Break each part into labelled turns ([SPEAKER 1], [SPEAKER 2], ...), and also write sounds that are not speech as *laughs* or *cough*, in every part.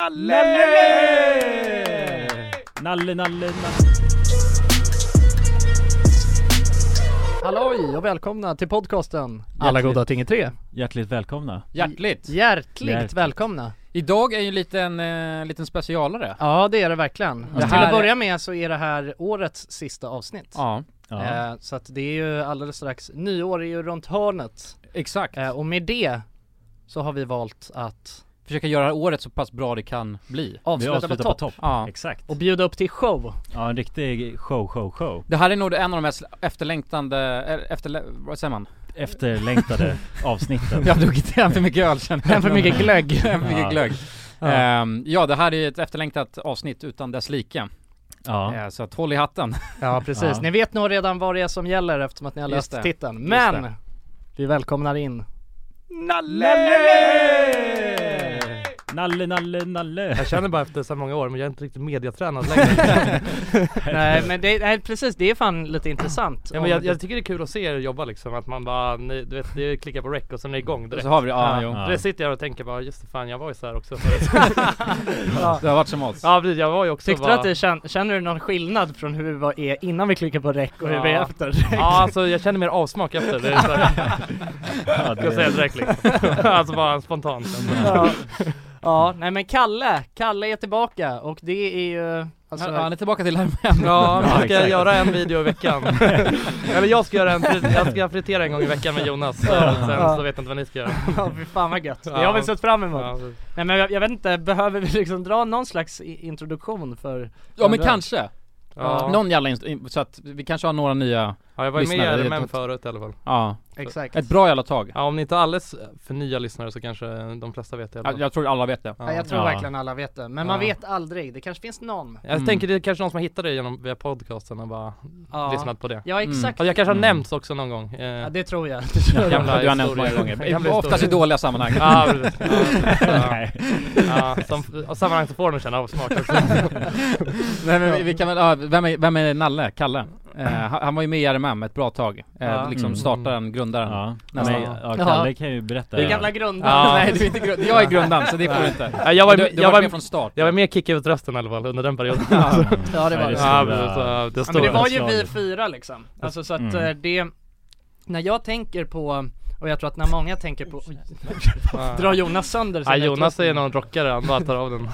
[SPEAKER 1] Nalle!
[SPEAKER 2] Nalle! Nalle, nalle, nalle.
[SPEAKER 3] Halloj och välkomna till podcasten Alla
[SPEAKER 2] Hjärtligt.
[SPEAKER 3] goda ting i tre
[SPEAKER 2] Hjärtligt välkomna.
[SPEAKER 1] Hjärtligt!
[SPEAKER 3] Hjärtligt
[SPEAKER 2] Hjärtligt.
[SPEAKER 3] välkomna!
[SPEAKER 1] Idag är ju en liten, eh, liten specialare.
[SPEAKER 3] Ja det är det verkligen.
[SPEAKER 2] Det
[SPEAKER 3] Till
[SPEAKER 1] här-
[SPEAKER 3] att börja med så är det här årets sista avsnitt
[SPEAKER 1] Ja,
[SPEAKER 2] Ja.
[SPEAKER 3] eh, Så att det är ju alldeles strax, nyår är ju runt hörnet
[SPEAKER 1] exakt.
[SPEAKER 3] eh, Och med det så har vi valt att
[SPEAKER 1] Försöka göra året så pass bra det kan bli.
[SPEAKER 2] vi
[SPEAKER 3] avsluta på
[SPEAKER 2] avslutar på
[SPEAKER 3] topp
[SPEAKER 2] topp.
[SPEAKER 1] Ja.
[SPEAKER 2] Exakt.
[SPEAKER 3] och bjuda upp till show
[SPEAKER 2] Ja, en riktig show, show, show.
[SPEAKER 1] Det här är nog en av de mest efterlängtande, eh, efterlä... vad säger man? *laughs*
[SPEAKER 2] Efterlängtade avsnitten.
[SPEAKER 1] Jag har druckit en för mycket öl känner jag.
[SPEAKER 3] En för
[SPEAKER 1] *laughs*
[SPEAKER 3] mycket glögg.
[SPEAKER 1] En för mycket
[SPEAKER 2] Ja.
[SPEAKER 1] glögg.
[SPEAKER 3] Ja.
[SPEAKER 1] Ehm, ja, det här är ett efterlängtat avsnitt utan dess like.
[SPEAKER 2] Ja.
[SPEAKER 1] Eh, Så att håll i hatten.
[SPEAKER 3] Ja precis,
[SPEAKER 2] Ja.
[SPEAKER 3] ni vet nog redan vad det är som gäller eftersom att ni har
[SPEAKER 1] Just det.
[SPEAKER 3] läst titeln
[SPEAKER 1] Just
[SPEAKER 3] Men!
[SPEAKER 1] det.
[SPEAKER 3] Vi välkomnar in
[SPEAKER 2] Nalle! Nalle, nalle, nalle.
[SPEAKER 4] Jag känner bara efter så här många år, men jag är inte riktigt mediatränad
[SPEAKER 1] *laughs*
[SPEAKER 4] längre.
[SPEAKER 3] Nej men det, nej, precis det är fan lite intressant
[SPEAKER 4] ja, men jag, jag tycker det är kul att se er jobba liksom, att man bara, ni, du vet, det klickar på rec och sen är det igång direkt.
[SPEAKER 1] Så har vi det, ja, jo.
[SPEAKER 2] Ja.
[SPEAKER 4] Det sitter jag och tänker bara, just det, fan jag var ju så här också förut.
[SPEAKER 1] *laughs* Det har varit som oss.
[SPEAKER 4] ja precis, jag var ju också
[SPEAKER 3] Tyckte
[SPEAKER 4] bara...
[SPEAKER 3] du att det kän- känner du någon skillnad från hur vi var är innan vi klickade på rec och hur vi är
[SPEAKER 4] Ja.
[SPEAKER 3] efter?
[SPEAKER 4] Ja alltså jag känner mer avsmak efter det, är så
[SPEAKER 3] *laughs*
[SPEAKER 4] här,
[SPEAKER 2] Ja,
[SPEAKER 4] ska jag säga
[SPEAKER 2] det,
[SPEAKER 4] direkt liksom. Alltså bara spontant.
[SPEAKER 3] ja. ja, nej men Kalle, Kalle är tillbaka och det är ju alltså,
[SPEAKER 1] Han han är tillbaka till värmen.
[SPEAKER 3] *laughs*
[SPEAKER 4] Ja,
[SPEAKER 2] Ja,
[SPEAKER 4] men ska
[SPEAKER 2] exakt.
[SPEAKER 4] jag göra en video i veckan? Eller jag ska göra en, frit- jag ska fritera en gång i veckan med Jonas, och sen så vet jag inte vad ni ska göra.
[SPEAKER 3] ja fy fan vad gött, det
[SPEAKER 4] Ja.
[SPEAKER 3] har vi sett fram emot.
[SPEAKER 4] Ja,
[SPEAKER 3] Nej men jag, jag vet inte, behöver vi liksom dra någon slags i- introduktion för
[SPEAKER 1] Ja men kanske.
[SPEAKER 4] ja.
[SPEAKER 1] Någon jävla inst- så att vi kanske har några nya,
[SPEAKER 4] ja jag var ju
[SPEAKER 1] lyssnare,
[SPEAKER 4] med
[SPEAKER 1] det
[SPEAKER 4] i
[SPEAKER 1] är
[SPEAKER 4] RMM
[SPEAKER 1] ett-
[SPEAKER 4] förut i alla fall.
[SPEAKER 1] ja,
[SPEAKER 3] Exakt.
[SPEAKER 1] ett bra jävla
[SPEAKER 4] *laughs*
[SPEAKER 1] tag.
[SPEAKER 4] Ja om ni inte är alldeles för nya lyssnare så kanske de flesta vet det i alla
[SPEAKER 1] Jag,
[SPEAKER 4] fall.
[SPEAKER 1] jag tror alla vet det.
[SPEAKER 3] Ja, jag tror verkligen alla vet det, men man
[SPEAKER 4] Ja.
[SPEAKER 3] vet aldrig, det kanske finns någon
[SPEAKER 4] Jag
[SPEAKER 1] Mm.
[SPEAKER 4] tänker det är kanske någon som har hittat det genom, via podcasten och bara
[SPEAKER 3] ja.
[SPEAKER 4] lyssnat på det.
[SPEAKER 3] Ja exakt,
[SPEAKER 4] Ja, jag kanske har
[SPEAKER 2] Mm.
[SPEAKER 4] nämnts också någon gång. Eh,
[SPEAKER 3] ja,
[SPEAKER 4] ja,
[SPEAKER 3] det
[SPEAKER 4] *laughs*
[SPEAKER 3] tror jag
[SPEAKER 4] Gamla
[SPEAKER 1] du har nämnt många
[SPEAKER 4] historier.
[SPEAKER 1] gånger.
[SPEAKER 4] Gamla
[SPEAKER 1] Oftast i
[SPEAKER 4] historier.
[SPEAKER 1] dåliga sammanhang. *laughs*
[SPEAKER 4] precis. ja,
[SPEAKER 2] Nej.
[SPEAKER 4] ja, ja, som, och sammanhang så får de känna avsmak också.
[SPEAKER 1] *laughs* Nej men vi, vi kan väl, ja, vem, är, vem är Nalle? Kalle? Eh, han, han var ju med i RMM ett bra tag. Eh,
[SPEAKER 3] Ja.
[SPEAKER 1] Liksom
[SPEAKER 2] Mm.
[SPEAKER 1] startaren, grundaren.
[SPEAKER 2] Ja.
[SPEAKER 1] Nästan.
[SPEAKER 2] Men, ja,
[SPEAKER 3] Ja.
[SPEAKER 2] Kalle kan ju berätta.
[SPEAKER 3] Det är gamla grunden
[SPEAKER 4] Ja.
[SPEAKER 1] Nej du är inte grund, jag är grundaren så det får du inte.
[SPEAKER 4] Ja, jag var,
[SPEAKER 1] du,
[SPEAKER 4] ju-
[SPEAKER 1] du
[SPEAKER 4] jag,
[SPEAKER 1] var
[SPEAKER 4] var,
[SPEAKER 1] med från start.
[SPEAKER 4] jag var med och kickade ut rösten i alla fall under den perioden.
[SPEAKER 1] *laughs* Ja.
[SPEAKER 3] Ja, det var
[SPEAKER 2] Nej,
[SPEAKER 3] det.
[SPEAKER 4] Ja,
[SPEAKER 2] stora-
[SPEAKER 4] precis, ja, det
[SPEAKER 3] Ja, men det var
[SPEAKER 2] stora
[SPEAKER 3] ju vi
[SPEAKER 2] slaget.
[SPEAKER 3] fyra liksom. Alltså så att
[SPEAKER 2] Mm.
[SPEAKER 3] eh, det, när jag tänker på, och jag tror att när många tänker
[SPEAKER 4] *laughs*
[SPEAKER 3] på, oj, drar Jonas sönder
[SPEAKER 4] Ja,
[SPEAKER 3] sin
[SPEAKER 4] Jonas
[SPEAKER 3] utrustning.
[SPEAKER 4] är någon rockare, han bara tar av den.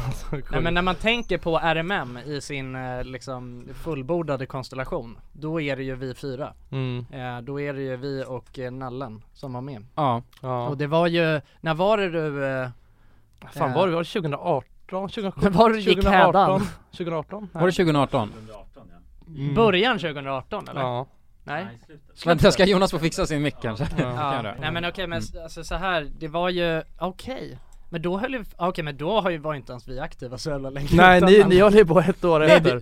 [SPEAKER 3] Nej men när man tänker på RMM i sin eh, liksom fullbordade konstellation, då är det ju vi fyra.
[SPEAKER 4] Mm,
[SPEAKER 3] Eh, Då är det ju vi och eh, Nallen som var med.
[SPEAKER 1] Ja.
[SPEAKER 4] ja.
[SPEAKER 3] Och det var ju, när var det du, eh,
[SPEAKER 4] Fan var det, var det 2018? 2017?
[SPEAKER 3] var det du gick hädan?
[SPEAKER 4] 2018?
[SPEAKER 1] Var det 2018?
[SPEAKER 2] 2018 ja.
[SPEAKER 4] Mm.
[SPEAKER 3] Början 2018 eller?
[SPEAKER 4] Ja.
[SPEAKER 3] Nej?
[SPEAKER 1] Vänta ska Jonas Mm. få fixa sin mick kanske?
[SPEAKER 3] Ja,
[SPEAKER 1] kan jag
[SPEAKER 3] nej men okej men s- alltså så här, det var ju, okej. Men då höll ju, okej men då har ju, var inte ens vi aktiva så jävla länge
[SPEAKER 4] Nej
[SPEAKER 3] utan-
[SPEAKER 4] ni, ni höll ju på ett år
[SPEAKER 1] Nej,
[SPEAKER 4] efter.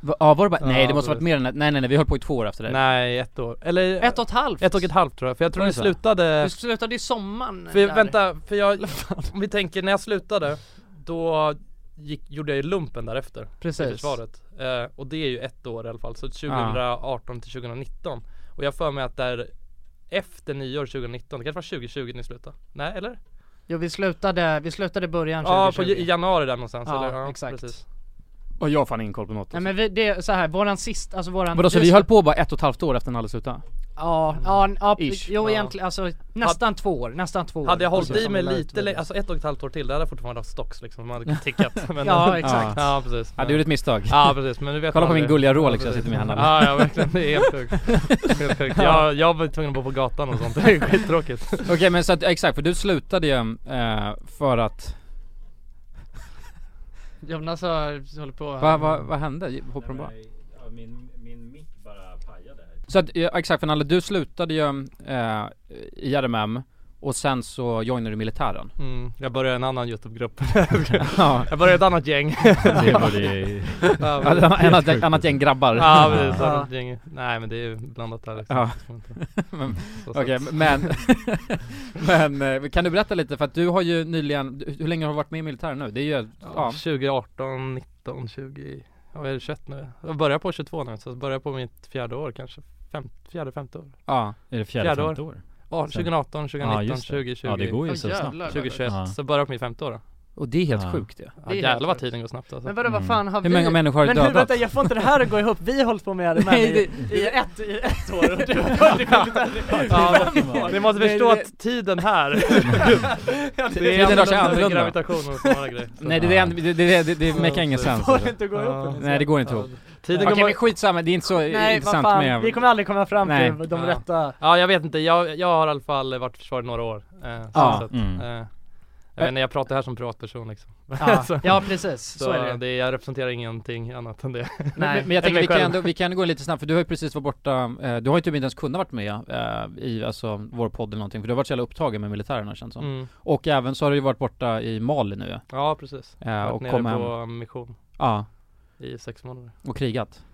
[SPEAKER 1] Va- Ja var det bara, nej
[SPEAKER 4] Ja,
[SPEAKER 1] det måste varit
[SPEAKER 4] precis.
[SPEAKER 1] mer än ett, nej nej nej vi höll på i två år efter det.
[SPEAKER 4] Nej, ett år. Eller
[SPEAKER 3] Ett och ett halvt?
[SPEAKER 4] ett och ett halvt tror jag, för jag tror
[SPEAKER 1] Oj,
[SPEAKER 4] ni
[SPEAKER 1] så.
[SPEAKER 3] Du
[SPEAKER 4] slutade...
[SPEAKER 3] slutade i sommaren
[SPEAKER 4] För,
[SPEAKER 3] där.
[SPEAKER 4] vänta, för jag... Om vi tänker, när jag slutade, då gick, gjorde jag ju lumpen därefter i
[SPEAKER 3] Precis
[SPEAKER 4] försvaret. Eh, och det är ju ett år i alla fall, så 2018 till 2019. Och jag har för mig att där efter nyår 2019, det kanske var 2020 ni slutade? Nej eller?
[SPEAKER 3] Jo vi slutade, vi slutade början
[SPEAKER 4] Ja,
[SPEAKER 3] 2020
[SPEAKER 4] på, i januari där någonstans
[SPEAKER 3] Ja,
[SPEAKER 4] eller?
[SPEAKER 3] exakt.
[SPEAKER 1] Och jag har fan ingen koll på något.
[SPEAKER 3] Nej men vi, det är så här, våran sist, alltså våran
[SPEAKER 1] Vadå så vi höll på bara ett och ett halvt år efter Nalle slutade?
[SPEAKER 3] Ja, ja, ja
[SPEAKER 1] Ish.
[SPEAKER 3] jo
[SPEAKER 4] Ja.
[SPEAKER 3] egentligen, alltså nästan två år, nästan två år
[SPEAKER 4] Hade jag hållit
[SPEAKER 3] Alltså,
[SPEAKER 4] i
[SPEAKER 3] som
[SPEAKER 4] mig
[SPEAKER 3] vi la ut
[SPEAKER 4] lite
[SPEAKER 3] med
[SPEAKER 4] längre,
[SPEAKER 3] det.
[SPEAKER 4] alltså ett och ett halvt år till, det hade jag fortfarande haft stocks liksom,
[SPEAKER 3] *laughs*
[SPEAKER 4] man hade tickat men, eh,
[SPEAKER 3] Ja exakt
[SPEAKER 4] *laughs* ja precis
[SPEAKER 1] Ja du gjorde ett misstag.
[SPEAKER 4] Ja precis, men nu vet
[SPEAKER 1] Kolla
[SPEAKER 4] man
[SPEAKER 1] på min
[SPEAKER 4] det.
[SPEAKER 1] gulliga Rolex jag
[SPEAKER 4] precis.
[SPEAKER 1] sitter med här Nalle.
[SPEAKER 4] Ja ja verkligen, det är helt
[SPEAKER 1] *laughs*
[SPEAKER 4] sjukt. Helt sjukt. Jag, jag var tvungen att bo på gatan och sånt, det är skittråkigt.
[SPEAKER 1] Okej men så att, exakt för du slutade ju eh, för att,
[SPEAKER 3] Jonas har, håller på
[SPEAKER 1] vad va, vad hände? Hoppade de bara?
[SPEAKER 2] Min, min mick bara pajade här.
[SPEAKER 1] Så att, ja, exakt för Nalle du slutade ju eh, i RMM och sen så joinade du militären.
[SPEAKER 4] Mm, jag började en annan Youtube-grupp.
[SPEAKER 1] *laughs* Ja.
[SPEAKER 4] Jag började ett
[SPEAKER 1] *laughs*
[SPEAKER 4] annat gäng. *laughs*
[SPEAKER 2] Det var det
[SPEAKER 4] Ja
[SPEAKER 1] Ett
[SPEAKER 4] precis,
[SPEAKER 1] annat, ett annat gäng grabbar.
[SPEAKER 4] ja, precis.
[SPEAKER 3] Ja.
[SPEAKER 4] annat gäng. Nej men det är ju blandat där liksom.
[SPEAKER 1] Ja. *laughs* Men- Okej
[SPEAKER 4] *laughs*
[SPEAKER 1] men, *laughs* men eh, kan du berätta lite för att du har ju nyligen, du- hur länge har du varit med i militären nu? Det är ju, ja,
[SPEAKER 4] 2018, 19, 20, ja vad är det 21 nu? Jag börjar på 22 nu, så jag börjar på mitt fjärde år kanske. Fem, fjärde, femte år.
[SPEAKER 1] ja.
[SPEAKER 2] Är det fjärde,
[SPEAKER 4] Fjärde år.
[SPEAKER 2] femte år?
[SPEAKER 4] Ja, 2018, 2019,
[SPEAKER 2] Ja, just det.
[SPEAKER 4] 2020.
[SPEAKER 2] Ja det går ju så snabbt.
[SPEAKER 3] jävlar.
[SPEAKER 4] 2021,
[SPEAKER 2] Ja.
[SPEAKER 4] så börjar jag på mitt femte år då.
[SPEAKER 1] Och det är helt
[SPEAKER 2] Ja.
[SPEAKER 1] sjukt ju.
[SPEAKER 4] Ja,
[SPEAKER 3] helt
[SPEAKER 4] jävlar vad
[SPEAKER 3] sjukt.
[SPEAKER 4] tiden går snabbt alltså.
[SPEAKER 3] Men vadå, vad
[SPEAKER 2] Mm.
[SPEAKER 3] fan har
[SPEAKER 1] Hur
[SPEAKER 3] vi?
[SPEAKER 1] många människor har
[SPEAKER 3] men hur,
[SPEAKER 1] dödats?
[SPEAKER 3] vänta jag får inte det här att gå ihop, vi har hållit på med RMM
[SPEAKER 1] Nej,
[SPEAKER 3] i, i, ett, i ett
[SPEAKER 1] *laughs*
[SPEAKER 3] år och du har hållit på med RMM.
[SPEAKER 4] Ja, ni måste
[SPEAKER 3] Det-
[SPEAKER 4] förstå
[SPEAKER 3] det-
[SPEAKER 4] att tiden här, det
[SPEAKER 1] Tiden
[SPEAKER 4] är
[SPEAKER 1] rör sig
[SPEAKER 4] annorlunda
[SPEAKER 1] annorlunda.
[SPEAKER 4] gravitation och
[SPEAKER 3] *laughs*
[SPEAKER 4] sådana grejer. Så-
[SPEAKER 1] Nej det, det, det, det, det, det
[SPEAKER 4] Ja,
[SPEAKER 1] make ingen
[SPEAKER 4] så-
[SPEAKER 1] sens
[SPEAKER 3] Får det
[SPEAKER 1] alltså.
[SPEAKER 3] inte gå ihop?
[SPEAKER 4] Ja.
[SPEAKER 3] eller?
[SPEAKER 1] Nej det går inte ihop.
[SPEAKER 4] Tiden
[SPEAKER 1] Okej
[SPEAKER 4] går
[SPEAKER 1] men skitsamma, det är inte så
[SPEAKER 3] Nej vad
[SPEAKER 1] intressant
[SPEAKER 3] fan,
[SPEAKER 1] med...
[SPEAKER 3] vi kommer aldrig komma fram
[SPEAKER 1] Nej.
[SPEAKER 3] till de
[SPEAKER 4] Ja.
[SPEAKER 3] rätta
[SPEAKER 4] Ja jag vet inte, jag, jag har i alla fall varit försvarare i några år. Eh, så
[SPEAKER 1] Ja.
[SPEAKER 4] sätt.
[SPEAKER 2] Mm.
[SPEAKER 4] Eh, jag vet inte, jag pratar här som privatperson liksom.
[SPEAKER 3] Ja, ja precis,
[SPEAKER 4] *laughs*
[SPEAKER 3] så,
[SPEAKER 4] Så,
[SPEAKER 3] är det, ju.
[SPEAKER 4] det, jag representerar ingenting annat än det. *laughs*
[SPEAKER 3] Nej.
[SPEAKER 1] Men jag tänker vi
[SPEAKER 4] Eller
[SPEAKER 1] kan,
[SPEAKER 4] själv.
[SPEAKER 1] ändå, vi kan ändå gå lite snabbt, för du har ju precis varit borta, eh, du har ju typ inte ens kunnat varit med eh, i alltså, vår podd eller någonting, för du har varit så jävla upptagen med militären känns som.
[SPEAKER 4] Mm.
[SPEAKER 1] Och även så har du ju varit borta i Mali nu ju.
[SPEAKER 4] Ja precis.
[SPEAKER 1] eh,
[SPEAKER 4] Varit
[SPEAKER 1] och
[SPEAKER 4] nere
[SPEAKER 1] kom hem.
[SPEAKER 4] på mission
[SPEAKER 1] Ja,
[SPEAKER 4] i sex månader.
[SPEAKER 1] och krigat.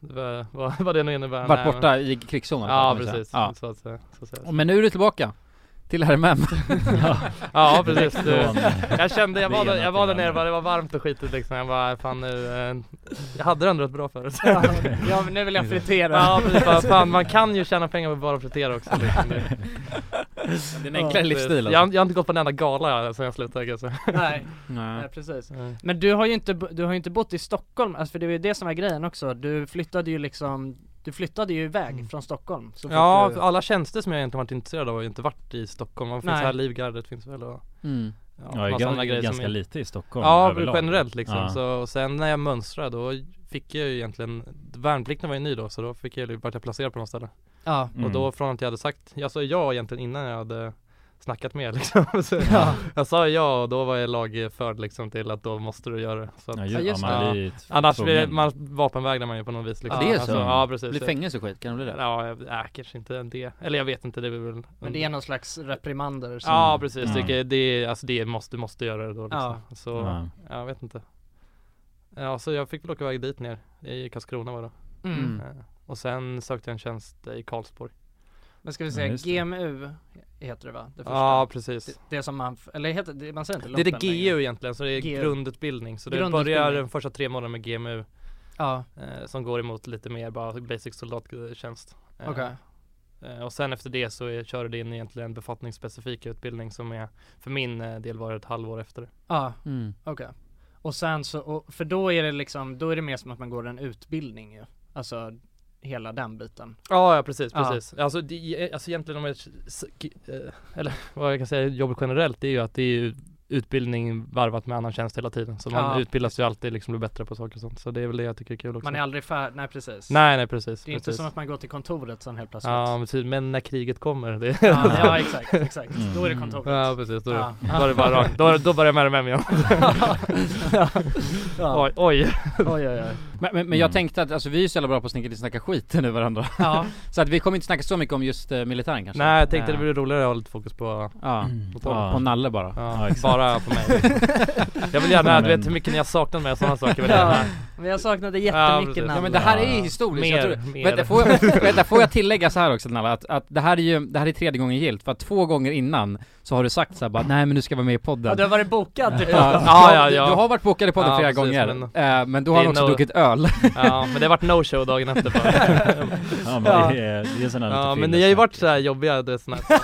[SPEAKER 4] Det var, vad, vad det nu innebär.
[SPEAKER 1] Varit
[SPEAKER 4] Nej, men-
[SPEAKER 1] borta i krigszonen.
[SPEAKER 4] Ja
[SPEAKER 1] kan man säga.
[SPEAKER 4] precis,
[SPEAKER 1] Ja.
[SPEAKER 4] Så, att, säga- så, så,
[SPEAKER 1] Men nu är du tillbaka. Till RMM.
[SPEAKER 3] *laughs*
[SPEAKER 4] Ja
[SPEAKER 1] *laughs*
[SPEAKER 4] precis,
[SPEAKER 2] Från-
[SPEAKER 4] du, jag kände, jag
[SPEAKER 2] Det
[SPEAKER 4] var, där,
[SPEAKER 2] ena
[SPEAKER 4] jag var där
[SPEAKER 2] till det
[SPEAKER 4] nere,
[SPEAKER 2] andra.
[SPEAKER 4] bara, det var varmt och skitigt liksom, jag bara fan nu, eh, jag hade det ändå rätt bra förut
[SPEAKER 3] Ja, ja men nu vill jag fritera
[SPEAKER 4] Ja precis, bara, fan man kan ju tjäna pengar på bara att fritera också
[SPEAKER 1] *laughs*
[SPEAKER 4] liksom. det,
[SPEAKER 1] Det är en enklare livsstil
[SPEAKER 4] jag, har- jag har inte gått på en enda gala eh, sen jag slutade kanske
[SPEAKER 3] alltså.
[SPEAKER 4] *laughs*
[SPEAKER 3] Nej,
[SPEAKER 1] Nej.
[SPEAKER 3] nej precis
[SPEAKER 4] Nej.
[SPEAKER 3] Men du har ju inte, bo- du har ju inte bott i Stockholm, alltså för det var ju det som var grejen också, du flyttade ju liksom du flyttade ju iväg
[SPEAKER 4] Mm.
[SPEAKER 3] från Stockholm så fort
[SPEAKER 4] Ja,
[SPEAKER 3] du...
[SPEAKER 4] alla tjänster som jag egentligen varit intresserad av har ju inte varit i Stockholm, man finns
[SPEAKER 3] Nej.
[SPEAKER 4] här, Livgardet finns väl och
[SPEAKER 1] Mm.
[SPEAKER 4] ja,
[SPEAKER 2] Ja,
[SPEAKER 4] massa andra
[SPEAKER 2] ganska,
[SPEAKER 4] grejer
[SPEAKER 2] ganska
[SPEAKER 4] som är-
[SPEAKER 2] lite i Stockholm
[SPEAKER 4] Ja,
[SPEAKER 2] överlag.
[SPEAKER 4] generellt liksom.
[SPEAKER 2] Ja.
[SPEAKER 4] Så, och sen när jag mönstrade då fick jag ju egentligen, värnplikten var ju ny då så då fick jag, ju- vart jag placerad på något ställe
[SPEAKER 3] ja.
[SPEAKER 2] Mm.
[SPEAKER 4] Och då från att jag hade sagt, jag sa ja egentligen innan jag hade snackat med er, *laughs* liksom. så
[SPEAKER 3] Ja.
[SPEAKER 4] Jag sa ja och då var jag lagförd liksom till att då måste du göra det. Så att,
[SPEAKER 2] Ja,
[SPEAKER 3] Ja,
[SPEAKER 2] ju, ja,
[SPEAKER 3] just
[SPEAKER 2] man
[SPEAKER 4] det.
[SPEAKER 2] blir ju t-
[SPEAKER 4] Annars blir
[SPEAKER 2] tvungen.
[SPEAKER 4] man, vapenvägrar man ju på något vis liksom.
[SPEAKER 1] Ja, det är så.
[SPEAKER 4] ja precis.
[SPEAKER 1] Blir fängelse och skit, kan det bli det?
[SPEAKER 4] Ja, jag- äh, kanske inte det. Eller jag vet inte, det är väl
[SPEAKER 3] Men det är någon slags reprimander som...
[SPEAKER 4] Ja precis,
[SPEAKER 2] Mm.
[SPEAKER 4] det, det, är- alltså det måste, du måste göra det då liksom. Så,
[SPEAKER 2] Ja.
[SPEAKER 4] jag vet inte. Ja, så jag fick väl åka iväg dit ner, i Karlskrona var det.
[SPEAKER 3] Mm.
[SPEAKER 1] Mm.
[SPEAKER 4] Eh, Och sen sökte jag en tjänst i Karlsborg.
[SPEAKER 3] Men ska vi
[SPEAKER 2] Ja,
[SPEAKER 3] säga
[SPEAKER 2] just det.
[SPEAKER 3] GMU heter det va? Det första.
[SPEAKER 4] Ja, precis.
[SPEAKER 3] Det, det som man, f- eller heter det, man säger inte
[SPEAKER 4] Det är det
[SPEAKER 3] lumpen längre.
[SPEAKER 4] GU egentligen, så det är
[SPEAKER 3] GU.
[SPEAKER 4] grundutbildning. Så det
[SPEAKER 3] Grundutbildning.
[SPEAKER 4] börjar de första tre månaderna med GMU
[SPEAKER 3] Ja,
[SPEAKER 4] eh, som går emot lite mer bara basic soldattjänst. Eh,
[SPEAKER 3] okej.
[SPEAKER 4] eh, och sen efter det så är, kör det in egentligen en befattningsspecifik utbildning som är för min eh, del var det ett halvår efter det.
[SPEAKER 3] Ja,
[SPEAKER 1] Mm.
[SPEAKER 3] okej. Och sen så, och, för då är det liksom, då är det mer som att man går en utbildning ju. Alltså hela den biten.
[SPEAKER 4] Ja, ja precis,
[SPEAKER 3] Ja.
[SPEAKER 4] precis. Alltså, det, alltså egentligen om jag, s- g- eh, eller vad jag kan säga jobbet generellt det är ju att det är ju utbildning varvat med annan tjänst hela tiden. Så man
[SPEAKER 3] Ja.
[SPEAKER 4] utbildas ju alltid liksom blir bättre på saker och sånt. Så det är väl det jag tycker är kul också.
[SPEAKER 3] Man är aldrig färdig, nej precis.
[SPEAKER 4] Nej, nej precis.
[SPEAKER 3] Det är inte
[SPEAKER 4] precis.
[SPEAKER 3] som att man går till kontoret sen helt plötsligt.
[SPEAKER 4] Ja
[SPEAKER 3] Ja,
[SPEAKER 4] precis, men när kriget kommer det
[SPEAKER 3] ja exakt, exakt.
[SPEAKER 2] Mm.
[SPEAKER 3] Då är det kontoret.
[SPEAKER 4] Ja precis, då,
[SPEAKER 3] Ja.
[SPEAKER 4] då är det bara rakt, då, då börjar jag med dem igen
[SPEAKER 3] *laughs* Ja.
[SPEAKER 4] *laughs* Oj, oj
[SPEAKER 3] Oj, oj, oj.
[SPEAKER 1] Men, men, men jag
[SPEAKER 2] Mm.
[SPEAKER 1] tänkte att, alltså vi är ju så jävla bra på att snacka, snacka skit nu varandra
[SPEAKER 3] Ja,
[SPEAKER 1] *laughs* Så att vi kommer inte snacka så mycket om just eh, militären kanske
[SPEAKER 4] Nej jag tänkte det
[SPEAKER 1] Eh,
[SPEAKER 4] vore roligare att ha lite fokus på,
[SPEAKER 1] Ja,
[SPEAKER 2] Mm.
[SPEAKER 1] på,
[SPEAKER 2] Ja.
[SPEAKER 1] på Nalle bara
[SPEAKER 4] ja,
[SPEAKER 2] exakt.
[SPEAKER 4] bara på
[SPEAKER 1] *laughs*
[SPEAKER 4] mig Jag vill gärna, du
[SPEAKER 2] Men-
[SPEAKER 4] vet hur mycket ni har saknat mig och sådana saker vill jag
[SPEAKER 3] ja.
[SPEAKER 4] gärna
[SPEAKER 3] Men jag saknade
[SPEAKER 4] Ja,
[SPEAKER 3] jättemycket
[SPEAKER 4] precis.
[SPEAKER 3] namn.
[SPEAKER 1] Ja men det här är
[SPEAKER 2] Ja.
[SPEAKER 1] historiskt,
[SPEAKER 4] Mer,
[SPEAKER 1] jag tror,
[SPEAKER 4] mer.
[SPEAKER 1] Vänta, får jag, vänta, får jag tillägga så här också Nalla, att, att det här är ju, det här är tredje gången gillt, för att två gånger innan så har du sagt så här bara nej men nu ska jag vara med i
[SPEAKER 3] Ja,
[SPEAKER 1] podden
[SPEAKER 3] du har varit
[SPEAKER 1] *laughs*
[SPEAKER 3] bokad till
[SPEAKER 1] Ja,
[SPEAKER 4] Ja, ja,
[SPEAKER 1] du-
[SPEAKER 4] ja.
[SPEAKER 1] Du har varit bokad i podden
[SPEAKER 4] Ja,
[SPEAKER 1] flera
[SPEAKER 4] precis,
[SPEAKER 1] gånger, eh, men då
[SPEAKER 4] det
[SPEAKER 1] har
[SPEAKER 4] är
[SPEAKER 1] du också
[SPEAKER 4] no-
[SPEAKER 1] druckit öl
[SPEAKER 4] *laughs* Ja men det vart no show dagen
[SPEAKER 1] *laughs*
[SPEAKER 4] efter bara
[SPEAKER 2] Ja, men
[SPEAKER 3] Ja.
[SPEAKER 2] det är, det är sådana
[SPEAKER 4] Ja
[SPEAKER 2] lite
[SPEAKER 4] men ni har ju varit
[SPEAKER 2] fyllesnack.
[SPEAKER 4] såhär jobbiga du vet såna här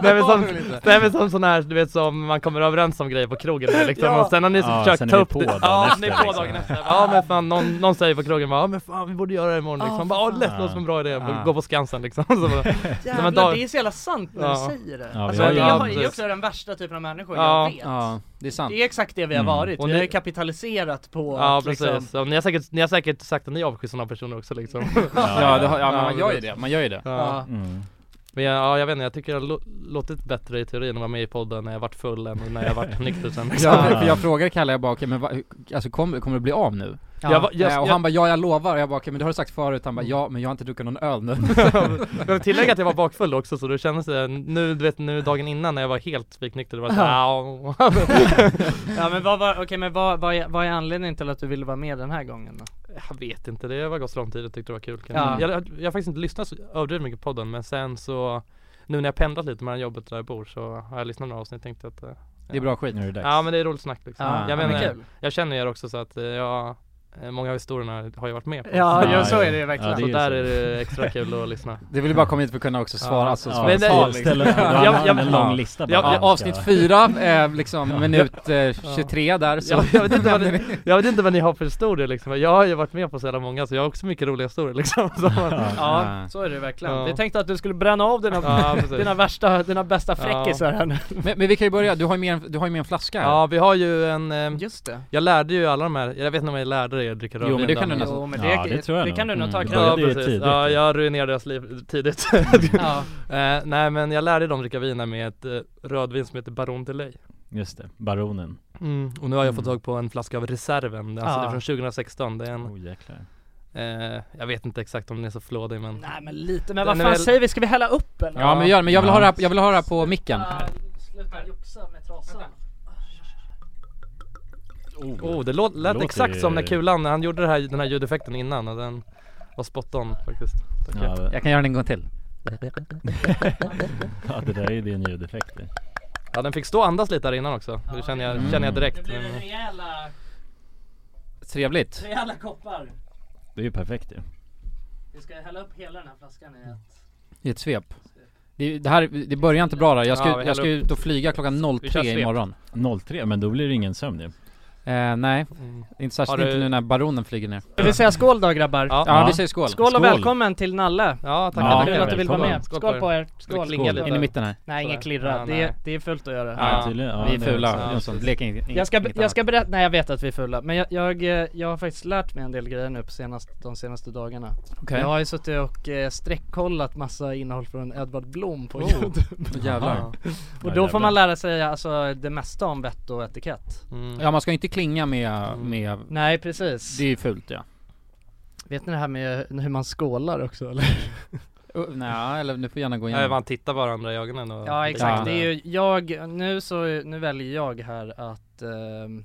[SPEAKER 4] *laughs* Nej men som, nej men som sån här du vet som man kommer överens om grejer på krogen med, liksom
[SPEAKER 3] Ja.
[SPEAKER 4] och sen har ni
[SPEAKER 2] Ja, sen
[SPEAKER 4] försökt
[SPEAKER 2] är
[SPEAKER 4] ta
[SPEAKER 2] vi
[SPEAKER 4] upp
[SPEAKER 2] på
[SPEAKER 4] det
[SPEAKER 2] dagen
[SPEAKER 4] Ja
[SPEAKER 2] efter,
[SPEAKER 4] ni är på
[SPEAKER 2] liksom.
[SPEAKER 4] dagen efter Ja men fan någon, någon säger på krogen bara, ja men fan vi borde göra det imorgon
[SPEAKER 3] Ja,
[SPEAKER 4] liksom
[SPEAKER 3] för
[SPEAKER 4] bara, ja det lät
[SPEAKER 2] fan.
[SPEAKER 4] låter som en bra idé,
[SPEAKER 1] Ja.
[SPEAKER 4] gå på Skansen liksom *laughs* så bara, Nej,
[SPEAKER 3] Jävlar,
[SPEAKER 4] men då-
[SPEAKER 3] det är så jävla sant när
[SPEAKER 4] Ja.
[SPEAKER 3] du säger det.
[SPEAKER 2] Ja,
[SPEAKER 3] alltså,
[SPEAKER 2] vi har
[SPEAKER 3] det
[SPEAKER 2] ju-
[SPEAKER 3] har- det är
[SPEAKER 4] Ja,
[SPEAKER 3] också den värsta typen av människor
[SPEAKER 4] Ja.
[SPEAKER 3] jag vet.
[SPEAKER 1] Ja, det är sant
[SPEAKER 3] Det är exakt det vi har
[SPEAKER 2] Mm.
[SPEAKER 3] varit.
[SPEAKER 4] Och
[SPEAKER 3] vi
[SPEAKER 4] ni-
[SPEAKER 3] har ju kapitaliserat på
[SPEAKER 4] Ja
[SPEAKER 3] att
[SPEAKER 4] precis,
[SPEAKER 3] liksom,
[SPEAKER 4] ja, ni, har säkert, ni har säkert sagt att ni avskyr sådana personer också liksom
[SPEAKER 1] *laughs* Ja, det har, ja, men
[SPEAKER 4] Ja,
[SPEAKER 1] man gör ju
[SPEAKER 4] precis.
[SPEAKER 1] det, man gör ju det
[SPEAKER 4] ja.
[SPEAKER 3] ja.
[SPEAKER 2] Mm.
[SPEAKER 4] Men jag, ja, jag vet inte, jag tycker jag har lo- låtit bättre i teorin att vara med i podden när jag varit full än när
[SPEAKER 1] *laughs*
[SPEAKER 4] jag varit nykter sen liksom.
[SPEAKER 1] Ja,
[SPEAKER 2] Ja.
[SPEAKER 1] för- för jag frågade Kalle, jag bara okej men va, alltså kommer, kommer det bli av nu?
[SPEAKER 3] Ja.
[SPEAKER 4] Jag var-
[SPEAKER 1] Eh, och han bara ja jag lovar, och jag bara okej men det har du sagt förut, han bara ja men jag har inte druckit någon öl
[SPEAKER 4] *laughs*
[SPEAKER 1] nu
[SPEAKER 4] Jag vill tillägga att jag var bakfull också så det kändes det, nu du vet nu dagen innan när jag var helt spiknykter det var såhär
[SPEAKER 3] *laughs*
[SPEAKER 4] "Au." *laughs*
[SPEAKER 3] ja men vad var, okej men vad, vad, är, vad är anledningen till att du ville vara med den här gången då?
[SPEAKER 4] Jag vet inte, det var gått så lång tid och tyckte det var kul
[SPEAKER 3] Ja.
[SPEAKER 4] jag, jag, jag har faktiskt inte lyssnat så överdrivet mycket på podden men sen så Nu när jag pendlat lite mellan jobbet och där jag bor så har jag lyssnat några avsnitt och tänkte att eh,
[SPEAKER 1] Det är bra skit
[SPEAKER 2] Nu är det dags.
[SPEAKER 4] Ja men det är roligt snack liksom
[SPEAKER 1] Ja,
[SPEAKER 4] Jag
[SPEAKER 1] men
[SPEAKER 4] menar,
[SPEAKER 1] kul.
[SPEAKER 4] jag känner er också så att eh, jag eh, många av historierna har jag varit med på.
[SPEAKER 3] Ja,
[SPEAKER 2] Ja,
[SPEAKER 3] ja, så
[SPEAKER 2] ja.
[SPEAKER 3] är det ju verkligen.
[SPEAKER 2] Ja,
[SPEAKER 4] Så
[SPEAKER 2] det är ju
[SPEAKER 4] där
[SPEAKER 2] så.
[SPEAKER 4] är det extra kul
[SPEAKER 1] *laughs*
[SPEAKER 4] att lyssna.
[SPEAKER 1] Du ville bara komma hit för att kunna också svara,
[SPEAKER 4] Ja.
[SPEAKER 1] alltså,
[SPEAKER 2] Ja,
[SPEAKER 1] svara
[SPEAKER 4] men det-
[SPEAKER 1] svar,
[SPEAKER 2] tal-
[SPEAKER 1] liksom.
[SPEAKER 2] ställa-
[SPEAKER 4] Ja,
[SPEAKER 2] han hade en
[SPEAKER 4] ja,
[SPEAKER 1] ja.
[SPEAKER 2] lång lista bara.
[SPEAKER 4] Ja,
[SPEAKER 1] Ja,
[SPEAKER 4] ja,
[SPEAKER 1] avsnitt fyra, eh, liksom minut eh,
[SPEAKER 4] Ja.
[SPEAKER 1] 23 där så
[SPEAKER 4] Ja, jag vet inte vad *laughs* det- Jag vet inte vad ni har för historier liksom, jag har ju varit med på så jävla många så jag har också mycket roliga historier liksom. *laughs* Så man,
[SPEAKER 3] Ja,
[SPEAKER 1] Ja.
[SPEAKER 3] så är det verkligen.
[SPEAKER 4] Ja.
[SPEAKER 3] Vi tänkte att du skulle bränna av dina,
[SPEAKER 4] Ja, precis.
[SPEAKER 3] dina värsta, dina bästa fräckisar här nu.
[SPEAKER 1] men, men vi kan ju börja, du har ju med en, du har ju med en flaska här.
[SPEAKER 4] ja vi har ju en, eh,
[SPEAKER 3] Just det.
[SPEAKER 4] jag lärde ju alla de här, jag vet inte om jag lärde dig att dricka
[SPEAKER 1] Jo,
[SPEAKER 4] rödvin
[SPEAKER 1] men det kan du
[SPEAKER 4] där, men-
[SPEAKER 1] nästan-
[SPEAKER 3] Jo men det,
[SPEAKER 2] Ja, det tror jag
[SPEAKER 3] det
[SPEAKER 2] nog.
[SPEAKER 3] kan du nog ta
[SPEAKER 2] Mm.
[SPEAKER 4] Ja
[SPEAKER 3] credit
[SPEAKER 2] Började ju
[SPEAKER 4] precis,
[SPEAKER 2] tidigt,
[SPEAKER 4] ja,
[SPEAKER 2] ju.
[SPEAKER 4] jag ruinerade deras liv tidigt.
[SPEAKER 3] *laughs* ja.
[SPEAKER 4] Eh, nej men jag lärde dem dricka vin här med ett eh, rödvin som heter Baron Delay.
[SPEAKER 2] Just det, Baronen.
[SPEAKER 4] Mm. Och nu har jag
[SPEAKER 1] Mm.
[SPEAKER 4] fått tag på en flaska av reserven, alltså
[SPEAKER 3] Ah.
[SPEAKER 4] det är från 2016, det är en,
[SPEAKER 2] Oh jäklar.
[SPEAKER 4] eh, jag vet inte exakt om den är så flådig men
[SPEAKER 3] Nej men lite, men
[SPEAKER 4] Den
[SPEAKER 3] vad
[SPEAKER 4] är
[SPEAKER 3] fan
[SPEAKER 4] väl-
[SPEAKER 3] säger vi? Ska vi hälla upp eller?
[SPEAKER 1] Ja men vi gör det, men jag vill
[SPEAKER 2] Ja.
[SPEAKER 1] ha det här, jag vill ha det här på micken
[SPEAKER 3] Ah, Sluta joxa med trasan.
[SPEAKER 4] Oh, det låt, lät
[SPEAKER 2] låter
[SPEAKER 4] exakt som när
[SPEAKER 2] ju-
[SPEAKER 4] kulan, han gjorde det här, den här ljudeffekten innan och den var spot on faktiskt. Tack.
[SPEAKER 2] Ja,
[SPEAKER 1] Jag kan göra den en gång till
[SPEAKER 2] *laughs* ja, det där är ju din ljudeffekt det.
[SPEAKER 4] ja den fick stå och andas lite där innan också, det känner jag,
[SPEAKER 1] Mm.
[SPEAKER 4] känner jag direkt.
[SPEAKER 3] Det blir
[SPEAKER 4] Men,
[SPEAKER 3] rejäla,
[SPEAKER 1] Trevligt
[SPEAKER 3] rejäla koppar.
[SPEAKER 2] Det är ju perfekt ju.
[SPEAKER 3] Vi ska hälla upp hela den här flaskan i ett...
[SPEAKER 1] I ett svep det, det här, det börjar inte bra där. Jag ska,
[SPEAKER 4] Ja, vi häller
[SPEAKER 1] jag ska ut och flyga klockan
[SPEAKER 4] Vi
[SPEAKER 1] 03
[SPEAKER 4] kör svep.
[SPEAKER 1] imorgon
[SPEAKER 2] 03, men då blir det ingen sömn ju.
[SPEAKER 1] eh, Nej,
[SPEAKER 4] mm.
[SPEAKER 1] inte
[SPEAKER 4] Har
[SPEAKER 1] särskilt
[SPEAKER 4] du-
[SPEAKER 1] inte nu när baronen flyger ner
[SPEAKER 3] Ska vi säga skål då grabbar?
[SPEAKER 4] Ja.
[SPEAKER 1] Ja
[SPEAKER 2] Ja.
[SPEAKER 1] vi säger skål,
[SPEAKER 3] Skål och
[SPEAKER 2] Skål.
[SPEAKER 3] välkommen till Nalle!
[SPEAKER 4] ja tack
[SPEAKER 2] Ja,
[SPEAKER 4] ja,
[SPEAKER 3] Kul att du vill vara
[SPEAKER 2] välkommen.
[SPEAKER 3] med.
[SPEAKER 4] Skål
[SPEAKER 3] Skål,
[SPEAKER 4] på er.
[SPEAKER 3] på er!
[SPEAKER 4] Ska vi
[SPEAKER 3] Skål!
[SPEAKER 4] klinga lite?
[SPEAKER 1] in i mitten här
[SPEAKER 3] Nej inget
[SPEAKER 4] Ja,
[SPEAKER 3] klirra, det,
[SPEAKER 4] nej.
[SPEAKER 3] är, det är fult att göra.
[SPEAKER 1] Ja,
[SPEAKER 2] tydligen.
[SPEAKER 1] Vi är
[SPEAKER 2] det-
[SPEAKER 1] fula,
[SPEAKER 4] ja.
[SPEAKER 1] Jonsson, blek inget,
[SPEAKER 3] Jag ska,
[SPEAKER 1] inget
[SPEAKER 3] jag
[SPEAKER 1] annat.
[SPEAKER 3] ska berätta, nej jag vet att vi är fulla, men jag, jag, eh, jag har faktiskt lärt mig en del grejer nu på senast, de senaste dagarna
[SPEAKER 1] Okej.
[SPEAKER 3] Jag har ju suttit och eh, streckkollat massa innehåll från Edvard Blom på
[SPEAKER 4] Oh.
[SPEAKER 3] Youtube
[SPEAKER 1] Åh, jävlar
[SPEAKER 4] Ja.
[SPEAKER 3] Och då
[SPEAKER 2] jävlar.
[SPEAKER 3] får man lära sig alltså det mesta om vett och etikett
[SPEAKER 4] Mm.
[SPEAKER 1] Ja man ska inte klinga med, med
[SPEAKER 3] Mm. Nej precis,
[SPEAKER 1] Det är ju fult ja
[SPEAKER 3] vet ni det här med hur man skålar också eller?
[SPEAKER 1] Uh, Nej, eller nu får gärna gå
[SPEAKER 4] Ja,
[SPEAKER 1] igenom
[SPEAKER 4] man tittar varandra i ögonen och
[SPEAKER 3] Ja exakt,
[SPEAKER 1] Ja.
[SPEAKER 3] det är ju jag, nu så, nu väljer jag här att, ehm,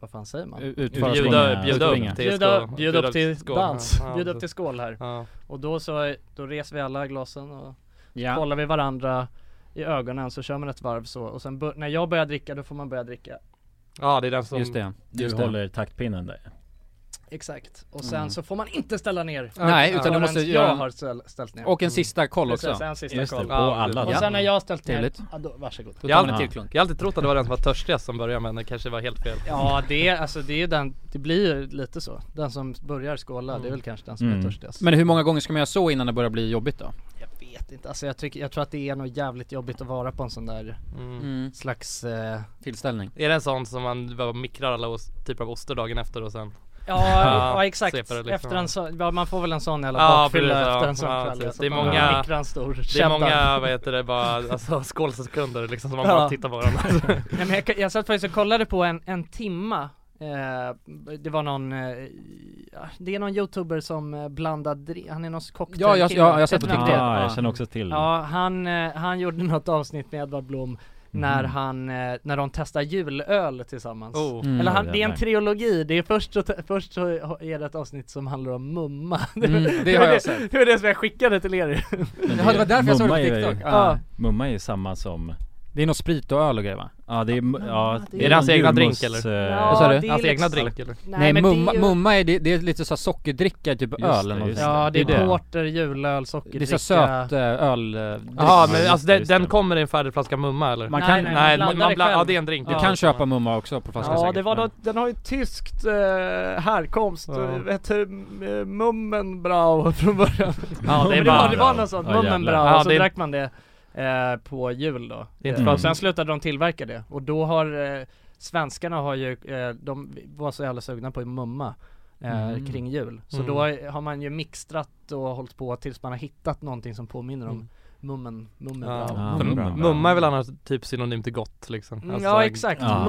[SPEAKER 3] vad fan säger man?
[SPEAKER 1] U- Utföra
[SPEAKER 4] Bjuda,
[SPEAKER 1] springa.
[SPEAKER 4] bjuda
[SPEAKER 1] Springa.
[SPEAKER 4] upp till
[SPEAKER 3] Bjuda,
[SPEAKER 4] skål.
[SPEAKER 3] bjuda upp till
[SPEAKER 4] skål.
[SPEAKER 3] dans,
[SPEAKER 4] Ja,
[SPEAKER 3] bjuda
[SPEAKER 4] precis.
[SPEAKER 3] upp till skål här
[SPEAKER 4] Ja.
[SPEAKER 3] Och då så, då reser vi alla glasen och
[SPEAKER 1] Ja.
[SPEAKER 3] kollar vi varandra i ögonen så kör man ett varv så och sen bör- när jag börjar dricka då får man börja dricka
[SPEAKER 4] ja det är den som
[SPEAKER 1] Just det.
[SPEAKER 2] Du
[SPEAKER 1] Just det.
[SPEAKER 2] håller taktpinnen där.
[SPEAKER 3] Exakt och sen
[SPEAKER 1] Mm.
[SPEAKER 3] så får man inte ställa ner
[SPEAKER 1] Nej, utan du
[SPEAKER 3] förrän
[SPEAKER 1] måste
[SPEAKER 3] jag
[SPEAKER 1] göra
[SPEAKER 3] har ställ, ställt ner Mm.
[SPEAKER 1] Och en sista koll också.
[SPEAKER 3] Precis, en sista
[SPEAKER 2] Just det,
[SPEAKER 3] koll
[SPEAKER 2] på
[SPEAKER 4] Ja,
[SPEAKER 2] alla.
[SPEAKER 3] Och
[SPEAKER 1] Ja.
[SPEAKER 3] sen när jag har ställt ner,
[SPEAKER 1] Trevligt.
[SPEAKER 3] ja, då, varsågod
[SPEAKER 1] Då
[SPEAKER 4] Ja.
[SPEAKER 1] tar man en till klunk.
[SPEAKER 4] Jag har alltid trott att det var den som var törstigast som började men det kanske var helt fel
[SPEAKER 3] Ja det, alltså det är ju den, det blir ju lite så Den som börjar skåla, det är väl kanske den som är
[SPEAKER 2] Mm.
[SPEAKER 3] törstigast
[SPEAKER 1] Men hur många gånger ska man göra så innan det börjar bli jobbigt då?
[SPEAKER 3] Jag vet inte, alltså jag tycker, jag tror att det är nog jävligt jobbigt att vara på en sån där
[SPEAKER 4] mm.
[SPEAKER 3] slags eh,
[SPEAKER 1] Tillställning.
[SPEAKER 4] Är det en sån som man bara mikrar alla os- typer av ostar dagen efter och sen?
[SPEAKER 3] Ja,
[SPEAKER 4] *laughs* Ja,
[SPEAKER 3] ja exakt.
[SPEAKER 4] sveper det liksom.
[SPEAKER 3] efter en sån, ja, man får väl en sån jävla
[SPEAKER 4] Ja,
[SPEAKER 3] bakfylla
[SPEAKER 4] precis, ja.
[SPEAKER 3] efter en sån
[SPEAKER 4] Ja,
[SPEAKER 3] kväll.
[SPEAKER 4] precis.
[SPEAKER 3] alltså.
[SPEAKER 4] Det är
[SPEAKER 3] Man
[SPEAKER 4] många-
[SPEAKER 3] dricker en stor
[SPEAKER 4] Det är
[SPEAKER 3] cheddar.
[SPEAKER 4] många, vad heter det,
[SPEAKER 3] *laughs*
[SPEAKER 4] bara alltså skålsekunder liksom som man
[SPEAKER 3] Ja.
[SPEAKER 4] bara tittar på varandra
[SPEAKER 3] *laughs* Nej, men jag, jag satt faktiskt och kollade på en, en timma. Eh, det var någon, eh, ja, det är någon youtuber som eh, blandar, dri- han är någon cocktail
[SPEAKER 1] Ja, jag-
[SPEAKER 3] kille.
[SPEAKER 1] ja, jag har sett på
[SPEAKER 3] Ett namn.
[SPEAKER 1] TikTok.
[SPEAKER 2] Ja,
[SPEAKER 1] Ja.
[SPEAKER 2] jag känner också till.
[SPEAKER 1] Mm.
[SPEAKER 3] Ja, han, eh, han gjorde *laughs* något avsnitt med Edvard Blom när
[SPEAKER 1] Mhm.
[SPEAKER 3] han, eh, när de testar julöl tillsammans.
[SPEAKER 4] oh.
[SPEAKER 1] Mm.
[SPEAKER 3] Eller han, det är en
[SPEAKER 2] Jävlar.
[SPEAKER 3] trilogi, det är först så, först så är det ett avsnitt som handlar om mumma. *laughs*
[SPEAKER 1] Mm, det har jag sett.
[SPEAKER 3] Det var det som jag skickade till er
[SPEAKER 2] Men
[SPEAKER 1] Ja, det var därför jag såg det
[SPEAKER 2] mumma
[SPEAKER 1] på
[SPEAKER 2] är ju-
[SPEAKER 1] TikTok.
[SPEAKER 3] Ja.
[SPEAKER 1] Ja.
[SPEAKER 2] Mumma är ju samma som,
[SPEAKER 1] Det är nog sprit och öl och grejer va?
[SPEAKER 2] ja det är, mu- ja,
[SPEAKER 3] det är-
[SPEAKER 4] Är det hans
[SPEAKER 2] någon
[SPEAKER 4] egna
[SPEAKER 2] julmust,
[SPEAKER 4] drink, eller?
[SPEAKER 2] eh,
[SPEAKER 3] Ja,
[SPEAKER 1] Vad sa du?
[SPEAKER 3] det är
[SPEAKER 4] Hans egna
[SPEAKER 3] liksom-
[SPEAKER 4] drink eller?
[SPEAKER 1] Nej, mumma,
[SPEAKER 3] det är ju-
[SPEAKER 1] mumma är, det, det är lite så här sockerdricka, typ
[SPEAKER 2] Just
[SPEAKER 1] öl
[SPEAKER 2] det,
[SPEAKER 1] eller något.
[SPEAKER 2] just
[SPEAKER 3] Ja det är
[SPEAKER 2] Det är det.
[SPEAKER 3] porter, julöl,
[SPEAKER 1] Det är så
[SPEAKER 3] sockerdricka
[SPEAKER 1] söt eh, öl... eh, dryck.
[SPEAKER 4] Jaha
[SPEAKER 2] Ja,
[SPEAKER 4] men
[SPEAKER 2] just
[SPEAKER 4] alltså
[SPEAKER 2] det,
[SPEAKER 4] den,
[SPEAKER 2] just
[SPEAKER 4] den
[SPEAKER 2] det.
[SPEAKER 4] kommer i en färdig flaska mumma eller?
[SPEAKER 1] Man
[SPEAKER 3] Nej,
[SPEAKER 1] kan,
[SPEAKER 3] nej,
[SPEAKER 4] Nej,
[SPEAKER 3] man
[SPEAKER 4] man,
[SPEAKER 3] blandar
[SPEAKER 4] man
[SPEAKER 3] det
[SPEAKER 4] bland,
[SPEAKER 3] själv.
[SPEAKER 4] ja det är en drink
[SPEAKER 1] du
[SPEAKER 3] Ja.
[SPEAKER 1] kan köpa mumma också på flaska
[SPEAKER 4] Ja,
[SPEAKER 1] säkert.
[SPEAKER 4] det
[SPEAKER 1] men-
[SPEAKER 3] den har ju tyskt eh, härkomst,
[SPEAKER 4] Ja.
[SPEAKER 3] eh, hette eh, Mummenbrau *laughs* från början
[SPEAKER 4] Ja det är
[SPEAKER 3] Men det var, det
[SPEAKER 4] bara,
[SPEAKER 3] var något sånt,
[SPEAKER 2] Ja, jävlar.
[SPEAKER 3] Mummenbrau,
[SPEAKER 4] Ja,
[SPEAKER 3] och så
[SPEAKER 4] det är-
[SPEAKER 3] drack man det eh, på jul då
[SPEAKER 4] Det är inte
[SPEAKER 3] eh,
[SPEAKER 2] Mm.
[SPEAKER 4] för
[SPEAKER 3] och
[SPEAKER 4] att-
[SPEAKER 3] Sen slutade de tillverka det, och då har eh, svenskarna har ju, eh, de var så jävla sugna på mumma eh,
[SPEAKER 1] Mm.
[SPEAKER 3] kring jul Så
[SPEAKER 4] Mm.
[SPEAKER 3] då har man ju mixtrat och hållit på tills man har hittat någonting som påminner om
[SPEAKER 4] Mm.
[SPEAKER 3] mummen, Mummenbrau
[SPEAKER 4] ja.
[SPEAKER 2] Ja,
[SPEAKER 4] För
[SPEAKER 2] mumma.
[SPEAKER 4] Mumma är väl annars typ synonym till gott liksom
[SPEAKER 3] Mm,
[SPEAKER 4] Alltså,
[SPEAKER 3] Ja exakt,
[SPEAKER 2] Ja.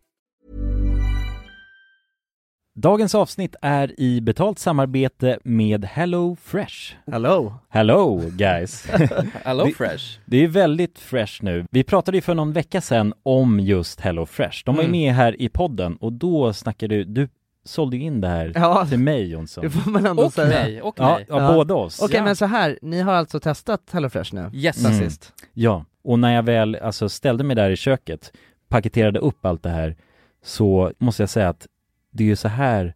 [SPEAKER 2] Dagens avsnitt är i betalt samarbete med Hello Fresh.
[SPEAKER 3] Hello!
[SPEAKER 2] Hello guys!
[SPEAKER 3] *laughs* Hello
[SPEAKER 2] Vi-
[SPEAKER 3] Fresh!
[SPEAKER 2] Det är väldigt fresh nu. Vi pratade ju för någon vecka sedan om just Hello Fresh. De var ju
[SPEAKER 3] Mm.
[SPEAKER 2] med här i podden och då snackade du, du sålde ju in det här
[SPEAKER 3] Ja.
[SPEAKER 2] till mig Jonsson.
[SPEAKER 3] Det får man ändå
[SPEAKER 5] Och
[SPEAKER 3] säga.
[SPEAKER 5] mig, och
[SPEAKER 2] Ja,
[SPEAKER 5] mig.
[SPEAKER 2] ja,
[SPEAKER 3] Ja.
[SPEAKER 2] båda oss.
[SPEAKER 3] Okej
[SPEAKER 5] Ja.
[SPEAKER 3] men så här, ni har alltså testat HelloFresh nu?
[SPEAKER 5] Yes.
[SPEAKER 3] Sen
[SPEAKER 2] Mm.
[SPEAKER 3] sist?
[SPEAKER 2] Ja, och när jag väl alltså, ställde mig där i köket, paketerade upp allt det här, så måste jag säga att det är ju så här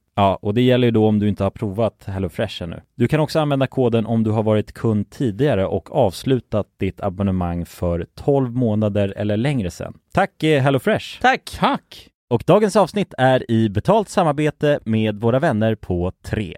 [SPEAKER 2] Ja, och det gäller ju då om du inte har provat HelloFresh ännu. Du kan också använda koden om du har varit kund tidigare och avslutat ditt abonnemang för 12 månader eller längre sedan. Tack eh, HelloFresh!
[SPEAKER 3] Tack!
[SPEAKER 1] Tack!
[SPEAKER 2] Och dagens avsnitt är i betalt samarbete med våra vänner på 3.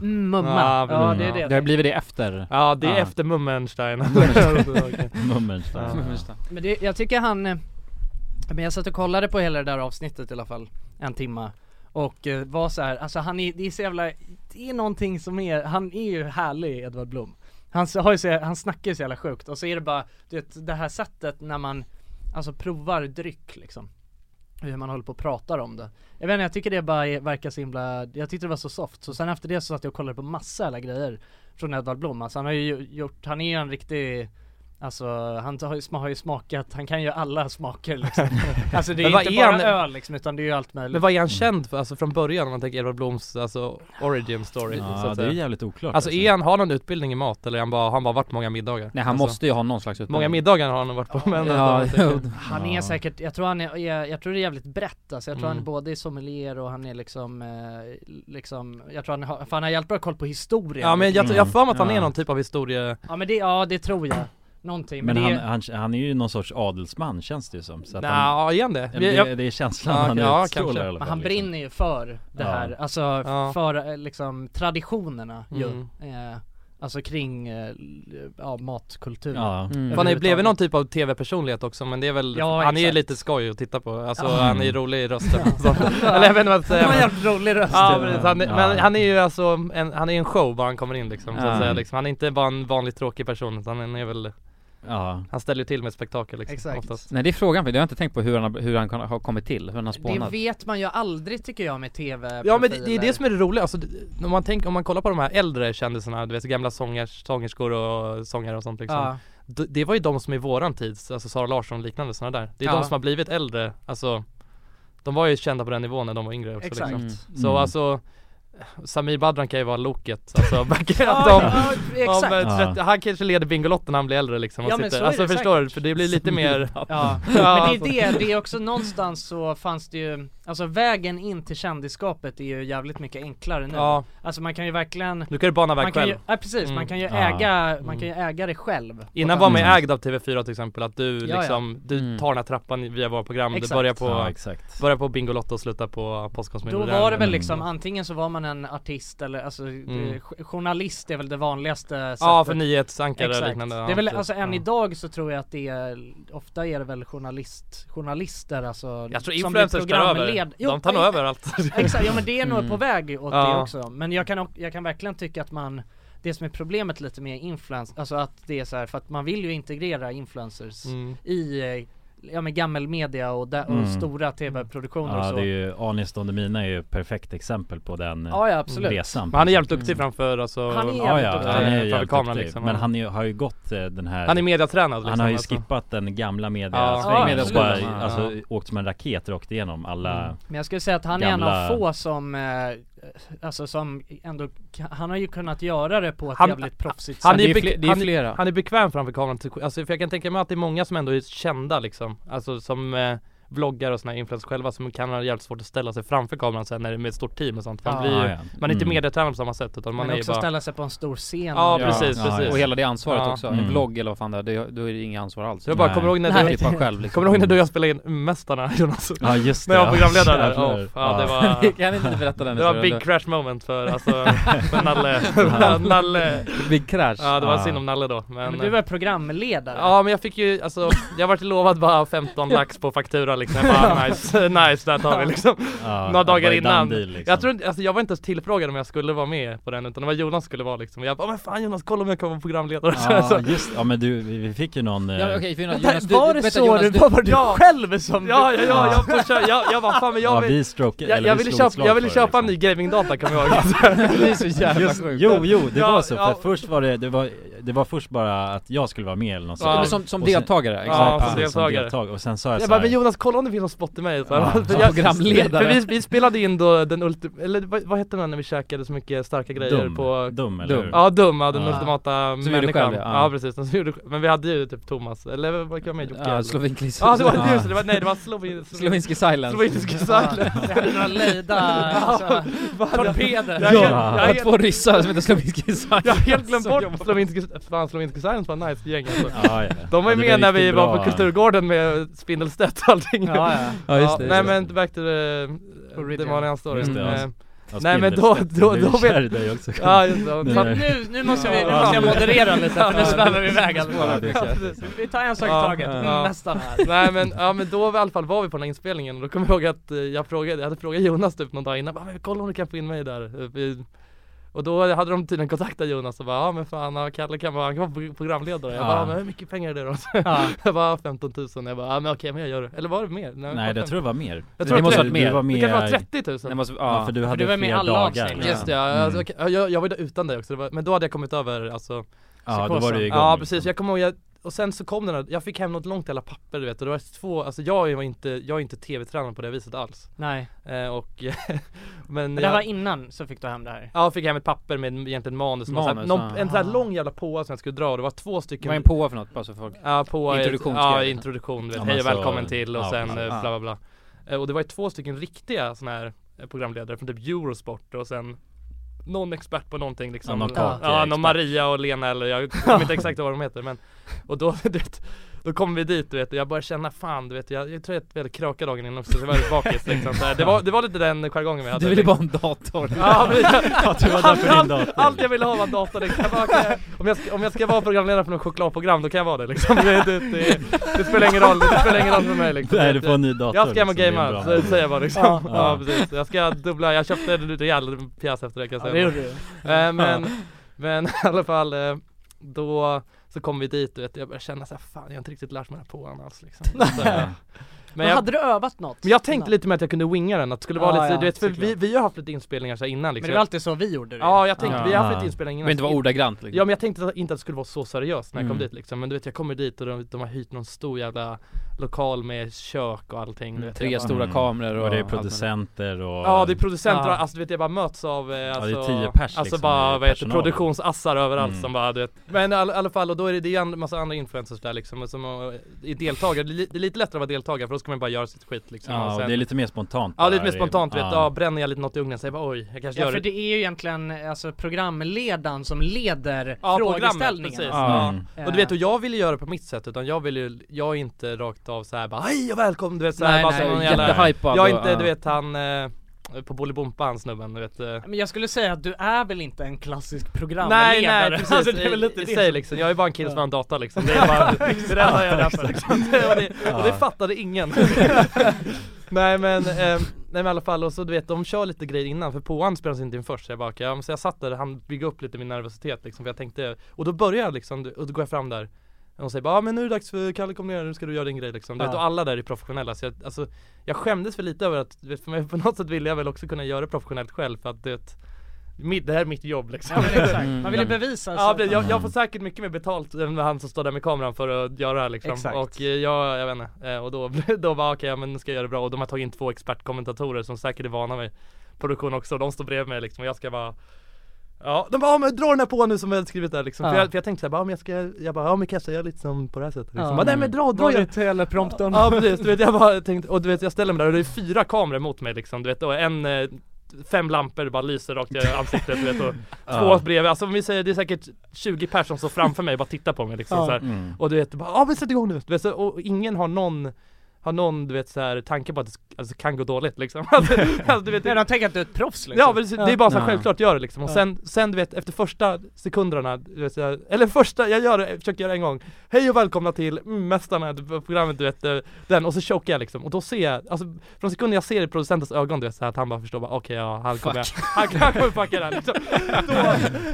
[SPEAKER 3] Mumma.
[SPEAKER 4] Ja,
[SPEAKER 3] Ja, det är
[SPEAKER 4] mumma.
[SPEAKER 3] det.
[SPEAKER 1] Det har blivit det efter.
[SPEAKER 4] Ja, det är
[SPEAKER 1] Ja.
[SPEAKER 4] efter Mummenstein. *laughs*
[SPEAKER 1] Mummenstein.
[SPEAKER 2] *laughs* Mummenstein.
[SPEAKER 4] Ja.
[SPEAKER 1] Mummenstein.
[SPEAKER 3] Men det, jag tycker han, eh, men jag satt och kollade på hela det där avsnittet i alla fall, en timma och eh, var så här, alltså han är, det är så jävla, det är någonting som är, han är ju härlig Edvard Blom. Han, s- har ju så, han snackar ju så jävla sjukt och så är det bara, du vet det här sättet när man, alltså provar dryck liksom. Hur man håller på och pratar om det. Jag vet inte, jag tycker det bara är, verkar så himla, jag tyckte det var så soft. Så sen efter det så satt jag och kollade på massa alla grejer från Edvard Blom. Alltså han har ju gjort, han är ju en riktig Alltså han har ju, sma- har ju smakat, han kan ju alla
[SPEAKER 4] *laughs*
[SPEAKER 3] smaker liksom. *laughs* Alltså det är
[SPEAKER 4] Men vad
[SPEAKER 3] inte
[SPEAKER 4] är
[SPEAKER 3] bara
[SPEAKER 4] han-
[SPEAKER 3] öl liksom utan det är ju allt möjligt.
[SPEAKER 4] Men vad är han känd för? Alltså från början om man tänker Edvard Bloms alltså origin story
[SPEAKER 2] Ja,
[SPEAKER 4] så att
[SPEAKER 2] det är
[SPEAKER 4] säga.
[SPEAKER 2] jävligt oklart,
[SPEAKER 4] Alltså
[SPEAKER 2] alltså.
[SPEAKER 4] är han, har han en utbildning i mat eller är han bara, har han bara varit många middagar?
[SPEAKER 1] Nej, han
[SPEAKER 4] alltså,
[SPEAKER 1] måste ju ha någon slags utbildning.
[SPEAKER 4] Många middagar har han nog varit på men *laughs*
[SPEAKER 1] Ja,
[SPEAKER 4] alltså,
[SPEAKER 1] jo.
[SPEAKER 3] *laughs* Han är säkert, jag tror han är, jag, jag tror det är jävligt brett alltså. Jag tror han
[SPEAKER 4] Mm.
[SPEAKER 3] är både är sommelier och han är liksom, eh, liksom, jag tror han har, för han har jävligt bra koll på historien liksom.
[SPEAKER 4] Ja men jag, jag har för mig att han är
[SPEAKER 2] Ja.
[SPEAKER 4] någon typ av historie...
[SPEAKER 3] Ja men det, ja det tror jag Någonting, men,
[SPEAKER 2] Men han,
[SPEAKER 3] det är,
[SPEAKER 2] han, han är ju någon sorts adelsman känns det ju som. Så att han,
[SPEAKER 4] Nja, är han det?
[SPEAKER 2] det,
[SPEAKER 4] Vi- jag-
[SPEAKER 2] det, är känslan
[SPEAKER 4] Ja,
[SPEAKER 2] han
[SPEAKER 4] ja,
[SPEAKER 2] utstrålar
[SPEAKER 4] kanske.
[SPEAKER 2] i alla
[SPEAKER 3] men
[SPEAKER 2] fall.
[SPEAKER 3] han
[SPEAKER 2] liksom.
[SPEAKER 3] brinner ju för det
[SPEAKER 2] Ja.
[SPEAKER 3] här, alltså
[SPEAKER 4] Ja.
[SPEAKER 3] för eh, liksom traditionerna
[SPEAKER 4] Mm.
[SPEAKER 3] ju eh, Alltså kring, eh, l- ja matkultur
[SPEAKER 2] Ja.
[SPEAKER 4] För Han har ju blivit någon typ av tv-personlighet också men det är väl,
[SPEAKER 3] Ja,
[SPEAKER 4] han är ju
[SPEAKER 3] exakt.
[SPEAKER 4] lite skoj att titta på, alltså
[SPEAKER 3] Ja. Mm.
[SPEAKER 4] han är ju rolig i rösten
[SPEAKER 3] *laughs*
[SPEAKER 4] Eller jag vet inte vad jag ska
[SPEAKER 3] Det
[SPEAKER 4] säga
[SPEAKER 3] var en
[SPEAKER 4] men...
[SPEAKER 3] jävligt rolig röst
[SPEAKER 4] Ja, precis, han, är-
[SPEAKER 2] Ja.
[SPEAKER 4] men han är ju alltså, en, han är ju en show bara han kommer in liksom, så
[SPEAKER 2] Ja.
[SPEAKER 4] att säga, liksom. Han är inte bara en vanlig tråkig person utan han är väl,
[SPEAKER 2] Ja.
[SPEAKER 4] han ställer ju till med ett spektakel liksom,
[SPEAKER 3] Exakt.
[SPEAKER 4] oftast
[SPEAKER 1] Nej det är frågan, för jag har inte tänkt på hur han, har- hur han kan ha kommit till, hur han har
[SPEAKER 3] Det
[SPEAKER 1] spånat.
[SPEAKER 3] vet man ju aldrig tycker jag med tv
[SPEAKER 4] Ja men det, det är det som är det roliga, alltså, det- om, man tänker, om man kollar på de här äldre kändisarna, du vet gamla sångers, sångerskor och sångare och sånt liksom
[SPEAKER 3] Ja.
[SPEAKER 4] D- Det var ju de som i våran tids, alltså Sara Larsson och liknande sådana där Det är
[SPEAKER 3] Ja.
[SPEAKER 4] de som har blivit äldre, alltså De var ju kända på den nivån när de var yngre också
[SPEAKER 3] Exakt.
[SPEAKER 4] liksom.
[SPEAKER 3] Mm.
[SPEAKER 4] Så
[SPEAKER 2] Mm.
[SPEAKER 4] alltså Samir Badran kan ju vara loket, alltså *laughs* back att de,
[SPEAKER 3] Ja, ja,
[SPEAKER 4] om,
[SPEAKER 3] exakt!
[SPEAKER 4] eh, 30
[SPEAKER 2] Ja.
[SPEAKER 4] Han kanske leder Bingolotto när han blir äldre liksom och
[SPEAKER 3] Ja, men
[SPEAKER 4] sitter,
[SPEAKER 3] så är
[SPEAKER 4] alltså
[SPEAKER 3] det
[SPEAKER 4] förstår du? För det blir lite mer alltså.
[SPEAKER 3] Ja, men det är det, det är också någonstans så fanns det ju, alltså vägen in till kändisskapet är ju jävligt mycket enklare nu.
[SPEAKER 4] Ja,
[SPEAKER 3] Alltså man kan ju verkligen
[SPEAKER 4] nu kan du bana
[SPEAKER 3] man
[SPEAKER 4] väg
[SPEAKER 3] kan
[SPEAKER 4] själv
[SPEAKER 3] ju, ja precis,
[SPEAKER 4] Mm.
[SPEAKER 3] man kan ju
[SPEAKER 2] Ja. Mm.
[SPEAKER 3] äga, man kan ju äga det själv. på
[SPEAKER 4] Innan
[SPEAKER 3] ett
[SPEAKER 4] var
[SPEAKER 3] annat
[SPEAKER 4] man ju
[SPEAKER 3] sätt.
[SPEAKER 4] ägd av TV4 till exempel, att du
[SPEAKER 3] Ja, ja.
[SPEAKER 4] liksom, du
[SPEAKER 1] Mm.
[SPEAKER 4] tar den här trappan via våra program,
[SPEAKER 3] Exakt.
[SPEAKER 4] du börjar på,
[SPEAKER 2] ja, exakt.
[SPEAKER 4] börjar på Bingolotto och slutar på Postkodmiljonären
[SPEAKER 3] Då var det väl
[SPEAKER 4] Mm.
[SPEAKER 3] liksom antingen så var man en artist eller alltså, det- j- journalist är väl det vanligaste sättet.
[SPEAKER 4] Ja, för nyhetsankare och
[SPEAKER 3] Exakt.
[SPEAKER 4] liknande ja,
[SPEAKER 3] det är väl,
[SPEAKER 4] precis. Mm.
[SPEAKER 3] alltså än
[SPEAKER 4] Ja.
[SPEAKER 3] idag så tror jag att det är, ofta är det väl journalist, journalister alltså
[SPEAKER 4] Jag tror
[SPEAKER 3] som
[SPEAKER 4] influencers
[SPEAKER 3] blir
[SPEAKER 4] tar
[SPEAKER 3] programled-
[SPEAKER 4] över,
[SPEAKER 3] Jo,
[SPEAKER 4] de tar nog
[SPEAKER 3] ja,
[SPEAKER 4] över allt
[SPEAKER 3] *laughs* Exakt, ja men det är nog på väg åt det
[SPEAKER 4] Ja.
[SPEAKER 3] också. Men jag kan, ock- jag kan verkligen tycka att man Det som är problemet lite med influencers, alltså att det är så här, för att man vill ju integrera influencers
[SPEAKER 4] Mm.
[SPEAKER 3] i eh, Ja men gammal media och, där, och
[SPEAKER 2] Mm.
[SPEAKER 3] stora tv-produktioner och
[SPEAKER 2] Ja,
[SPEAKER 3] så
[SPEAKER 2] det är ju, Anis Don Demina är ju ett perfekt exempel på den eh,
[SPEAKER 3] Ja ja absolut
[SPEAKER 2] resan.
[SPEAKER 4] Men han är jävligt duktig framför alltså,
[SPEAKER 3] Mm. Han är
[SPEAKER 4] ja,
[SPEAKER 2] ja,
[SPEAKER 3] jävligt
[SPEAKER 2] ja,
[SPEAKER 3] duktig.
[SPEAKER 2] han är ju
[SPEAKER 4] Framför
[SPEAKER 2] jävligt
[SPEAKER 4] kameran
[SPEAKER 2] duktig.
[SPEAKER 4] liksom,
[SPEAKER 2] Men
[SPEAKER 4] ja.
[SPEAKER 2] han är, ju- har ju gått eh, den här...
[SPEAKER 4] han är mediatränad liksom
[SPEAKER 2] han har ju
[SPEAKER 4] alltså.
[SPEAKER 2] skippat den gamla
[SPEAKER 4] Ja,
[SPEAKER 2] mediasvängen och
[SPEAKER 3] absolut.
[SPEAKER 2] bara
[SPEAKER 4] Ja.
[SPEAKER 3] Mm.
[SPEAKER 2] alltså, åkt som en raket rakt igenom alla...
[SPEAKER 3] Men jag skulle säga att han är en
[SPEAKER 2] Gamla-
[SPEAKER 3] av få som eh, alltså som ändå, han har ju kunnat göra det på ett
[SPEAKER 4] Han-
[SPEAKER 3] jävligt proffsigt
[SPEAKER 4] Han är,
[SPEAKER 3] sätt.
[SPEAKER 4] ju bek- han, är, han är bekväm framför kameran, till, alltså, för jag kan tänka mig att det är många som ändå är kända liksom Alltså som eh, vloggar och såna här influencers själva som kan ha jävligt svårt att ställa sig framför kameran sen när det är med ett stort team och sånt Man,
[SPEAKER 3] Ja.
[SPEAKER 4] blir, ju-
[SPEAKER 3] Ja, ja.
[SPEAKER 4] man är inte
[SPEAKER 3] Mm.
[SPEAKER 4] mediatränad på samma sätt utan man
[SPEAKER 3] Men
[SPEAKER 4] är ju
[SPEAKER 3] också
[SPEAKER 4] bara
[SPEAKER 3] ställa sig på en stor scen
[SPEAKER 4] Ja, precis, precis
[SPEAKER 1] Och hela det ansvaret
[SPEAKER 4] Ja.
[SPEAKER 1] också,
[SPEAKER 4] Mm.
[SPEAKER 1] en vlogg eller vad fan det är, det- då är det inget ansvar alls
[SPEAKER 4] Jag bara kommer ihåg när du,
[SPEAKER 1] Typ man själv liksom
[SPEAKER 4] kommer du ihåg när du och jag spelade in Mästarna *laughs* Jonas?
[SPEAKER 1] Ja, just
[SPEAKER 4] När jag
[SPEAKER 1] det,
[SPEAKER 4] var
[SPEAKER 1] ja.
[SPEAKER 4] programledare där,
[SPEAKER 1] Jävlar.
[SPEAKER 4] oh, ja, det
[SPEAKER 1] Ja.
[SPEAKER 4] var
[SPEAKER 1] Vi *laughs* kan inte berätta den
[SPEAKER 4] Det var
[SPEAKER 1] historien.
[SPEAKER 4] big
[SPEAKER 1] Det-
[SPEAKER 4] crash moment
[SPEAKER 1] *laughs*
[SPEAKER 4] för *laughs* alltså, för Nalle,
[SPEAKER 1] Ja.
[SPEAKER 4] *laughs* Nalle
[SPEAKER 1] Big crash.
[SPEAKER 4] Ja det var
[SPEAKER 1] Ja.
[SPEAKER 4] synd om Nalle då men, *laughs*
[SPEAKER 3] Men du var programledare.
[SPEAKER 4] Ja men jag fick ju, alltså, jag vart lovad bara 15 lax på faktura liksom, jag
[SPEAKER 1] *laughs*
[SPEAKER 4] bara, nice, *laughs* nice, där tar vi liksom
[SPEAKER 2] Ja,
[SPEAKER 4] Några dagar
[SPEAKER 2] bara i
[SPEAKER 4] innan
[SPEAKER 2] done deal, liksom.
[SPEAKER 4] Jag tror inte, alltså jag var inte ens tillfrågad om jag skulle vara med på den utan det var Jonas skulle vara liksom, och jag bara men fan Jonas kolla om jag kan vara programledare
[SPEAKER 2] *laughs* Ja just ja men du, vi vi fick ju någon eh,
[SPEAKER 1] Ja, okej, för Jonas,
[SPEAKER 4] *laughs*
[SPEAKER 3] Vänta,
[SPEAKER 1] Jonas,
[SPEAKER 3] var det så du- vad var det själv som-
[SPEAKER 4] Ja ja ja, jag pushade, jag, jag bara fan men jag
[SPEAKER 2] Ja,
[SPEAKER 4] vill
[SPEAKER 2] vi stroke-
[SPEAKER 4] jag,
[SPEAKER 2] eller
[SPEAKER 4] jag
[SPEAKER 2] vi
[SPEAKER 4] ville
[SPEAKER 2] slog ett
[SPEAKER 4] köpa,
[SPEAKER 2] slag
[SPEAKER 4] jag ville
[SPEAKER 2] för det,
[SPEAKER 4] köpa en ny gamingdata kommer jag ihåg
[SPEAKER 2] *laughs*
[SPEAKER 1] Det är så jävla
[SPEAKER 2] Just,
[SPEAKER 1] sjukt.
[SPEAKER 2] jo, jo, det
[SPEAKER 1] Ja,
[SPEAKER 2] var så.
[SPEAKER 1] ja.
[SPEAKER 2] För först var det, det var, det var först bara att jag skulle vara med eller något
[SPEAKER 4] Ja.
[SPEAKER 2] sånt.
[SPEAKER 4] Som- som
[SPEAKER 2] Och sen-
[SPEAKER 1] deltagare,
[SPEAKER 2] Ja,
[SPEAKER 1] exakt.
[SPEAKER 2] precis, som
[SPEAKER 4] deltagare.
[SPEAKER 2] deltagare. Och sen sa jag,
[SPEAKER 4] Jag
[SPEAKER 2] så
[SPEAKER 4] bara,
[SPEAKER 2] här,
[SPEAKER 4] men Jonas kolla om det finns någon spot till mig så här.
[SPEAKER 2] Ja,
[SPEAKER 4] För
[SPEAKER 2] *laughs* som
[SPEAKER 4] jag-
[SPEAKER 2] programledare.
[SPEAKER 4] För vi, vi spelade in då den ultim, eller vad, vad hette den när vi käkade så mycket starka grejer
[SPEAKER 2] Dum.
[SPEAKER 4] på
[SPEAKER 2] Dum, eller Dum. hur?
[SPEAKER 4] Ja dum, ja, den
[SPEAKER 2] Ja.
[SPEAKER 4] ultimata
[SPEAKER 2] Som vi gjorde
[SPEAKER 4] människan
[SPEAKER 2] själv,
[SPEAKER 4] ja.
[SPEAKER 2] ja.
[SPEAKER 4] precis, den som vi gjorde, men vi hade ju typ Thomas, eller vad kan man Jocke?
[SPEAKER 1] Ja,
[SPEAKER 4] eller-
[SPEAKER 1] Slovinklis.
[SPEAKER 4] Ja det var det,
[SPEAKER 1] Ja.
[SPEAKER 4] just det, det var, nej det var Slovin,
[SPEAKER 1] Slovinski Silence.
[SPEAKER 4] Slovinski
[SPEAKER 1] Ja.
[SPEAKER 4] silence
[SPEAKER 2] *laughs*
[SPEAKER 1] Det hade några lejda, alltså,
[SPEAKER 4] Ja, fan, jag-
[SPEAKER 1] torpeder.
[SPEAKER 4] jag- jag-
[SPEAKER 1] Ja.
[SPEAKER 4] jag-
[SPEAKER 1] Och två ryssar som heter Slovinski Silence.
[SPEAKER 4] Jag har helt glömt
[SPEAKER 1] Som
[SPEAKER 4] bort
[SPEAKER 1] jobbar på-
[SPEAKER 4] Slovinski, fan Slovinski Silence var nice gäng alltså.
[SPEAKER 1] Ja, ja.
[SPEAKER 4] De var ju
[SPEAKER 1] Ja, det
[SPEAKER 4] med
[SPEAKER 1] var
[SPEAKER 4] när vi
[SPEAKER 1] riktigt
[SPEAKER 4] var på
[SPEAKER 1] bra.
[SPEAKER 4] Kulturgården med Spindelstedt och allting
[SPEAKER 1] Ja, ja. Ja, just det,
[SPEAKER 4] Nej
[SPEAKER 1] just det.
[SPEAKER 4] men back to the, det
[SPEAKER 1] Original.
[SPEAKER 4] var en annan story
[SPEAKER 1] Just det, ja.
[SPEAKER 4] Eh,
[SPEAKER 1] Ja,
[SPEAKER 4] Nej men då,
[SPEAKER 1] Spindelstedt,
[SPEAKER 4] då,
[SPEAKER 1] du
[SPEAKER 4] då
[SPEAKER 1] är kär i dig också.
[SPEAKER 4] Ja just det,
[SPEAKER 1] Nu- nu- nu måste vi- nu måste jag moderera lite, för nu svävar vi iväg alldeles. Ja, det är klart.
[SPEAKER 3] Vi tar en sak i taget. Mm, nästan här.
[SPEAKER 4] *laughs* Nej men, ja men då i alla fall var vi på den här inspelningen och då kommer jag ihåg att eh, jag frågade, jag hade frågat Jonas typ någon dag innan, bara, men kolla om du kan få in mig där Eh, vi- och då hade de tydligen kontaktat Jonas och bara ja men fan ja, Kalle kan vara, han kan vara programledare Jag bara
[SPEAKER 2] Ja.
[SPEAKER 4] ja. men hur mycket pengar är det då? *laughs*
[SPEAKER 2] Ja.
[SPEAKER 4] Jag bara 15 000 Jag bara ja men okej men jag gör det Eller var det mer? Nej,
[SPEAKER 2] Nej,
[SPEAKER 4] det
[SPEAKER 2] jag tror det var mer.
[SPEAKER 4] Jag tror
[SPEAKER 2] det måste
[SPEAKER 4] det
[SPEAKER 2] ha varit mer. Du var
[SPEAKER 4] Det kanske var
[SPEAKER 2] med-
[SPEAKER 4] 30 000
[SPEAKER 2] Det måste- ja, Ja, för du för hade du var med fler i alla dagar. Mm. avsnitt.
[SPEAKER 4] Just det, ja, alltså, okej, ja, jag, jag var utan dig också, det var, men då hade jag kommit över alltså
[SPEAKER 2] Ja, då var du igång,
[SPEAKER 4] Ja precis, jag kommer ihåg, jag, och sen så kom den här, jag fick hem något långt jävla papper du vet och det var två, alltså jag var inte, jag är inte tv-tränad på det viset alls
[SPEAKER 3] Nej.
[SPEAKER 4] eh, och, *laughs* men
[SPEAKER 3] Men det
[SPEAKER 4] jag-
[SPEAKER 3] här var innan så fick du hem det här.
[SPEAKER 4] Ja, fick hem ett papper med egentligen manus, manus
[SPEAKER 1] Manus,
[SPEAKER 4] någon,
[SPEAKER 1] ja.
[SPEAKER 4] en sån här lång jävla påa som jag skulle dra och det var två stycken
[SPEAKER 1] Vad är en påa för något? Bara så folk-
[SPEAKER 4] Ja, påa är-
[SPEAKER 1] Introduktion skrev
[SPEAKER 4] Ja,
[SPEAKER 1] jag.
[SPEAKER 4] introduktion, du
[SPEAKER 1] Ja,
[SPEAKER 4] vet,
[SPEAKER 1] men
[SPEAKER 4] hej och
[SPEAKER 1] så-
[SPEAKER 4] välkommen till och
[SPEAKER 1] ja,
[SPEAKER 4] sen
[SPEAKER 1] precis.
[SPEAKER 4] eh, bla bla bla Eh, Och det var ju två stycken riktiga såna här eh, programledare från typ Eurosport och sen någon expert på någonting liksom
[SPEAKER 2] Ja, någon
[SPEAKER 4] ja,
[SPEAKER 2] kaka-
[SPEAKER 4] ja,
[SPEAKER 2] expert.
[SPEAKER 4] någon Maria och Lena eller jag kommer
[SPEAKER 1] *laughs*
[SPEAKER 4] inte exakt ihåg vad de heter men Och då, *laughs* du vet, då kom vi dit du vet och jag började känna fan du vet jag, jag tror jag var väldigt kröka dagen innan också så jag var väldigt bakis liksom så här. det, var, det var lite den jargongen vi hade
[SPEAKER 1] Du
[SPEAKER 4] liksom.
[SPEAKER 1] ville bara ha en dator.
[SPEAKER 2] *laughs*
[SPEAKER 4] Ja, men,
[SPEAKER 1] Ja, du var där för din
[SPEAKER 4] allt,
[SPEAKER 1] dator.
[SPEAKER 4] allt jag ville ha var en dator liksom. jag bara, kan jag, om, jag ska, om jag ska vara programledare för något chokladprogram då kan jag vara det liksom Det, det, det, det spelar ingen roll, det spelar ingen roll för mig liksom
[SPEAKER 2] Nej, du får en ny dator,
[SPEAKER 4] Jag ska hem och
[SPEAKER 2] liksom. Det är
[SPEAKER 4] gamea,
[SPEAKER 2] bra.
[SPEAKER 4] så säger jag bara liksom
[SPEAKER 2] Ja.
[SPEAKER 4] ja. precis, jag ska dubbla, jag köpte en rejäl pjäs efter det kan jag
[SPEAKER 2] Ja,
[SPEAKER 4] säga
[SPEAKER 2] det gjorde du.
[SPEAKER 4] Eh, Men, men *laughs* i alla fall eh, då så kom vi dit du vet, jag började känna såhär, fan jag har inte riktigt lärt mig den här påan alls
[SPEAKER 3] *laughs*
[SPEAKER 4] liksom Så, eh,
[SPEAKER 3] Men hade du övat något?
[SPEAKER 4] Men jag tänkte lite med att jag kunde winga den, att det skulle vara
[SPEAKER 3] Ja,
[SPEAKER 4] lite,
[SPEAKER 3] ja,
[SPEAKER 4] du vet för vi, vi har haft lite inspelningar så här innan liksom
[SPEAKER 3] Men det var alltid så vi gjorde det.
[SPEAKER 4] Ja jag tänkte,
[SPEAKER 3] Ja.
[SPEAKER 4] vi har haft
[SPEAKER 3] Ja.
[SPEAKER 4] lite inspelningar innan
[SPEAKER 1] Men inte vara ordagrant, liksom.
[SPEAKER 4] Ja men jag tänkte att- inte att det skulle vara så seriöst när jag kom
[SPEAKER 1] Mm.
[SPEAKER 4] dit liksom Men du vet jag kommer dit och de, de har hyrt någon stor jävla lokal med kök och allting du vet,
[SPEAKER 1] Mm. Tre
[SPEAKER 4] jag bara-
[SPEAKER 1] stora kameror och
[SPEAKER 2] Mm. Och det är
[SPEAKER 1] allt möjligt.
[SPEAKER 2] producenter och...
[SPEAKER 4] Ja det är producenter,
[SPEAKER 1] Ja.
[SPEAKER 4] alltså du vet jag bara möts av eh, alltså,
[SPEAKER 2] det är tio pers,
[SPEAKER 4] Alltså
[SPEAKER 2] liksom,
[SPEAKER 4] bara
[SPEAKER 2] i
[SPEAKER 4] vad heter, det,
[SPEAKER 2] personalen.
[SPEAKER 4] produktionsassar överallt
[SPEAKER 2] Mm.
[SPEAKER 4] som bara du vet Men i all, alla fall och då är det, det är en massa andra influencers där liksom och som eh, är deltagare, det är li- det är lite lättare att vara deltagare för då ska man bara göra sitt skit liksom
[SPEAKER 2] Ja, och det är lite mer spontant
[SPEAKER 4] Ja
[SPEAKER 2] bara.
[SPEAKER 4] lite mer
[SPEAKER 2] Det är-
[SPEAKER 4] spontant du vet,
[SPEAKER 2] ja.
[SPEAKER 4] ja bränner jag lite något i ugnen så jag bara oj, jag kanske
[SPEAKER 3] Ja
[SPEAKER 4] gör
[SPEAKER 3] för det är ju egentligen alltså programledaren som leder
[SPEAKER 4] Ja, programmet,
[SPEAKER 3] frågeställningen.
[SPEAKER 4] precis.
[SPEAKER 3] Ja.
[SPEAKER 4] Ja. Och du vet, och jag ville göra det på mitt sätt utan jag vill ju, jag är inte rakt av såhär bara hej och välkommen du vet såhär
[SPEAKER 3] Nej,
[SPEAKER 4] bara
[SPEAKER 3] nej,
[SPEAKER 4] som någon jävla
[SPEAKER 3] jättehypad
[SPEAKER 4] Jag är
[SPEAKER 3] och-
[SPEAKER 4] inte,
[SPEAKER 3] ja.
[SPEAKER 4] du vet han eh, på Bolibompa han snubben du vet eh.
[SPEAKER 3] Men jag skulle säga att du är väl inte en klassisk programledare?
[SPEAKER 4] Nej nej precis,
[SPEAKER 3] Alltså, det är väl lite
[SPEAKER 4] i, i
[SPEAKER 3] det
[SPEAKER 4] sig
[SPEAKER 3] som-
[SPEAKER 4] liksom, jag är bara en kille som har en data liksom Det
[SPEAKER 3] *laughs*
[SPEAKER 4] är bara, det är det enda jag läser liksom *laughs* Det- och, det, och det
[SPEAKER 3] Ja.
[SPEAKER 4] fattade
[SPEAKER 3] *laughs*
[SPEAKER 4] ingen *laughs* Nej men, eh, nej men i alla fall och så du vet de kör lite grejer innan för påan spelas inte in först så jag bara okej, ja, men så jag satt där och han bygga upp lite min nervositet liksom för jag tänkte Och då börjar jag liksom, du- och då går jag fram där och hon säger bara ah, men nu är det dags för Kalle kom ner, nu ska du göra din grej liksom. Du
[SPEAKER 2] Ja.
[SPEAKER 4] vet, och alla där är professionella så jag, alltså, jag skämdes väl lite över att, du vet, för mig, på något sätt ville jag väl också kunna göra det professionellt själv för att du vet, mitt, det här är mitt jobb liksom.
[SPEAKER 3] Ja, men exakt. Man vill ju bevisa, så
[SPEAKER 4] Ja,
[SPEAKER 3] att
[SPEAKER 4] precis. jag, jag
[SPEAKER 3] man-
[SPEAKER 4] får säkert mycket mer betalt än han som står där med kameran för att göra det här, liksom.
[SPEAKER 3] Exakt.
[SPEAKER 4] Och eh, jag, jag *laughs* vet inte. Eh, Och då, då bara okej, ja men nu ska jag göra det bra. Och de har tagit in två expertkommentatorer som säkert är vana mig. produktion också, de står bredvid mig liksom och jag ska bara Ja, de bara ja, men dra den här på nu som jag hade skrivit där liksom. För,
[SPEAKER 3] Ja.
[SPEAKER 4] jag, för jag tänkte såhär, bara, ja, men jag ska, jag bara ja men Kessa jag är lite som på det här sättet liksom.
[SPEAKER 3] Ja.
[SPEAKER 4] bara, Nej men dra, dra
[SPEAKER 3] Dra
[SPEAKER 4] jag-
[SPEAKER 3] ut telepromptern.
[SPEAKER 4] Ja precis, du vet jag bara tänkte, och du vet jag ställer mig där och det är fyra kameror mot mig liksom du vet och en eh, Fem lampor bara lyser rakt i ansiktet du vet och
[SPEAKER 6] *laughs* Ja.
[SPEAKER 4] två bredvid, alltså om vi säger det är säkert 20 personer som står framför mig och bara tittar på mig liksom
[SPEAKER 6] Ja.
[SPEAKER 4] så här.
[SPEAKER 6] Mm.
[SPEAKER 4] Och du vet bara, ja men sätt igång nu! Du vet, så, och ingen har någon har någon du vet så här tanke på att det sk- alltså, kan gå dåligt liksom *laughs* alltså, alltså, du vet,
[SPEAKER 3] Nej, de tänker att du är ett proffs liksom.
[SPEAKER 4] Ja men det, det är bara så här,
[SPEAKER 3] Ja.
[SPEAKER 4] självklart gör det liksom och
[SPEAKER 3] Ja.
[SPEAKER 4] sen, sen du vet efter första sekunderna, du vet, så här- eller första, jag gör det, jag försöker göra det en gång Hej och välkomna till mm, Mästarna, det programmet du vet, eh, den och så chokar jag liksom och då ser jag, alltså från sekunden jag ser i producentens ögon du vet så här, att han bara förstår bara okej ja han kommer,
[SPEAKER 6] Fuck.
[SPEAKER 4] han, han kommer fucka det här liksom då,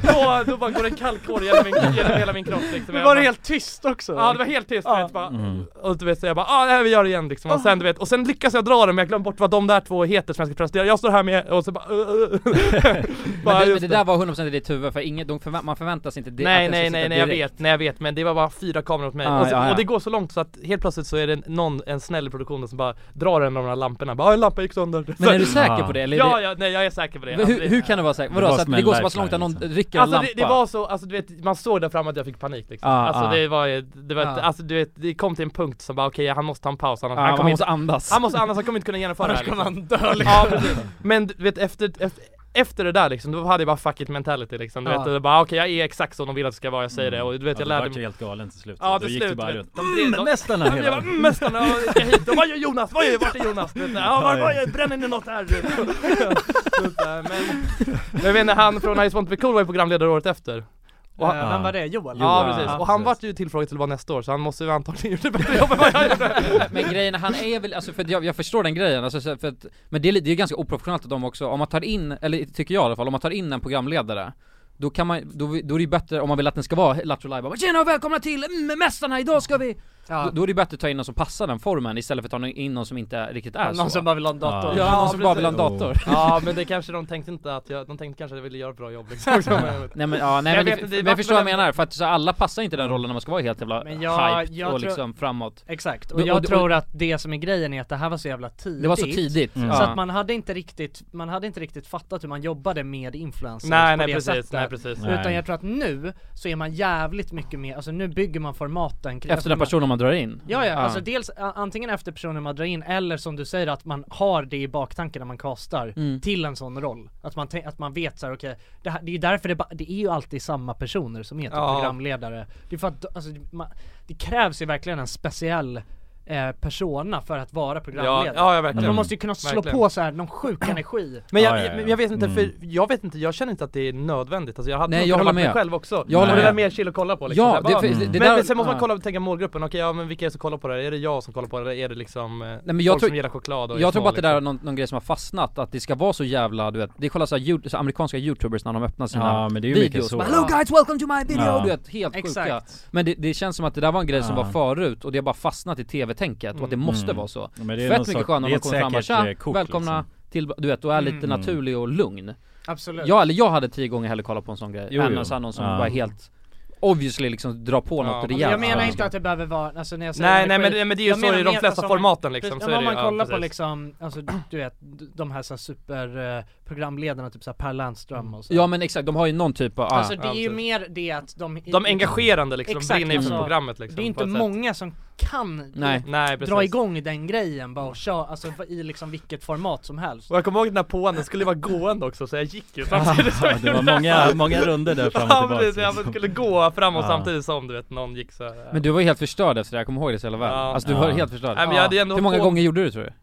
[SPEAKER 3] *laughs*
[SPEAKER 4] då, då bara går en kallkår genom, min, genom hela min kropp liksom
[SPEAKER 3] Men
[SPEAKER 4] Jag
[SPEAKER 3] var det
[SPEAKER 4] bara-
[SPEAKER 3] helt tyst också?
[SPEAKER 4] Ja det var helt tyst, du vet, bara,
[SPEAKER 6] Mm.
[SPEAKER 4] och du vet så jag bara ah, nej, vi gör det igen liksom och sen du vet, och sen lyckas jag dra det men jag glömmer bort vad de där två heter som jag ska presentera, jag står här med och så bara, uh, *laughs* uh.
[SPEAKER 1] Men det, men
[SPEAKER 4] just
[SPEAKER 1] det där var 100% i ditt huvud, för ingen, de förvä- man förväntar sig inte det
[SPEAKER 4] Nej
[SPEAKER 1] att den ska
[SPEAKER 4] nej nej
[SPEAKER 1] sitta
[SPEAKER 4] nej jag
[SPEAKER 1] direkt.
[SPEAKER 4] vet, nej jag vet men det var bara fyra kameror åt mig
[SPEAKER 1] Ah,
[SPEAKER 4] och, så,
[SPEAKER 1] ja, ja.
[SPEAKER 4] och det *laughs* går så långt så att helt plötsligt så är det någon, en snäll i produktionen som bara drar en av de här lamporna, bara ah, en lampa gick sönder
[SPEAKER 1] Men är du säker på det, eller är
[SPEAKER 4] Ja
[SPEAKER 1] det-
[SPEAKER 4] ja, nej jag är säker på det
[SPEAKER 1] Men hur, hur kan du vara säker? Vadå, så att det går så pass långt att någon rycker en
[SPEAKER 4] alltså,
[SPEAKER 1] lampa?
[SPEAKER 4] Det, det var så, alltså du vet, man såg där framme att jag fick panik liksom.
[SPEAKER 1] Ah,
[SPEAKER 4] alltså
[SPEAKER 1] ah.
[SPEAKER 4] det var, ju- det var
[SPEAKER 1] Ah.
[SPEAKER 4] alltså du vet, det kom till en punkt som bara okej han måste ta en paus annars
[SPEAKER 1] Ah, han måste andas.
[SPEAKER 4] Han måste andas, han kommer inte kunna genomföra
[SPEAKER 1] Annars
[SPEAKER 4] det här,
[SPEAKER 1] kommer
[SPEAKER 4] liksom.
[SPEAKER 1] han dö, liksom.
[SPEAKER 4] Ja precis. Men du vet efter, efter efter det där liksom, då hade jag bara fuck it mentality liksom, du
[SPEAKER 2] Ja.
[SPEAKER 4] vet, och det bara okej jag är exakt som de vill att det ska vara, jag säger
[SPEAKER 1] Mm.
[SPEAKER 4] det och du vet jag lärde
[SPEAKER 2] mig helt galen till slut
[SPEAKER 4] Ja
[SPEAKER 2] Då
[SPEAKER 4] till
[SPEAKER 2] gick
[SPEAKER 4] slut,
[SPEAKER 2] du bara
[SPEAKER 4] vet,
[SPEAKER 2] runt. Mm,
[SPEAKER 4] de drev- de-
[SPEAKER 2] mästarna
[SPEAKER 4] Ja, men *laughs* jag
[SPEAKER 2] hela
[SPEAKER 4] bara, mm, mästarna, jag ska hit, och vad gör Jonas? Vad gör, vart är Jonas? Du vet, Ja, var,
[SPEAKER 2] Ja,
[SPEAKER 4] var,
[SPEAKER 2] ja.
[SPEAKER 4] bränner ni något här? Så att, äh, men, men jag vet inte, han från I just want to be cool var ju programledare året efter och han,
[SPEAKER 3] Eh, vem var det? Joel?
[SPEAKER 4] Ja
[SPEAKER 3] Joel.
[SPEAKER 4] precis,
[SPEAKER 3] Ja,
[SPEAKER 4] och han vart ju tillfrågad till att vara nästa år så han måste ju antagligen gjort ett bättre jobb än vad jag gjorde
[SPEAKER 1] *laughs* Men grejen, han är väl, alltså för att jag, jag förstår den grejen, alltså så- för att, men det är, li- det är ju ganska oprofessionellt av dem också, om man tar in, eller tycker jag i alla fall, om man tar in en programledare då kan man, då, vi- då är det ju bättre om man vill att den ska vara Lattjo Live, bara, Tjena och välkomna till mm, Mästarna, idag ska vi! Då, då är det ju bättre att ta in någon som passar den formen istället för att ta in någon som inte riktigt är
[SPEAKER 3] Någon
[SPEAKER 1] så
[SPEAKER 3] som bara vill ha en dator.
[SPEAKER 1] Ja, någon som bara vill ha en
[SPEAKER 4] precis.
[SPEAKER 1] dator *laughs*
[SPEAKER 4] Ja men det kanske de tänkte inte att jag, de tänkte kanske att jag ville göra ett bra jobb liksom också, men-
[SPEAKER 1] Nej men, ja, nej, men,
[SPEAKER 4] Jag
[SPEAKER 1] jag,
[SPEAKER 4] vet inte,
[SPEAKER 1] men
[SPEAKER 4] det
[SPEAKER 1] jag
[SPEAKER 4] vart
[SPEAKER 1] förstår vad jag
[SPEAKER 4] väl en-
[SPEAKER 1] menar, för att så här, alla passar inte den rollen när man ska vara helt jävla
[SPEAKER 3] Men jag-
[SPEAKER 1] hyped
[SPEAKER 3] jag
[SPEAKER 1] och
[SPEAKER 3] tror-
[SPEAKER 1] liksom framåt
[SPEAKER 3] Exakt,
[SPEAKER 1] Då-
[SPEAKER 3] och jag
[SPEAKER 1] då-
[SPEAKER 3] tror att det som är grejen är att det här var så jävla tidigt
[SPEAKER 1] Det var så tidigt, Mm.
[SPEAKER 3] Så
[SPEAKER 1] ja.
[SPEAKER 3] att man hade inte riktigt, man hade inte riktigt fattat hur man jobbade med influencers
[SPEAKER 4] Nej,
[SPEAKER 3] på
[SPEAKER 4] nej,
[SPEAKER 3] det
[SPEAKER 4] precis,
[SPEAKER 3] sättet
[SPEAKER 4] nej, precis.
[SPEAKER 3] Utan
[SPEAKER 1] Nej.
[SPEAKER 3] jag tror att nu så är man jävligt mycket mer, alltså nu bygger man formaten kring- alltså
[SPEAKER 1] Efter den
[SPEAKER 3] man-
[SPEAKER 1] personen man drar in.
[SPEAKER 3] Ja, ja,
[SPEAKER 1] Mm. Ja.
[SPEAKER 3] alltså dels a- antingen efter personen man drar in eller som du säger att man har det i baktanken när man castar
[SPEAKER 1] Mm.
[SPEAKER 3] till en sån roll. Att man, tän- att man vet så här, okej, det, här- det är ju därför det, ba- det är ju alltid samma personer som är typ
[SPEAKER 4] Ja.
[SPEAKER 3] programledare. Det är för att, alltså, man, det krävs ju verkligen en speciell eh, persona för att vara programledare.
[SPEAKER 4] Ja, ja, verkligen.
[SPEAKER 3] Alltså, man måste ju kunna slå
[SPEAKER 4] Verkligen.
[SPEAKER 3] på så här någon sjuk energi.
[SPEAKER 4] Men jag, men jag vet inte,
[SPEAKER 3] Mm.
[SPEAKER 1] Mm.
[SPEAKER 4] för jag vet inte, jag känner inte att det är nödvändigt alltså jag hade
[SPEAKER 1] Nej,
[SPEAKER 4] nog
[SPEAKER 1] jag
[SPEAKER 4] kunnat
[SPEAKER 1] håller
[SPEAKER 4] varit mig
[SPEAKER 1] med.
[SPEAKER 4] själv också
[SPEAKER 1] Jag håller
[SPEAKER 4] Och det
[SPEAKER 1] med.
[SPEAKER 4] där mer chill att kolla på liksom.
[SPEAKER 1] Ja,
[SPEAKER 4] Så här,
[SPEAKER 1] det-
[SPEAKER 4] bara,
[SPEAKER 1] för- det
[SPEAKER 4] men,
[SPEAKER 1] där-
[SPEAKER 4] men sen måste man
[SPEAKER 1] ja.
[SPEAKER 4] kolla och tänka målgruppen, okej ja men vilka är det som kollar på det här? Är det jag som kollar på det eller är det liksom eh,
[SPEAKER 1] Nej, men jag
[SPEAKER 4] folk
[SPEAKER 1] tror,
[SPEAKER 4] som gillar choklad och är
[SPEAKER 1] Jag tror
[SPEAKER 4] små,
[SPEAKER 1] bara att det där är
[SPEAKER 4] liksom?
[SPEAKER 1] någon, någon grej som har fastnat, att det ska vara så jävla, du vet, det är kolla så här, you- så amerikanska youtubers när de öppnar sina
[SPEAKER 2] Ja, men det är ju mycket
[SPEAKER 1] videos,
[SPEAKER 2] så.
[SPEAKER 1] bara, Hello
[SPEAKER 2] Ja.
[SPEAKER 1] guys, welcome to my video!
[SPEAKER 2] Ja.
[SPEAKER 1] Du vet, helt sjuka
[SPEAKER 2] Exakt.
[SPEAKER 1] Men det, det känns som att det där var en grej som
[SPEAKER 2] Ja.
[SPEAKER 1] var förut och det har bara fastnat i tv-tänket och att det måste
[SPEAKER 2] Mm.
[SPEAKER 1] vara så
[SPEAKER 2] Ja, men det är
[SPEAKER 1] Fett
[SPEAKER 2] någon
[SPEAKER 1] mycket
[SPEAKER 2] sorts-
[SPEAKER 1] skönare om
[SPEAKER 2] det är
[SPEAKER 1] man
[SPEAKER 2] ett
[SPEAKER 1] kommer fram bara
[SPEAKER 2] säkert,
[SPEAKER 1] tja,
[SPEAKER 2] eh, kort,
[SPEAKER 1] välkomna till, du vet, och är lite
[SPEAKER 2] Mm.
[SPEAKER 1] naturlig och lugn
[SPEAKER 3] Absolut.
[SPEAKER 1] Jag, eller jag hade tio gånger hellre kollat på en sån grej,
[SPEAKER 2] Jo,
[SPEAKER 1] än
[SPEAKER 2] jo.
[SPEAKER 1] en sån någon som
[SPEAKER 2] Ja.
[SPEAKER 1] bara helt obviously liksom drar på något
[SPEAKER 3] Men
[SPEAKER 1] rejält
[SPEAKER 3] jag menar inte att det behöver vara, alltså när jag säger
[SPEAKER 4] Nej,
[SPEAKER 3] energi-
[SPEAKER 4] nej, men det- men det är ju
[SPEAKER 3] jag
[SPEAKER 4] så
[SPEAKER 3] menar
[SPEAKER 4] i de
[SPEAKER 3] mer- alltså,
[SPEAKER 4] flesta
[SPEAKER 3] om
[SPEAKER 4] formaten, liksom,
[SPEAKER 3] precis,
[SPEAKER 4] så är
[SPEAKER 3] Om
[SPEAKER 4] det
[SPEAKER 3] man
[SPEAKER 4] ju- ja,
[SPEAKER 3] kollar på
[SPEAKER 4] precis.
[SPEAKER 3] liksom, alltså du vet, de här, så här super eh, programledarna, typ såhär Per
[SPEAKER 4] Mm.
[SPEAKER 3] Lernström och så.
[SPEAKER 1] Ja men exakt, de har ju någon typ av,
[SPEAKER 3] Alltså
[SPEAKER 1] ah.
[SPEAKER 3] det är ju mer det att de
[SPEAKER 4] De är engagerande, liksom, brinner ju för programmet, liksom,
[SPEAKER 3] Det är
[SPEAKER 4] på
[SPEAKER 3] inte
[SPEAKER 4] ett sätt.
[SPEAKER 3] många som kan typ
[SPEAKER 4] Nej. Nej, precis.
[SPEAKER 3] dra igång den grejen bara och köra, alltså i liksom vilket format som helst
[SPEAKER 4] Och jag kommer ihåg den här påan, den skulle vara gående också så jag gick ju samtidigt
[SPEAKER 2] *laughs*
[SPEAKER 4] som
[SPEAKER 2] Ja,
[SPEAKER 4] jag
[SPEAKER 2] det var
[SPEAKER 4] gjorde
[SPEAKER 2] många- många runder där fram och
[SPEAKER 4] Ja
[SPEAKER 2] tillbaka,
[SPEAKER 4] precis, jag
[SPEAKER 2] liksom.
[SPEAKER 4] skulle gå fram och
[SPEAKER 2] Ja.
[SPEAKER 4] samtidigt som du vet någon gick så här.
[SPEAKER 1] Men du var ju helt förstörd efter det, jag kommer ihåg det så jävla väl.
[SPEAKER 4] Ja.
[SPEAKER 1] Alltså du var
[SPEAKER 4] Ja.
[SPEAKER 1] helt förstörd.
[SPEAKER 4] Nej, men jag hade ju ändå
[SPEAKER 1] Hur många
[SPEAKER 4] på-
[SPEAKER 1] gånger gjorde du tror du?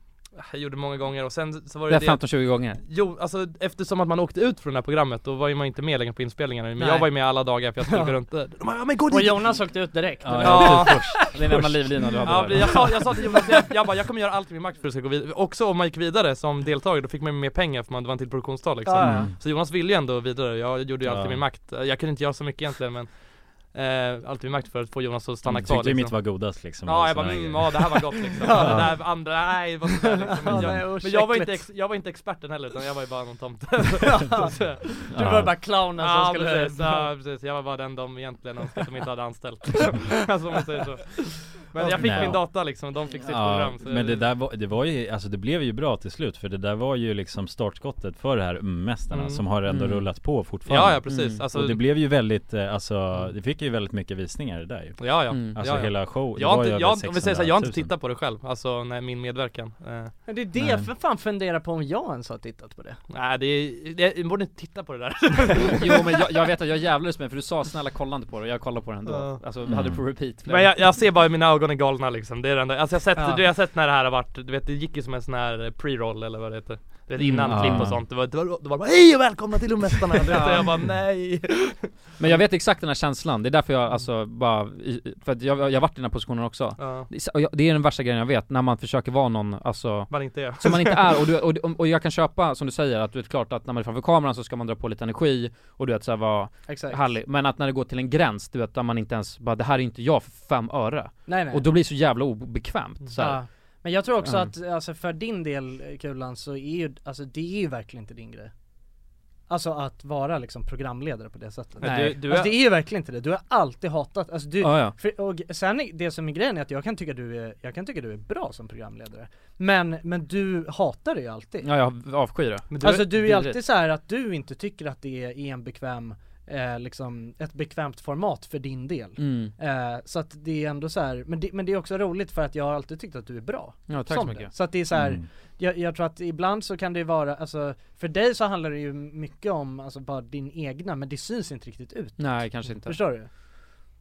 [SPEAKER 4] Jag gjorde många gånger och sen så var
[SPEAKER 1] Det
[SPEAKER 4] det
[SPEAKER 1] är 15-20 gånger.
[SPEAKER 4] Jo, alltså eftersom att man åkte ut från det här programmet då var ju man inte med längre på inspelningarna Men
[SPEAKER 3] Nej.
[SPEAKER 4] jag var ju med alla dagar för jag
[SPEAKER 3] *laughs*
[SPEAKER 4] skulle gå runt där De bara, ja men gå
[SPEAKER 3] Och
[SPEAKER 4] dit!
[SPEAKER 3] Jonas åkte ut direkt
[SPEAKER 4] Ja,
[SPEAKER 3] Ja.
[SPEAKER 4] jag-
[SPEAKER 1] Det är den enda livlinan du hade
[SPEAKER 4] ja,
[SPEAKER 1] där.
[SPEAKER 4] jag, sa, jag sa till Jonas, jag, jag bara jag kommer göra allt i min makt för att det ska gå vidare Också om man gick vidare som deltagare då fick man ju mer pengar för man det var en till produktionsdag liksom
[SPEAKER 3] Ja, ja.
[SPEAKER 4] Så Jonas ville ju ändå vidare, jag gjorde ju allt i
[SPEAKER 2] Ja.
[SPEAKER 4] min makt Jag kunde inte göra så mycket egentligen men eh, allt i min makt för att få Jonas att stanna
[SPEAKER 2] Mm,
[SPEAKER 4] kvar
[SPEAKER 2] tyckte ju mitt var godast, liksom,
[SPEAKER 4] Ja
[SPEAKER 2] och
[SPEAKER 4] jag bara
[SPEAKER 2] såna
[SPEAKER 4] mm,
[SPEAKER 2] grejer.
[SPEAKER 4] ja det här var gott liksom
[SPEAKER 2] Ja.
[SPEAKER 4] Det där andra, nej det var sådär liksom. Men
[SPEAKER 3] Ja, det är
[SPEAKER 4] jag, men jag var inte, ex,
[SPEAKER 3] ursäktligt.
[SPEAKER 4] jag var inte experten heller utan jag var ju bara någon
[SPEAKER 3] *laughs*
[SPEAKER 4] tomte *laughs*
[SPEAKER 3] Du var bara clownen som
[SPEAKER 4] ja,
[SPEAKER 3] skulle-
[SPEAKER 4] *laughs* precis, Ja precis, jag var bara den de egentligen önskade att de inte hade anställt Alltså om man Alltså, säger så Men jag fick
[SPEAKER 7] Nej.
[SPEAKER 4] min data liksom, de fick sitt program så
[SPEAKER 7] men det där var, det var ju, alltså det blev ju bra till slut för det där var ju liksom startskottet för det här mm-mästarna
[SPEAKER 4] Mm.
[SPEAKER 7] som har ändå
[SPEAKER 4] Mm.
[SPEAKER 7] rullat på fortfarande
[SPEAKER 4] Ja, ja, precis. Alltså-
[SPEAKER 7] Och det blev ju väldigt, eh, alltså det fick ju väldigt mycket visningar det där ju
[SPEAKER 4] Ja ja,
[SPEAKER 3] Mm.
[SPEAKER 7] Alltså
[SPEAKER 4] ja, ja.
[SPEAKER 7] hela show,
[SPEAKER 4] jag har
[SPEAKER 7] var ju
[SPEAKER 4] inte,
[SPEAKER 7] över
[SPEAKER 4] jag, om vi säger så här, jag har
[SPEAKER 7] 600
[SPEAKER 4] inte
[SPEAKER 7] 000.
[SPEAKER 4] tittat på det själv, alltså när min medverkan eh.
[SPEAKER 3] Men det är det jag för fan funderar på om jag ens har tittat på det
[SPEAKER 4] Nej det är, det, jag borde inte titta på det där
[SPEAKER 1] Jo men jag, jag vet att jag jävlades med för du sa snälla kolla inte på det, jag kollar på det ändå
[SPEAKER 4] Ja.
[SPEAKER 1] Alltså
[SPEAKER 4] Mm.
[SPEAKER 1] hade det på repeat flera
[SPEAKER 4] Men jag,
[SPEAKER 1] gånger.
[SPEAKER 4] jag ser bara hur mina ögon är galna liksom, det är det enda, alltså jag har sett,
[SPEAKER 1] Ja.
[SPEAKER 4] du, jag har sett när det här har varit, du vet det gick ju som en sån här eh, pre-roll eller vad det heter Du vet innan
[SPEAKER 1] Mm.
[SPEAKER 4] klipp
[SPEAKER 1] Ja.
[SPEAKER 4] och sånt, det var, det var, det var bara hej och välkomna till Omästarna! Du vet,
[SPEAKER 1] Ja.
[SPEAKER 4] och jag bara nej
[SPEAKER 1] Men jag vet exakt den här känslan, det är därför jag alltså bara, i- för att jag, jag har varit i den här positionen också
[SPEAKER 4] Ja.
[SPEAKER 1] Det är så- och jag- Det är den värsta grejen jag vet, när man försöker vara någon, alltså
[SPEAKER 4] Man inte är.
[SPEAKER 1] Som man inte är, och, du,
[SPEAKER 4] *laughs*
[SPEAKER 1] och, och, jag kan köpa, som du säger, att du vet klart att när man är framför kameran så ska man dra på lite energi och du vet såhär vara
[SPEAKER 3] Exakt.
[SPEAKER 1] härlig Men att när det går till en gräns, du vet, där man inte ens bara det här är inte jag för fem öre
[SPEAKER 3] Nej, nej.
[SPEAKER 1] Och då blir det så jävla obekvämt så här.
[SPEAKER 3] Ja. Men jag tror också
[SPEAKER 1] Ja.
[SPEAKER 3] att alltså, för din del eh, Kulan så är ju, alltså det är ju verkligen inte din grej Alltså att vara liksom programledare på det sättet
[SPEAKER 1] Men Nej. du- du
[SPEAKER 3] alltså,
[SPEAKER 1] är-
[SPEAKER 3] det är ju verkligen inte det, du har alltid hatat, alltså du,
[SPEAKER 1] Ja, ja.
[SPEAKER 3] För, och sen är det som är grejen är att jag kan tycka du är, jag kan tycka du är bra som programledare Men, men du hatar det ju alltid
[SPEAKER 1] Ja jag avskyr det
[SPEAKER 3] alltså du är ju alltid så här att du inte tycker att det är en bekväm, eh, liksom ett bekvämt format för din del.
[SPEAKER 1] Mm.
[SPEAKER 3] Eh, så att det är ändå så här, men det, men det är också roligt för att jag har alltid tyckt att du är bra.
[SPEAKER 1] Ja, tack
[SPEAKER 3] som
[SPEAKER 1] så
[SPEAKER 3] det.
[SPEAKER 1] mycket.
[SPEAKER 3] Så att det är så här,
[SPEAKER 1] Mm.
[SPEAKER 3] jag, jag tror att ibland så kan det ju vara, alltså för dig så handlar det ju mycket om, alltså bara din egna, men det syns inte riktigt ut.
[SPEAKER 1] Nej kanske inte
[SPEAKER 3] Förstår du?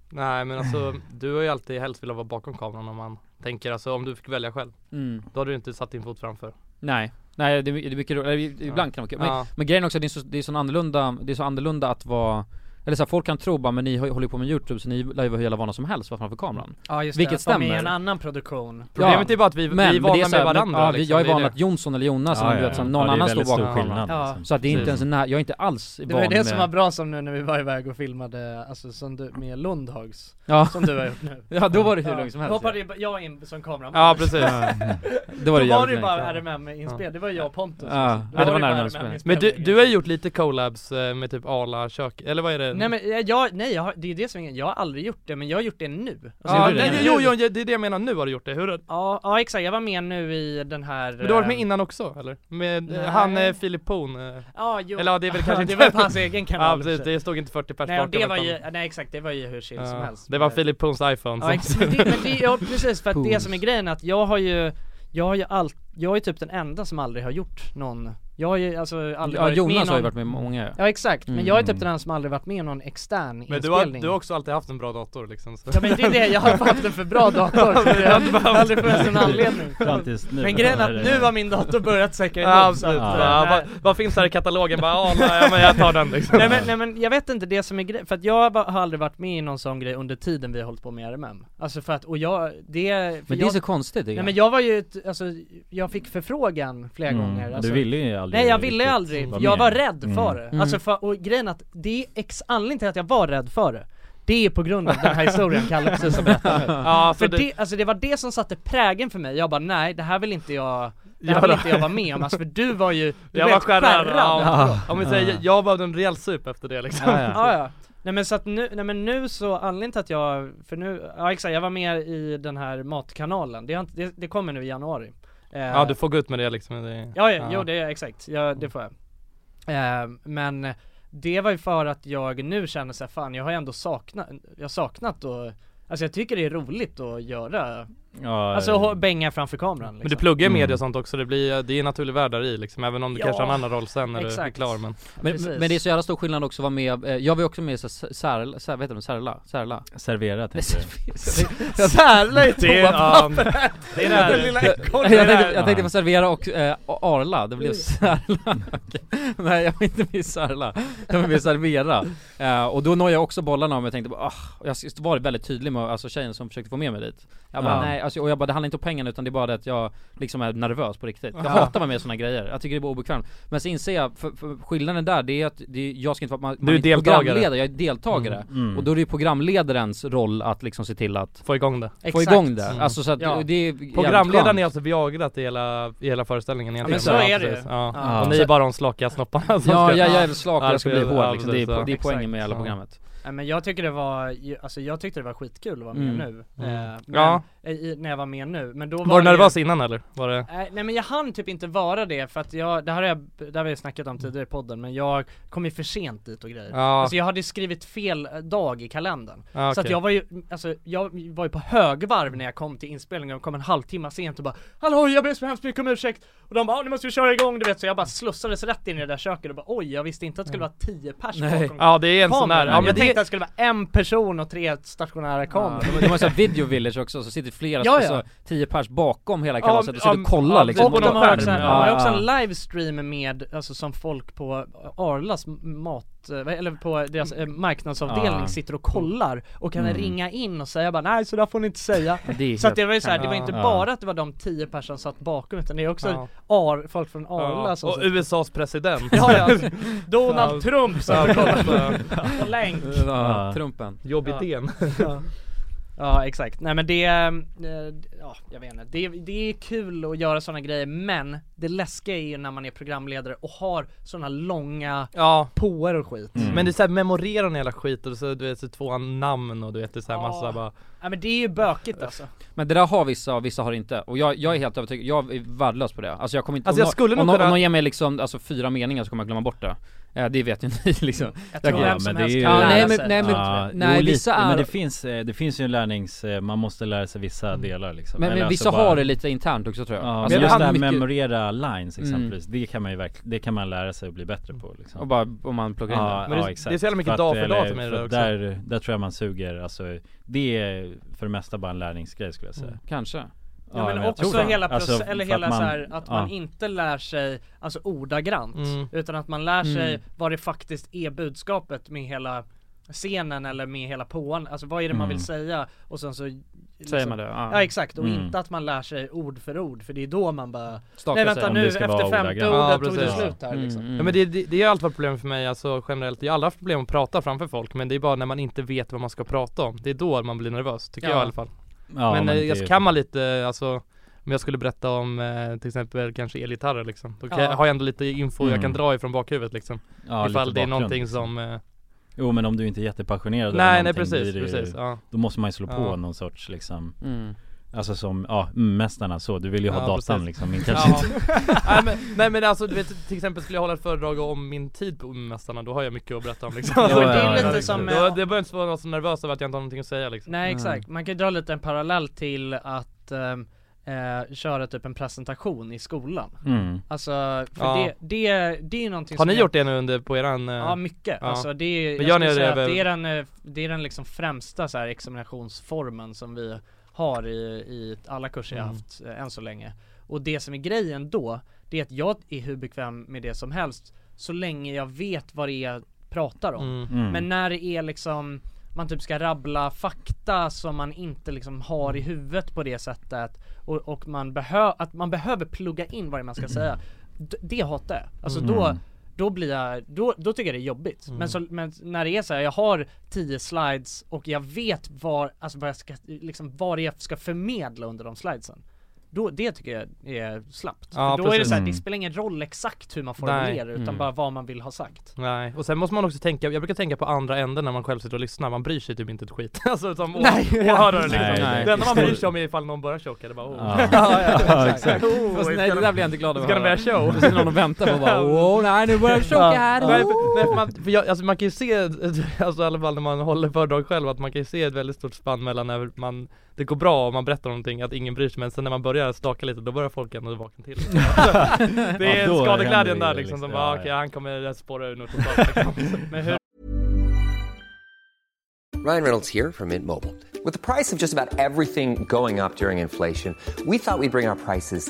[SPEAKER 4] Nej men alltså, du har ju alltid helst velat vara bakom kameran om man tänker, alltså om du fick välja själv
[SPEAKER 1] Mm.
[SPEAKER 4] Då hade du inte satt din fot framför
[SPEAKER 1] Nej, nej det är det är mycket roligt, eller ibland kan det vara kul. Men,
[SPEAKER 4] Ja.
[SPEAKER 1] men grejen också, det är, så, det är så annorlunda, det är så annorlunda att vara eller så här, folk kan tro bara, men ni har- håller ju på med youtube så ni lär ju vara hur jävla vana som helst vara framför kameran
[SPEAKER 3] Ja just
[SPEAKER 1] Vilket
[SPEAKER 3] det, att de
[SPEAKER 1] stämmer
[SPEAKER 3] är en annan produktion.
[SPEAKER 4] Problemet är bara att vi- vi är
[SPEAKER 1] men
[SPEAKER 4] vana
[SPEAKER 1] det så här, men-
[SPEAKER 4] med varandra,
[SPEAKER 1] Ja, vi,
[SPEAKER 4] liksom,
[SPEAKER 1] jag är
[SPEAKER 4] det är
[SPEAKER 1] van
[SPEAKER 4] det.
[SPEAKER 1] att Jonsson eller Jonas,
[SPEAKER 7] Ja,
[SPEAKER 1] eller du
[SPEAKER 7] ja,
[SPEAKER 1] vet,
[SPEAKER 7] ja.
[SPEAKER 1] som någon
[SPEAKER 7] Ja, det är
[SPEAKER 1] annan står
[SPEAKER 7] väldigt stor
[SPEAKER 1] bakom kameran
[SPEAKER 7] skillnad, Ja. liksom.
[SPEAKER 1] Så att det är inte ens
[SPEAKER 7] Precis.
[SPEAKER 1] nära, jag är inte alls
[SPEAKER 3] Det var ju
[SPEAKER 1] van
[SPEAKER 3] det som var
[SPEAKER 1] med
[SPEAKER 3] bra som nu när vi var iväg och filmade, alltså som du, med Lundhags
[SPEAKER 1] Ja.
[SPEAKER 3] Som du har gjort nu
[SPEAKER 4] *laughs*
[SPEAKER 1] Ja, då var det hur lugnt som helst,
[SPEAKER 3] Då hoppade ju bara jag in som kameraman
[SPEAKER 1] Ja,
[SPEAKER 3] *laughs*
[SPEAKER 1] precis. Ja.
[SPEAKER 3] Då
[SPEAKER 1] Då var det
[SPEAKER 3] var det Då var det ju
[SPEAKER 1] jävligt
[SPEAKER 3] bara
[SPEAKER 1] lugnt, ja.
[SPEAKER 3] RMM-inspel, det var jag och Pontus
[SPEAKER 1] Ja,
[SPEAKER 3] liksom. Då
[SPEAKER 1] ja, det var
[SPEAKER 3] var bara
[SPEAKER 1] närmare
[SPEAKER 3] RMM
[SPEAKER 1] spel.
[SPEAKER 4] Men
[SPEAKER 3] inspelning.
[SPEAKER 4] du, du har ju gjort lite collabs eh, med typ Arla kök, eller vad är det?
[SPEAKER 3] Nej men jag- jag, nej jag, har- det är det som är grejen. jag har aldrig gjort det men jag har gjort det nu Alltså, jag
[SPEAKER 4] ja,
[SPEAKER 3] gjorde
[SPEAKER 4] nej,
[SPEAKER 3] det
[SPEAKER 4] jo,
[SPEAKER 3] nu.
[SPEAKER 4] jo, jo, det är det jag menar, nu har du gjort det, hur har
[SPEAKER 3] Ja, ja exakt, jag var med nu i den här
[SPEAKER 4] Men du har varit med
[SPEAKER 3] eh,
[SPEAKER 4] innan också eller? Med eh,
[SPEAKER 3] Nej.
[SPEAKER 4] han eh, Filip Poon? eh.
[SPEAKER 3] *laughs* Ja, jo.
[SPEAKER 4] Eller ja, *laughs* det är väl kanske
[SPEAKER 3] det
[SPEAKER 4] inte...
[SPEAKER 3] var på hans egen kanal
[SPEAKER 4] Ja precis, det stod inte 40 pers
[SPEAKER 3] Nej och
[SPEAKER 4] bakom
[SPEAKER 3] det var
[SPEAKER 4] utan-
[SPEAKER 3] ju, nej exakt det var ju hur chill som
[SPEAKER 4] Ja,
[SPEAKER 3] helst
[SPEAKER 4] Det var Filip Poons iPhone
[SPEAKER 3] Ja, exakt. Men det, men det, ja precis, för att det
[SPEAKER 4] Pools.
[SPEAKER 3] som är grejen är att jag har ju, jag har ju allt, jag är typ den enda som aldrig har gjort någon jag har ju alltså aldrig
[SPEAKER 1] Ja,
[SPEAKER 3] varit med i
[SPEAKER 1] Jonas
[SPEAKER 3] någon...
[SPEAKER 1] har ju varit med i många.
[SPEAKER 3] Ja exakt, men
[SPEAKER 1] Mm.
[SPEAKER 3] jag är typ den enda som aldrig varit med i någon extern
[SPEAKER 4] Men du har,
[SPEAKER 3] inspelning
[SPEAKER 4] du har också alltid haft en bra dator liksom så.
[SPEAKER 3] Ja men det är det, jag har haft en för
[SPEAKER 4] *laughs*
[SPEAKER 3] bra dator så det har aldrig funnits någon anledning
[SPEAKER 4] Fram tills nu.
[SPEAKER 3] Men grejen är att nu har min dator börjat säkra ihop
[SPEAKER 4] Ja,
[SPEAKER 3] så att,
[SPEAKER 4] absolut.
[SPEAKER 3] eh,
[SPEAKER 4] Ja,
[SPEAKER 3] nej.
[SPEAKER 4] vad, vad finns där i katalogen? Bara, ja, nej, ja, men jag tar den liksom.
[SPEAKER 3] nej, men, nej men jag vet inte det som är grejen, för att jag ba- har aldrig varit med i någon sån grej under tiden vi har hållit på med RMM Alltså för att, och jag, det Men
[SPEAKER 1] det är
[SPEAKER 3] jag,
[SPEAKER 1] så konstigt, det
[SPEAKER 3] Nej
[SPEAKER 1] gör.
[SPEAKER 3] men jag var ju, ett- alltså jag fick förfrågan flera
[SPEAKER 7] Mm,
[SPEAKER 3] gånger
[SPEAKER 7] du
[SPEAKER 3] alltså,
[SPEAKER 7] ville ju aldrig
[SPEAKER 3] Nej jag ville
[SPEAKER 7] riktigt
[SPEAKER 3] aldrig,
[SPEAKER 7] vara
[SPEAKER 3] jag
[SPEAKER 7] med.
[SPEAKER 3] var rädd
[SPEAKER 7] Mm.
[SPEAKER 3] för det
[SPEAKER 7] Mm.
[SPEAKER 3] Alltså för, och grejen är att det är ex, anledningen till att jag var rädd för det det är på grund av den här historien Kalle precis har berättat
[SPEAKER 4] *laughs* Ja,
[SPEAKER 3] För
[SPEAKER 4] för
[SPEAKER 3] det,
[SPEAKER 4] det-
[SPEAKER 3] alltså det var det som satte prägen för mig, jag bara nej det här vill inte jag, det här
[SPEAKER 4] Ja,
[SPEAKER 3] vill
[SPEAKER 4] då.
[SPEAKER 3] inte jag vara med om alltså för du var ju, du
[SPEAKER 4] Jag
[SPEAKER 3] blev
[SPEAKER 4] var skärrad.
[SPEAKER 3] Ja.
[SPEAKER 4] Ja. Om vi säger, jag- jag var en rejäl sup efter det liksom.
[SPEAKER 3] Ja, ja. Nej men så att nu, nej men nu så, anledningen till att jag, för nu, ja exakt jag var med i den här matkanalen, det, har inte, det, det kommer nu i januari Eh,
[SPEAKER 4] Ja, du får gå ut med det liksom. Det,
[SPEAKER 3] Ja, ja, jo det är exakt, ja,
[SPEAKER 4] Mm.
[SPEAKER 3] det får jag. Eh, men det var ju för att jag nu känner såhär, fan jag har ju ändå saknat, jag har saknat och Alltså jag tycker det är roligt att göra,
[SPEAKER 4] Ja,
[SPEAKER 3] alltså
[SPEAKER 4] eh.
[SPEAKER 3] ha- bänga framför kameran liksom.
[SPEAKER 4] Men du pluggar ju
[SPEAKER 1] Mm.
[SPEAKER 4] media och sånt också, det, blir, det är en naturlig värld där i liksom, även om du
[SPEAKER 3] Ja,
[SPEAKER 4] kanske har en annan roll sen när du är
[SPEAKER 3] exakt.
[SPEAKER 4] klar men
[SPEAKER 1] Men, men det är så jävla stor skillnad också att vara med, eh, jag var ju också med i så här Särla, Sär, vad heter de, Särla? Särla?
[SPEAKER 7] Servera tänkte
[SPEAKER 1] du?
[SPEAKER 3] Särla är toapappret!
[SPEAKER 4] Det är det här.
[SPEAKER 1] Den lilla ekorren.
[SPEAKER 4] Det är
[SPEAKER 1] jag,
[SPEAKER 4] det här.
[SPEAKER 1] tänkte, jag tänkte på servera och eh, Arla, det blev Särla Okej. Nej jag var inte med i Särla, jag var med i Servera Eh, Och då når jag också bollarna om jag tänkte bara, ah, och jag var väldigt tydlig med alltså, tjejen som försökte få med mig dit Jag bara
[SPEAKER 6] Ja.
[SPEAKER 1] nej, alltså, och jag bara det handlar inte om pengarna utan det är bara det att jag liksom är nervös på riktigt Jag
[SPEAKER 6] Ja.
[SPEAKER 1] hatar att vara med i sådana grejer, jag tycker det är bara obekvämt Men så inser jag, för, för skillnaden där det är att det är, jag ska inte vara, man,
[SPEAKER 4] Du
[SPEAKER 1] man
[SPEAKER 4] är
[SPEAKER 1] inte
[SPEAKER 4] deltagare.
[SPEAKER 1] programledare, jag är deltagare
[SPEAKER 4] Mm, mm.
[SPEAKER 1] Och då är det ju programledarens roll att liksom se till att
[SPEAKER 4] Få igång det
[SPEAKER 1] Få igång det, alltså så att det är jävligt
[SPEAKER 4] Programledaren
[SPEAKER 1] skönt.
[SPEAKER 4] är alltså Viagrat i hela, i hela föreställningen
[SPEAKER 1] men
[SPEAKER 4] egentligen.
[SPEAKER 1] så är det ju.
[SPEAKER 4] precis. ja.
[SPEAKER 1] Ja.
[SPEAKER 4] Och ni är bara de slakiga snopparna som
[SPEAKER 1] Ja,
[SPEAKER 4] ska-
[SPEAKER 1] jag- jag är slak och jag ska bli hård, liksom.
[SPEAKER 4] precis,
[SPEAKER 1] Det är- det är
[SPEAKER 4] ja.
[SPEAKER 1] poängen med hela
[SPEAKER 4] Ja.
[SPEAKER 1] programmet.
[SPEAKER 3] Nej, men jag tycker det var, ju- alltså jag tyckte det var skitkul att vara med
[SPEAKER 4] Mm.
[SPEAKER 3] nu.
[SPEAKER 4] Mm.
[SPEAKER 3] Eh,
[SPEAKER 4] Ja.
[SPEAKER 3] men, eh, i, när jag var med nu, men då var,
[SPEAKER 4] Var du
[SPEAKER 3] det ju-
[SPEAKER 4] nervös innan eller? Var det...
[SPEAKER 3] Nej, nej men jag hann typ inte vara det för att jag, det här har jag, det här har jag snackat om tidigare i podden men jag kom ju för sent dit och grejer.
[SPEAKER 4] Ja.
[SPEAKER 3] Alltså jag hade skrivit fel eh, dag i kalendern.
[SPEAKER 4] Ja,
[SPEAKER 3] Så att
[SPEAKER 4] okej.
[SPEAKER 3] jag var ju, alltså jag var ju på högvarv när jag kom till inspelningen och kom en halvtimme sent och bara Hallå jag ber så hemskt mycket om ursäkt! Och de bara "Ah, nu måste vi köra igång du vet så jag bara slussades rätt in i det där köket och bara oj jag visste inte att det skulle vara 10 pers
[SPEAKER 4] Nej.
[SPEAKER 3] bakom
[SPEAKER 4] Mm. Ja, det är en sån
[SPEAKER 3] kameran."
[SPEAKER 4] där- ja,
[SPEAKER 3] Jag
[SPEAKER 4] men det-
[SPEAKER 3] tänkte att det skulle vara en person och tre stationära kameror.
[SPEAKER 1] de, de har såhär video village också, så sitter flera,
[SPEAKER 3] Ja,
[SPEAKER 1] ja,
[SPEAKER 3] ja.
[SPEAKER 1] alltså, tio pers bakom hela
[SPEAKER 3] Ja,
[SPEAKER 1] kalaset och sitter
[SPEAKER 3] ja,
[SPEAKER 1] och kollar
[SPEAKER 3] ja,
[SPEAKER 1] liksom
[SPEAKER 3] Och de har också, de har
[SPEAKER 1] Ja,
[SPEAKER 3] också en
[SPEAKER 1] ja.
[SPEAKER 3] livestream med, alltså som folk på Arlas mat, eh, eller på deras eh, marknadsavdelning
[SPEAKER 1] Ja.
[SPEAKER 3] sitter och kollar och kan
[SPEAKER 1] Mm.
[SPEAKER 3] ringa in och säga bara nej så där får ni inte säga.
[SPEAKER 1] Ja, det är
[SPEAKER 3] så att
[SPEAKER 1] helt
[SPEAKER 3] det var ju så här, det var
[SPEAKER 1] sjukt.
[SPEAKER 3] inte
[SPEAKER 1] Ja.
[SPEAKER 3] bara att det var de tio personer som satt bakom utan det är också
[SPEAKER 4] Ja.
[SPEAKER 3] ar, folk från Arla
[SPEAKER 4] Ja,
[SPEAKER 3] som
[SPEAKER 4] och
[SPEAKER 3] sitter-
[SPEAKER 4] USAs president.
[SPEAKER 3] ja, ja. *laughs* Donald
[SPEAKER 4] Ja.
[SPEAKER 3] Trump som
[SPEAKER 4] Ja,
[SPEAKER 3] ja, kollar
[SPEAKER 4] precis. Ja.
[SPEAKER 3] på *laughs* länk.
[SPEAKER 1] Ja, Trumpen.
[SPEAKER 4] Jobbidén.
[SPEAKER 3] Ja. *laughs* Ja. Ja exakt, nej men det, eh, ja jag vet inte, det, det är kul att göra sådana grejer men det läskiga är ju när man är programledare och har sådana långa
[SPEAKER 4] Ja.
[SPEAKER 3] påer och skit.
[SPEAKER 1] Mm.
[SPEAKER 4] Men det är såhär memorera hela skit och så du vet så två namn och du vet det är såhär massa bara
[SPEAKER 3] Ja men det är ju bökigt alltså.
[SPEAKER 1] Men det där har vissa och vissa har inte, och jag, jag är helt övertygad, jag är värdelös på det Alltså jag kommer inte,
[SPEAKER 4] Alltså, jag
[SPEAKER 1] om, nå-
[SPEAKER 4] skulle nog
[SPEAKER 1] om, nå-
[SPEAKER 4] kunna-
[SPEAKER 1] om någon ger mig liksom, alltså fyra meningar så kommer jag glömma bort det eh, Det vet ju *laughs* ni liksom
[SPEAKER 3] Jag tror vem som helst
[SPEAKER 1] kan lära sig det.
[SPEAKER 7] Ja,
[SPEAKER 1] nej,
[SPEAKER 7] jo, lite,
[SPEAKER 1] vissa är-
[SPEAKER 7] Men det finns, eh, det finns ju en lärnings, eh, man måste lära sig vissa delar liksom
[SPEAKER 1] Mm. Men,
[SPEAKER 7] Eller
[SPEAKER 1] men
[SPEAKER 7] alltså
[SPEAKER 1] vissa
[SPEAKER 7] bara-
[SPEAKER 1] har det lite internt också tror jag
[SPEAKER 7] Ja,
[SPEAKER 1] Alltså,
[SPEAKER 7] men just
[SPEAKER 1] han
[SPEAKER 7] det här
[SPEAKER 1] mycket-
[SPEAKER 7] memorera lines
[SPEAKER 1] Mm.
[SPEAKER 7] exempelvis, det kan man ju verkligen, det kan man lära sig och bli bättre på liksom.
[SPEAKER 1] Och bara om man pluggar in
[SPEAKER 7] ja,
[SPEAKER 1] det.
[SPEAKER 7] ja,
[SPEAKER 1] Men det-
[SPEAKER 7] exakt.
[SPEAKER 1] det är så jävla mycket
[SPEAKER 7] att-
[SPEAKER 1] dag för
[SPEAKER 7] eller-
[SPEAKER 1] dag som är det
[SPEAKER 7] för
[SPEAKER 1] där också.
[SPEAKER 7] Där, där tror jag man suger, alltså det är för det mesta bara en lärningsgrej skulle jag säga
[SPEAKER 1] Mm, kanske. Ja,
[SPEAKER 3] Ja, men
[SPEAKER 7] jag tror
[SPEAKER 3] också
[SPEAKER 7] det.
[SPEAKER 3] hela, proce-
[SPEAKER 7] Alltså,
[SPEAKER 3] eller
[SPEAKER 7] för
[SPEAKER 3] hela så här, att man
[SPEAKER 7] ja.
[SPEAKER 3] inte lär sig, alltså ordagrant,
[SPEAKER 7] Mm.
[SPEAKER 3] utan att man lär sig
[SPEAKER 7] Mm.
[SPEAKER 3] vad det faktiskt är budskapet med hela scenen eller med hela påan, alltså vad är det man vill
[SPEAKER 1] Mm.
[SPEAKER 3] säga och sen så liksom-
[SPEAKER 1] Säger man det, ja.
[SPEAKER 3] ja exakt, och
[SPEAKER 1] Mm.
[SPEAKER 3] inte att man lär sig ord för ord för det är då man bara
[SPEAKER 1] Stakar
[SPEAKER 3] Nej
[SPEAKER 1] sig.
[SPEAKER 3] vänta
[SPEAKER 1] Om
[SPEAKER 3] nu,
[SPEAKER 1] det ska vara
[SPEAKER 3] efter femte
[SPEAKER 1] ordagrant.
[SPEAKER 3] ordet
[SPEAKER 1] Ja,
[SPEAKER 3] tog det
[SPEAKER 1] precis. Mm.
[SPEAKER 3] slut här liksom
[SPEAKER 7] Mm,
[SPEAKER 4] Ja, men det, det, det har alltid varit problem för mig alltså generellt, jag har aldrig haft problem att prata framför folk men det är bara när man inte vet vad man ska prata om, det är då man blir nervös tycker
[SPEAKER 7] Ja.
[SPEAKER 4] jag i alla fall
[SPEAKER 7] Ja,
[SPEAKER 4] Men,
[SPEAKER 7] men
[SPEAKER 4] eh,
[SPEAKER 7] det är-
[SPEAKER 4] alltså, kan man lite, alltså om jag skulle berätta om eh, till exempel kanske elgitarrer liksom, då kan,
[SPEAKER 7] Ja.
[SPEAKER 4] har jag ändå lite info jag kan
[SPEAKER 7] Mm.
[SPEAKER 4] dra ifrån bakhuvudet liksom
[SPEAKER 7] Ja,
[SPEAKER 4] Ifall
[SPEAKER 7] lite
[SPEAKER 4] det är
[SPEAKER 7] bakgrund,
[SPEAKER 4] någonting
[SPEAKER 7] liksom.
[SPEAKER 4] som eh,
[SPEAKER 7] Jo men om du inte är jättepassionerad
[SPEAKER 4] Nej,
[SPEAKER 7] över
[SPEAKER 4] nej,
[SPEAKER 7] någonting,
[SPEAKER 4] precis,
[SPEAKER 7] blir det ju-
[SPEAKER 4] precis, ja.
[SPEAKER 7] Då måste man ju slå på
[SPEAKER 4] Ja.
[SPEAKER 7] någon sorts liksom
[SPEAKER 4] Mm.
[SPEAKER 7] Alltså som, ja, mm, mästarna så, du vill ju ha
[SPEAKER 4] Ja,
[SPEAKER 7] datan
[SPEAKER 4] precis.
[SPEAKER 7] liksom, men
[SPEAKER 4] Ja.
[SPEAKER 7] kanske inte *laughs*
[SPEAKER 4] *laughs* nej, men, nej men alltså du vet till exempel skulle jag hålla ett föredrag om min tid på Mästarna, då har jag mycket att berätta om liksom
[SPEAKER 3] Ja,
[SPEAKER 4] alltså,
[SPEAKER 3] men
[SPEAKER 4] *laughs*
[SPEAKER 3] det är lite som, eh,
[SPEAKER 4] då, Det behöver inte vara någon så nervös över att jag inte har någonting att säga liksom
[SPEAKER 3] Nej exakt, man kan ju dra lite en parallell till att ehm, eh, köra typ en presentation i skolan
[SPEAKER 4] Mm.
[SPEAKER 3] Alltså, för
[SPEAKER 4] Ja.
[SPEAKER 3] det, det, det är ju någonting
[SPEAKER 4] Har
[SPEAKER 3] som
[SPEAKER 4] ni
[SPEAKER 3] jag-
[SPEAKER 4] gjort det nu under, på eran? eh,
[SPEAKER 3] Ja mycket,
[SPEAKER 4] ja.
[SPEAKER 3] alltså det är, jag
[SPEAKER 4] Men gör ni
[SPEAKER 3] skulle
[SPEAKER 4] det
[SPEAKER 3] säga att
[SPEAKER 4] över,
[SPEAKER 3] det är den, eh, det är den liksom främsta så här examinationsformen som vi har i, i alla kurser jag
[SPEAKER 8] Mm.
[SPEAKER 3] haft eh, än så länge Och det som är grejen då, det är att jag är hur bekväm med det som helst så länge jag vet vad det är jag pratar om
[SPEAKER 4] Mm. Mm.
[SPEAKER 3] Men när det är liksom man typ ska rabbla fakta som man inte liksom har
[SPEAKER 4] Mm.
[SPEAKER 3] i huvudet på det sättet och, och man, behö- att man behöver plugga in vad det är man ska säga D- Det hatar jag, alltså då
[SPEAKER 8] Mm.
[SPEAKER 3] då blir jag, då, då tycker jag det är jobbigt.
[SPEAKER 8] Mm.
[SPEAKER 3] Men, så, men när det är så här, jag har 10 slides och jag vet var, alltså vad jag ska, liksom vad det är jag ska förmedla under de slidesen. Då, det tycker jag är slappt.
[SPEAKER 4] Ja,
[SPEAKER 3] För då är det
[SPEAKER 4] precis.
[SPEAKER 3] så här, det
[SPEAKER 4] Mm.
[SPEAKER 3] spelar ingen roll exakt hur man formulerar
[SPEAKER 4] Nej.
[SPEAKER 3] utan
[SPEAKER 4] Mm.
[SPEAKER 3] bara vad man vill ha sagt.
[SPEAKER 4] Nej, och sen måste man också tänka, jag brukar tänka på andra änden när man själv sitter och lyssnar, man bryr sig typ inte ett skit *laughs* Alltså som å-
[SPEAKER 3] Nej.
[SPEAKER 4] åhörare liksom
[SPEAKER 7] Nej, nej.
[SPEAKER 4] Det enda man bryr sig om är ifall någon börjar tjocka, det bara oh. *laughs*
[SPEAKER 7] Ja. Ja, exakt.
[SPEAKER 4] Oh,
[SPEAKER 1] Fast
[SPEAKER 4] ska
[SPEAKER 1] nej, det
[SPEAKER 4] de-
[SPEAKER 1] där blir jag inte glad över
[SPEAKER 4] Ska de
[SPEAKER 1] att
[SPEAKER 4] börja
[SPEAKER 1] höra.
[SPEAKER 4] show?
[SPEAKER 1] Då sitter någon och väntar
[SPEAKER 4] *laughs*
[SPEAKER 1] på bara, "Åh, nej, nu börjar det tjocka här."
[SPEAKER 4] Nej, för,
[SPEAKER 1] Oh.
[SPEAKER 4] nej, för man, för jag, alltså, man kan ju se, *laughs* alltså i alla fall när man håller föredrag själv, att man kan ju se ett väldigt stort spann mellan när man det går bra om man berättar någonting, att ingen bryr sig, men sen när man börjar staka lite, då börjar folk ändå
[SPEAKER 7] *laughs*
[SPEAKER 4] vakna till liksom. Det
[SPEAKER 7] Ja,
[SPEAKER 4] är
[SPEAKER 7] då händer
[SPEAKER 4] skadeglädjen
[SPEAKER 7] det
[SPEAKER 4] där
[SPEAKER 7] ju
[SPEAKER 4] liksom, som
[SPEAKER 7] liksom.
[SPEAKER 4] bara
[SPEAKER 7] Ja,
[SPEAKER 4] okej
[SPEAKER 7] ja.
[SPEAKER 4] han kommer spåra ur nu
[SPEAKER 7] *laughs*
[SPEAKER 4] totalt liksom.
[SPEAKER 3] Men hur
[SPEAKER 9] Ryan Reynolds here from Mint Mobile. With the price of just about everything going up during inflation, we thought we'd bring our prices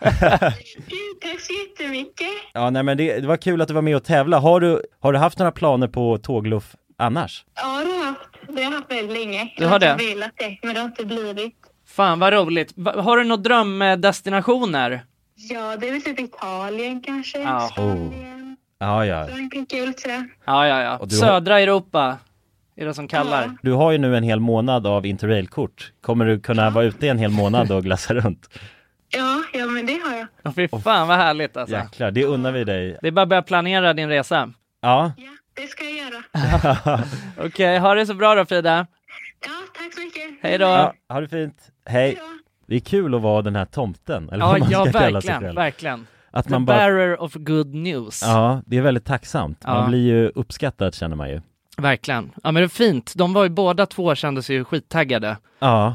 [SPEAKER 10] Gud, Tack så jättemycket.
[SPEAKER 2] Ja, nej men det, det var kul att du var med och tävla. Har du, har du haft några planer på tågluff annars?
[SPEAKER 10] Ja, det har jag haft. Det har jag haft väldigt länge.
[SPEAKER 3] Du har
[SPEAKER 10] Jag
[SPEAKER 3] det?
[SPEAKER 10] har velat det, men det har inte blivit.
[SPEAKER 3] Fan vad roligt. Va- har du några drömdestinationer?
[SPEAKER 10] Ja, det är väl typ Italien kanske.
[SPEAKER 3] Ja.
[SPEAKER 2] Ja, ja.
[SPEAKER 10] Frankrike och lite sådär.
[SPEAKER 3] Ja, ja, ja.
[SPEAKER 2] Och du har-
[SPEAKER 3] Södra Europa är det som kallar.
[SPEAKER 2] Du har ju nu en hel månad av interrailkort. Kommer du kunna vara ute i en hel månad och glassa runt?
[SPEAKER 10] Ja, ja, men det har jag.
[SPEAKER 3] Ja. Fy fan vad härligt alltså.
[SPEAKER 2] Jäklar, det unnar vi dig.
[SPEAKER 3] Det är bara att börja planera din resa.
[SPEAKER 2] Ja.
[SPEAKER 10] Det ska jag göra.
[SPEAKER 3] Okej, ha det så bra då Frida.
[SPEAKER 10] Tack så mycket.
[SPEAKER 3] Hej då.
[SPEAKER 2] ja ha det fint. Hej. Det är kul att vara den här tomten, eller
[SPEAKER 3] Ja,
[SPEAKER 2] vad man ska
[SPEAKER 3] ja
[SPEAKER 2] kalla sig
[SPEAKER 3] verkligen,
[SPEAKER 2] själv.
[SPEAKER 3] verkligen.
[SPEAKER 2] Att
[SPEAKER 3] The
[SPEAKER 2] man bara-
[SPEAKER 3] bearer of good news.
[SPEAKER 2] Ja, det är väldigt tacksamt.
[SPEAKER 3] Ja.
[SPEAKER 2] Man blir ju uppskattad känner man ju.
[SPEAKER 3] Verkligen. Ja men det är fint. De var ju båda två kände sig ju skittaggade
[SPEAKER 2] Ja,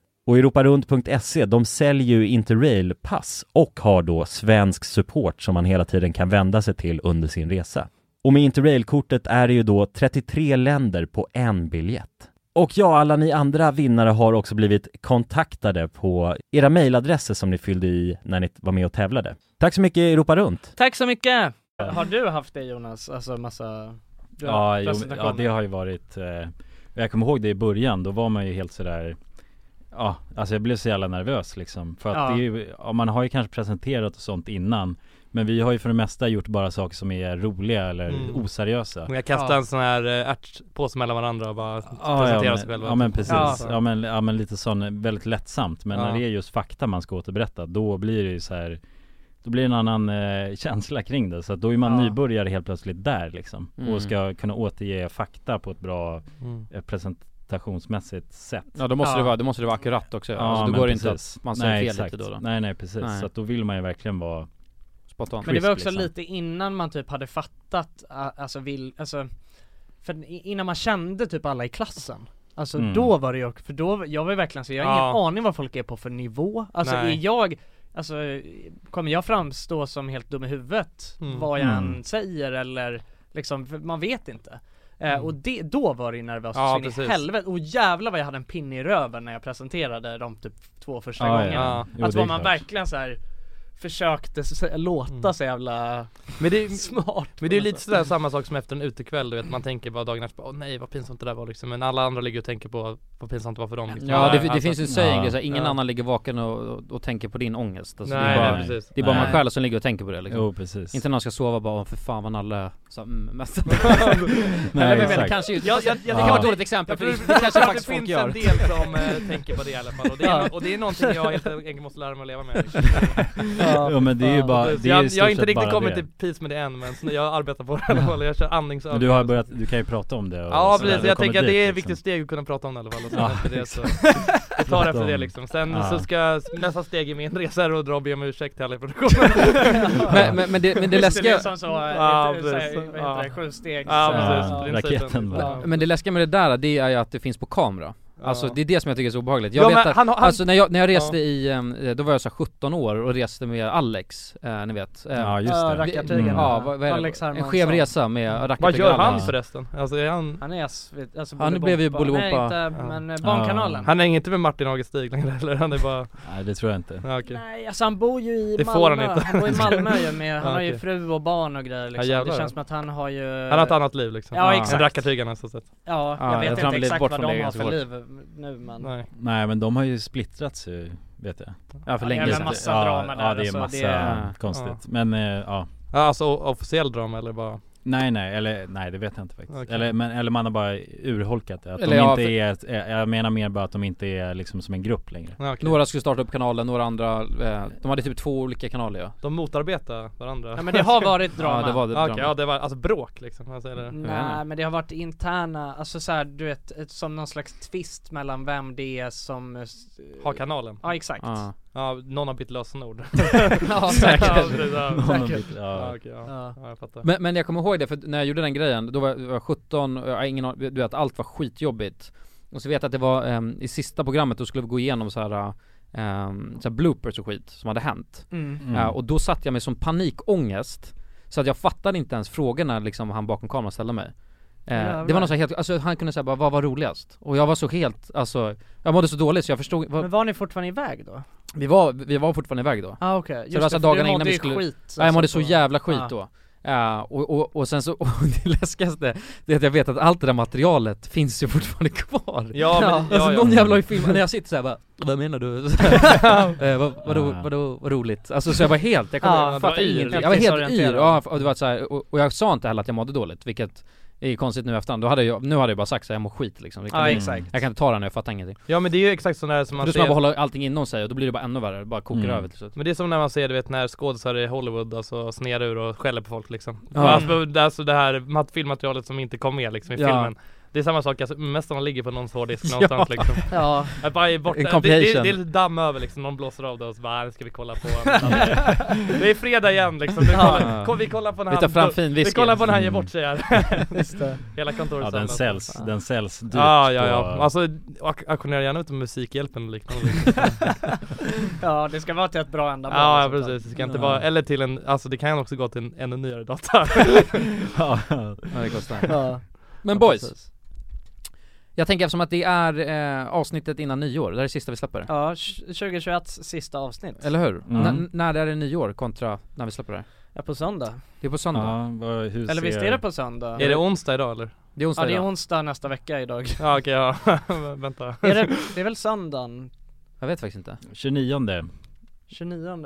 [SPEAKER 2] Och europarunt.se, E, de säljer ju Interrail-pass och har då svensk support som man hela tiden kan vända sig till under sin resa. Och med Interrail-kortet är det ju då 33 länder på en biljett. Och ja, alla ni andra vinnare har också blivit kontaktade på era mejladresser som ni fyllde i när ni var med och tävlade. Tack så mycket Europa Runt!
[SPEAKER 3] Tack så mycket! Har du haft det Jonas? Alltså massa du har
[SPEAKER 2] Ja, jo,
[SPEAKER 3] presentationer.
[SPEAKER 2] ja det har ju varit eh, Jag kommer ihåg det i början, då var man ju helt sådär Ja, alltså jag blev så jävla nervös liksom För att
[SPEAKER 3] Ja.
[SPEAKER 2] det är ju, ja, man har ju kanske presenterat och sånt innan Men vi har ju för det mesta gjort bara saker som är roliga eller
[SPEAKER 4] Mm.
[SPEAKER 2] oseriösa
[SPEAKER 4] Jag kastar en sån här eh, ärtpåse mellan varandra och bara
[SPEAKER 2] ja,
[SPEAKER 4] presenterar
[SPEAKER 2] men,
[SPEAKER 4] sig själva
[SPEAKER 2] ja men precis, ja. men, ja men lite sån, väldigt lättsamt Men
[SPEAKER 4] Ja.
[SPEAKER 2] när det är just fakta man ska återberätta då blir det ju så här Då blir det en annan eh, känsla kring det så att då är man nybörjare helt plötsligt där liksom
[SPEAKER 1] Mm.
[SPEAKER 2] Och ska kunna återge fakta på ett bra
[SPEAKER 1] Mm.
[SPEAKER 2] eh, presentationsmässigt sätt
[SPEAKER 1] Ja, då måste det vara- då måste det vara akkurat också. Alltså, då
[SPEAKER 2] men
[SPEAKER 1] går det inte
[SPEAKER 2] precis.
[SPEAKER 1] att man säger
[SPEAKER 2] nej,
[SPEAKER 1] fel lite
[SPEAKER 2] exakt.
[SPEAKER 1] då, då.
[SPEAKER 2] Nej nej precis,
[SPEAKER 1] Nej.
[SPEAKER 2] så att då vill man ju verkligen vara
[SPEAKER 1] Spontan
[SPEAKER 3] Men det var också
[SPEAKER 2] liksom.
[SPEAKER 3] lite innan man typ hade fattat, a- alltså vill, alltså För i- innan man kände typ alla i klassen Alltså
[SPEAKER 11] Mm.
[SPEAKER 3] då var det ju, för då, jag var ju verkligen så, jag har ingen
[SPEAKER 11] Ja.
[SPEAKER 3] aning vad folk är på för nivå Alltså
[SPEAKER 11] Nej.
[SPEAKER 3] är jag, alltså kommer jag framstå som helt dum i huvudet
[SPEAKER 11] Mm.
[SPEAKER 3] vad jag
[SPEAKER 11] Mm.
[SPEAKER 3] än säger eller liksom, för man vet inte Eh,
[SPEAKER 4] Mm.
[SPEAKER 3] Och det, då var det ju nervöst
[SPEAKER 4] Ja,
[SPEAKER 3] så in i
[SPEAKER 4] precis.
[SPEAKER 3] helvete, och jävlar vad jag hade en pinne i röven när jag presenterade de typ två första
[SPEAKER 4] Ja, ja.
[SPEAKER 3] gångerna
[SPEAKER 4] Ja. Jo,
[SPEAKER 3] Att
[SPEAKER 4] det
[SPEAKER 3] var
[SPEAKER 4] är
[SPEAKER 3] man
[SPEAKER 4] klart.
[SPEAKER 3] verkligen så här försökte s- låta
[SPEAKER 4] Mm.
[SPEAKER 3] så jävla *laughs*
[SPEAKER 4] Men det är,
[SPEAKER 3] smart
[SPEAKER 4] men det är
[SPEAKER 3] på
[SPEAKER 4] lite
[SPEAKER 3] något
[SPEAKER 4] sådär
[SPEAKER 3] sätt.
[SPEAKER 4] samma sak som efter en utekväll du vet man tänker bara dagen efter, åh nej vad pinsamt det där var liksom Men alla andra ligger och tänker på vad pinsamt det var för dem liksom.
[SPEAKER 1] Ja det, det
[SPEAKER 4] Alltså-
[SPEAKER 1] finns ju en saying, det är så här, ingen
[SPEAKER 4] Ja.
[SPEAKER 1] annan ligger vaken och, och, och tänker på din ångest alltså,
[SPEAKER 4] Nej,
[SPEAKER 1] det är
[SPEAKER 4] nej,
[SPEAKER 1] bara,
[SPEAKER 4] precis.
[SPEAKER 1] det är bara man
[SPEAKER 4] Nej.
[SPEAKER 1] själv som ligger och tänker på det liksom.
[SPEAKER 2] Jo, precis.
[SPEAKER 1] Inte när man ska sova bara, "Åh, för fan vad Nalle sa mm, mest *laughs*
[SPEAKER 2] Nej,
[SPEAKER 1] Eller men, men
[SPEAKER 2] exakt.
[SPEAKER 1] kanske just,
[SPEAKER 4] Jag-
[SPEAKER 1] jag,
[SPEAKER 4] jag- jag
[SPEAKER 1] det
[SPEAKER 4] tycker
[SPEAKER 1] kan vara ett
[SPEAKER 4] att-
[SPEAKER 1] dåligt exempel
[SPEAKER 4] jag
[SPEAKER 1] för
[SPEAKER 4] tror-
[SPEAKER 1] det,
[SPEAKER 4] jag
[SPEAKER 1] det
[SPEAKER 4] tror *laughs*
[SPEAKER 1] kanske
[SPEAKER 4] att det
[SPEAKER 1] faktiskt folk
[SPEAKER 4] finns
[SPEAKER 1] gör
[SPEAKER 4] en del som, eh, tänker på det i alla fall, och det är no- och det är någonting jag helt enkelt måste lära mig att leva med.
[SPEAKER 2] Ja, men det är ju bara,
[SPEAKER 4] Precis.
[SPEAKER 2] det är
[SPEAKER 4] jag,
[SPEAKER 2] ju i
[SPEAKER 4] jag
[SPEAKER 2] stort
[SPEAKER 4] har inte
[SPEAKER 2] sett
[SPEAKER 4] riktigt
[SPEAKER 2] bara
[SPEAKER 4] kommit
[SPEAKER 2] det.
[SPEAKER 4] till peace med det än men så jag arbetar på det i alla fall, jag kör andningsövningar
[SPEAKER 2] Men du har börjat, du kan ju prata om det och
[SPEAKER 4] Ja
[SPEAKER 2] sådär,
[SPEAKER 4] precis,
[SPEAKER 2] du
[SPEAKER 4] jag
[SPEAKER 2] kommer
[SPEAKER 4] tänker att det
[SPEAKER 2] dit,
[SPEAKER 4] är ett
[SPEAKER 2] liksom.
[SPEAKER 4] viktigt steg att kunna prata om det i alla fall och sen
[SPEAKER 2] Ja,
[SPEAKER 4] efter det så
[SPEAKER 2] exakt.
[SPEAKER 4] Jag tar
[SPEAKER 2] Prata
[SPEAKER 4] efter det
[SPEAKER 2] om-
[SPEAKER 4] liksom, sen
[SPEAKER 2] Ja.
[SPEAKER 4] så ska nästa steg i min resa är att dra och be om ursäkt till alla i produktionen
[SPEAKER 1] Men- men- men det- men det Just det, läskiga- det är som så, eh,
[SPEAKER 4] Ja,
[SPEAKER 1] heter- så här,
[SPEAKER 4] precis.
[SPEAKER 1] vad heter
[SPEAKER 4] Ja.
[SPEAKER 1] det, sju stegs-
[SPEAKER 4] Ja precis,
[SPEAKER 1] Ja,
[SPEAKER 4] principen.
[SPEAKER 1] raketen
[SPEAKER 2] bara.
[SPEAKER 4] Ja.
[SPEAKER 1] Men det läskiga med det där, det är ju att det finns på kamera Alltså det är det som jag tycker är så obehagligt. Jag
[SPEAKER 4] Ja,
[SPEAKER 1] vet
[SPEAKER 4] men
[SPEAKER 1] att,
[SPEAKER 4] han har- han-
[SPEAKER 1] alltså när jag, när jag
[SPEAKER 4] Ja.
[SPEAKER 1] reste i, ehm, eh, då var jag så här 17 år och reste med Alex, eh, ni vet eh,
[SPEAKER 4] Ja, just det. Ja, rackartygarna.
[SPEAKER 1] Mm. Ja, vad, vad är
[SPEAKER 4] Alex
[SPEAKER 1] det? En
[SPEAKER 4] Hermansson. Mm.
[SPEAKER 1] skev resa med rackartygarna
[SPEAKER 4] Vad gör han förresten? Alltså är han...
[SPEAKER 3] Han är svt- alltså
[SPEAKER 1] Han blev ju
[SPEAKER 3] Bolibompa. Nej,
[SPEAKER 1] Bolibompa
[SPEAKER 3] inte, men, eh, Barnkanalen.
[SPEAKER 4] Han hänger inte med Martin Augustig längre eller? Han är bara...
[SPEAKER 2] Nej det tror jag inte
[SPEAKER 4] Ja, okej.
[SPEAKER 3] Nej alltså han bor ju i
[SPEAKER 4] Det
[SPEAKER 3] Malmö,
[SPEAKER 4] får han inte.
[SPEAKER 3] bor i Malmö
[SPEAKER 4] *laughs*
[SPEAKER 3] ju med, han
[SPEAKER 4] Ja,
[SPEAKER 3] har ju
[SPEAKER 4] okej.
[SPEAKER 3] fru och barn och grejer liksom.
[SPEAKER 4] jävlar,
[SPEAKER 3] Det
[SPEAKER 4] ja.
[SPEAKER 3] känns som att han har ju
[SPEAKER 4] Han har ett annat liv liksom.
[SPEAKER 3] Ja
[SPEAKER 4] Ja.
[SPEAKER 3] exakt
[SPEAKER 4] Än rackartygarna, så sett.
[SPEAKER 3] Ja, jag
[SPEAKER 2] Ja, jag
[SPEAKER 3] vet
[SPEAKER 2] tror
[SPEAKER 3] inte
[SPEAKER 2] han blev
[SPEAKER 3] exakt
[SPEAKER 2] bort
[SPEAKER 3] vad
[SPEAKER 2] från
[SPEAKER 3] de
[SPEAKER 2] det
[SPEAKER 3] har
[SPEAKER 2] ganska
[SPEAKER 3] för
[SPEAKER 2] fort.
[SPEAKER 3] liv nu men
[SPEAKER 4] Nej.
[SPEAKER 2] Nej men de har ju splittrats ju, vet jag
[SPEAKER 1] Ja, för Ja, länge jävla sedan. massa drama där,
[SPEAKER 2] Ja det är
[SPEAKER 1] alltså,
[SPEAKER 2] massa
[SPEAKER 1] det är-
[SPEAKER 2] konstigt
[SPEAKER 1] Ja.
[SPEAKER 2] Men eh, ja
[SPEAKER 4] Ja, alltså o- officiell drama eller bara?
[SPEAKER 2] Nej nej, eller nej det vet jag inte faktiskt
[SPEAKER 4] Okej.
[SPEAKER 2] eller, men, eller man har bara urholkat det, att
[SPEAKER 1] Eller
[SPEAKER 2] de
[SPEAKER 1] ja,
[SPEAKER 2] inte
[SPEAKER 1] för-
[SPEAKER 2] är, ett- eh, jag menar mer bara att de inte är liksom som en grupp längre
[SPEAKER 1] Några skulle starta upp kanalen, några andra, eh, de hade typ två olika kanaler ja.
[SPEAKER 4] De motarbetar varandra.
[SPEAKER 3] Ja, men det har varit drama.
[SPEAKER 1] Ja det var det
[SPEAKER 4] Ja, okej,
[SPEAKER 1] drama.
[SPEAKER 4] ja det var alltså bråk liksom. Alltså, *laughs* eller?
[SPEAKER 3] Nej men det har varit interna, alltså såhär du vet, ett- som någon slags twist mellan vem det är som eh, s-
[SPEAKER 4] Har kanalen?
[SPEAKER 3] Ja exakt
[SPEAKER 4] Ja, någon har bytt lösenord.
[SPEAKER 3] *laughs* Ja, säkert.
[SPEAKER 4] *laughs* Ja, precis, ja.
[SPEAKER 3] Någon har bytt, ja.
[SPEAKER 4] ja, okej, ja.
[SPEAKER 3] Ja.
[SPEAKER 4] ja. jag fattar.
[SPEAKER 1] Men, men jag kommer ihåg det, för när jag gjorde den grejen, då var jag, var jag 17, och jag har ingen an- du vet allt var skitjobbigt Och så vet jag att det var ehm, i sista programmet, då skulle vi gå igenom så här, ehm, så här bloopers och skit som hade hänt
[SPEAKER 3] Mm.
[SPEAKER 1] Eh,
[SPEAKER 3] Mm.
[SPEAKER 1] Och då satt jag med sån panikångest Så att jag fattade inte ens frågorna liksom han bakom kameran ställde mig Eh,
[SPEAKER 3] Jävlar.
[SPEAKER 1] det var någon så här helt, alltså han kunde säga bara vad var roligast? Och jag var så helt, alltså Jag mådde så dåligt så jag förstod vad,
[SPEAKER 3] Men var ni fortfarande iväg då?
[SPEAKER 1] vi var, vi var fortfarande iväg då
[SPEAKER 3] Ah, okej.
[SPEAKER 1] Så
[SPEAKER 3] Just
[SPEAKER 1] det var så
[SPEAKER 3] det, för
[SPEAKER 1] dagarna
[SPEAKER 3] du
[SPEAKER 1] innan
[SPEAKER 3] mådde
[SPEAKER 1] vi
[SPEAKER 3] ju
[SPEAKER 1] skulle
[SPEAKER 3] skit,
[SPEAKER 1] Ja jag mådde
[SPEAKER 3] alltså,
[SPEAKER 1] så
[SPEAKER 3] på-
[SPEAKER 1] jävla skit
[SPEAKER 3] Ah.
[SPEAKER 1] då Eh, och, och, och sen så, *laughs* och det läskigaste Det är att jag vet att allt det där materialet finns ju fortfarande kvar
[SPEAKER 4] Ja, men-
[SPEAKER 1] Alltså
[SPEAKER 4] ja, ja.
[SPEAKER 1] någon jävla har ju filmat när jag sitter *laughs* såhär bara Vad menar du? Så här, eh, vad, vadå, vadå, vad roligt? Alltså så jag var helt, jag, kom,
[SPEAKER 3] Ja,
[SPEAKER 1] jag
[SPEAKER 3] du
[SPEAKER 1] fattade
[SPEAKER 3] var yr.
[SPEAKER 1] ingenting
[SPEAKER 3] Helt
[SPEAKER 1] Jag var helt yr,
[SPEAKER 3] desorienterad.
[SPEAKER 1] ja, och det var så här, och, och jag sa inte heller att jag mådde dåligt vilket är konstigt nu i efterhand, då hade jag, nu hade jag bara sagt så här, jag mår skit liksom
[SPEAKER 4] Ja,
[SPEAKER 1] jag,
[SPEAKER 4] exakt.
[SPEAKER 1] jag kan inte ta det här nu, jag fattar ingenting
[SPEAKER 4] Ja men det är ju exakt sådana här som man Mm.
[SPEAKER 1] Då ska man bara hålla allting inom sig och då blir det bara ännu värre, det bara kokar över till slut
[SPEAKER 4] Men det är som när man ser du vet när skådisar i Hollywood alltså snear ur och skäller på folk liksom.
[SPEAKER 1] Ja.
[SPEAKER 4] Alltså, det- alltså det här mat- filmmaterialet som inte kom med liksom i
[SPEAKER 1] Ja.
[SPEAKER 4] filmen. Det är samma sak, alltså mästarna ligger på
[SPEAKER 1] *laughs*
[SPEAKER 4] någons hårddisk någonstans liksom.
[SPEAKER 3] Ja.
[SPEAKER 4] Att Bara är borta.
[SPEAKER 1] En
[SPEAKER 4] Det, det, det
[SPEAKER 1] compilation.
[SPEAKER 4] är lite damm över liksom, någon blåser av det och så bara, "Ah, nu ska vi
[SPEAKER 1] *laughs*
[SPEAKER 4] kolla på Det är fredag igen liksom, vi kollar, kom, vi kollar på när
[SPEAKER 1] Vi tar
[SPEAKER 4] han-
[SPEAKER 1] fram fin
[SPEAKER 4] Vi
[SPEAKER 1] whisky.
[SPEAKER 4] kollar på när han ger
[SPEAKER 1] Mm.
[SPEAKER 4] bort sig här. *laughs*
[SPEAKER 1] Just det.
[SPEAKER 4] Hela kontoret
[SPEAKER 2] Ja den
[SPEAKER 4] samlas.
[SPEAKER 2] säljs, den säljs dyrt
[SPEAKER 4] Ja, ja, ja.
[SPEAKER 2] på-
[SPEAKER 4] Alltså, ak- auktionera gärna ut med Musikhjälpen
[SPEAKER 2] *laughs*
[SPEAKER 4] och liknande. liksom.
[SPEAKER 3] Ja det ska vara till ett bra ändamål
[SPEAKER 4] Ja, ja
[SPEAKER 3] och sånt där.
[SPEAKER 4] precis, det ska inte
[SPEAKER 3] Ja.
[SPEAKER 4] vara, eller till en, alltså det kan också gå till en ännu
[SPEAKER 2] *laughs*
[SPEAKER 4] nyare data
[SPEAKER 2] Ja,
[SPEAKER 1] det kostar.
[SPEAKER 3] Ja.
[SPEAKER 1] Men
[SPEAKER 4] Ja,
[SPEAKER 1] boys
[SPEAKER 4] precis.
[SPEAKER 1] Jag tänker eftersom att det är eh, avsnittet innan nyår, det här är sista vi släpper
[SPEAKER 3] Ja, 2021 sista avsnitt
[SPEAKER 1] Eller hur? Mm.
[SPEAKER 3] Ja.
[SPEAKER 1] N- när är det nyår kontra när vi släpper det här?
[SPEAKER 3] Ja på söndag
[SPEAKER 1] Det är på söndag.
[SPEAKER 7] Ja, vad, hur
[SPEAKER 3] Eller visst
[SPEAKER 7] ser-
[SPEAKER 3] är det på söndag?
[SPEAKER 4] Är det onsdag idag eller?
[SPEAKER 1] Det är onsdag
[SPEAKER 3] Ja det är
[SPEAKER 1] idag.
[SPEAKER 3] onsdag nästa vecka idag
[SPEAKER 4] *laughs* Ja okej, ja. Vänta.
[SPEAKER 3] Är det, det är väl söndagen
[SPEAKER 1] Jag vet faktiskt inte
[SPEAKER 7] 29
[SPEAKER 3] 29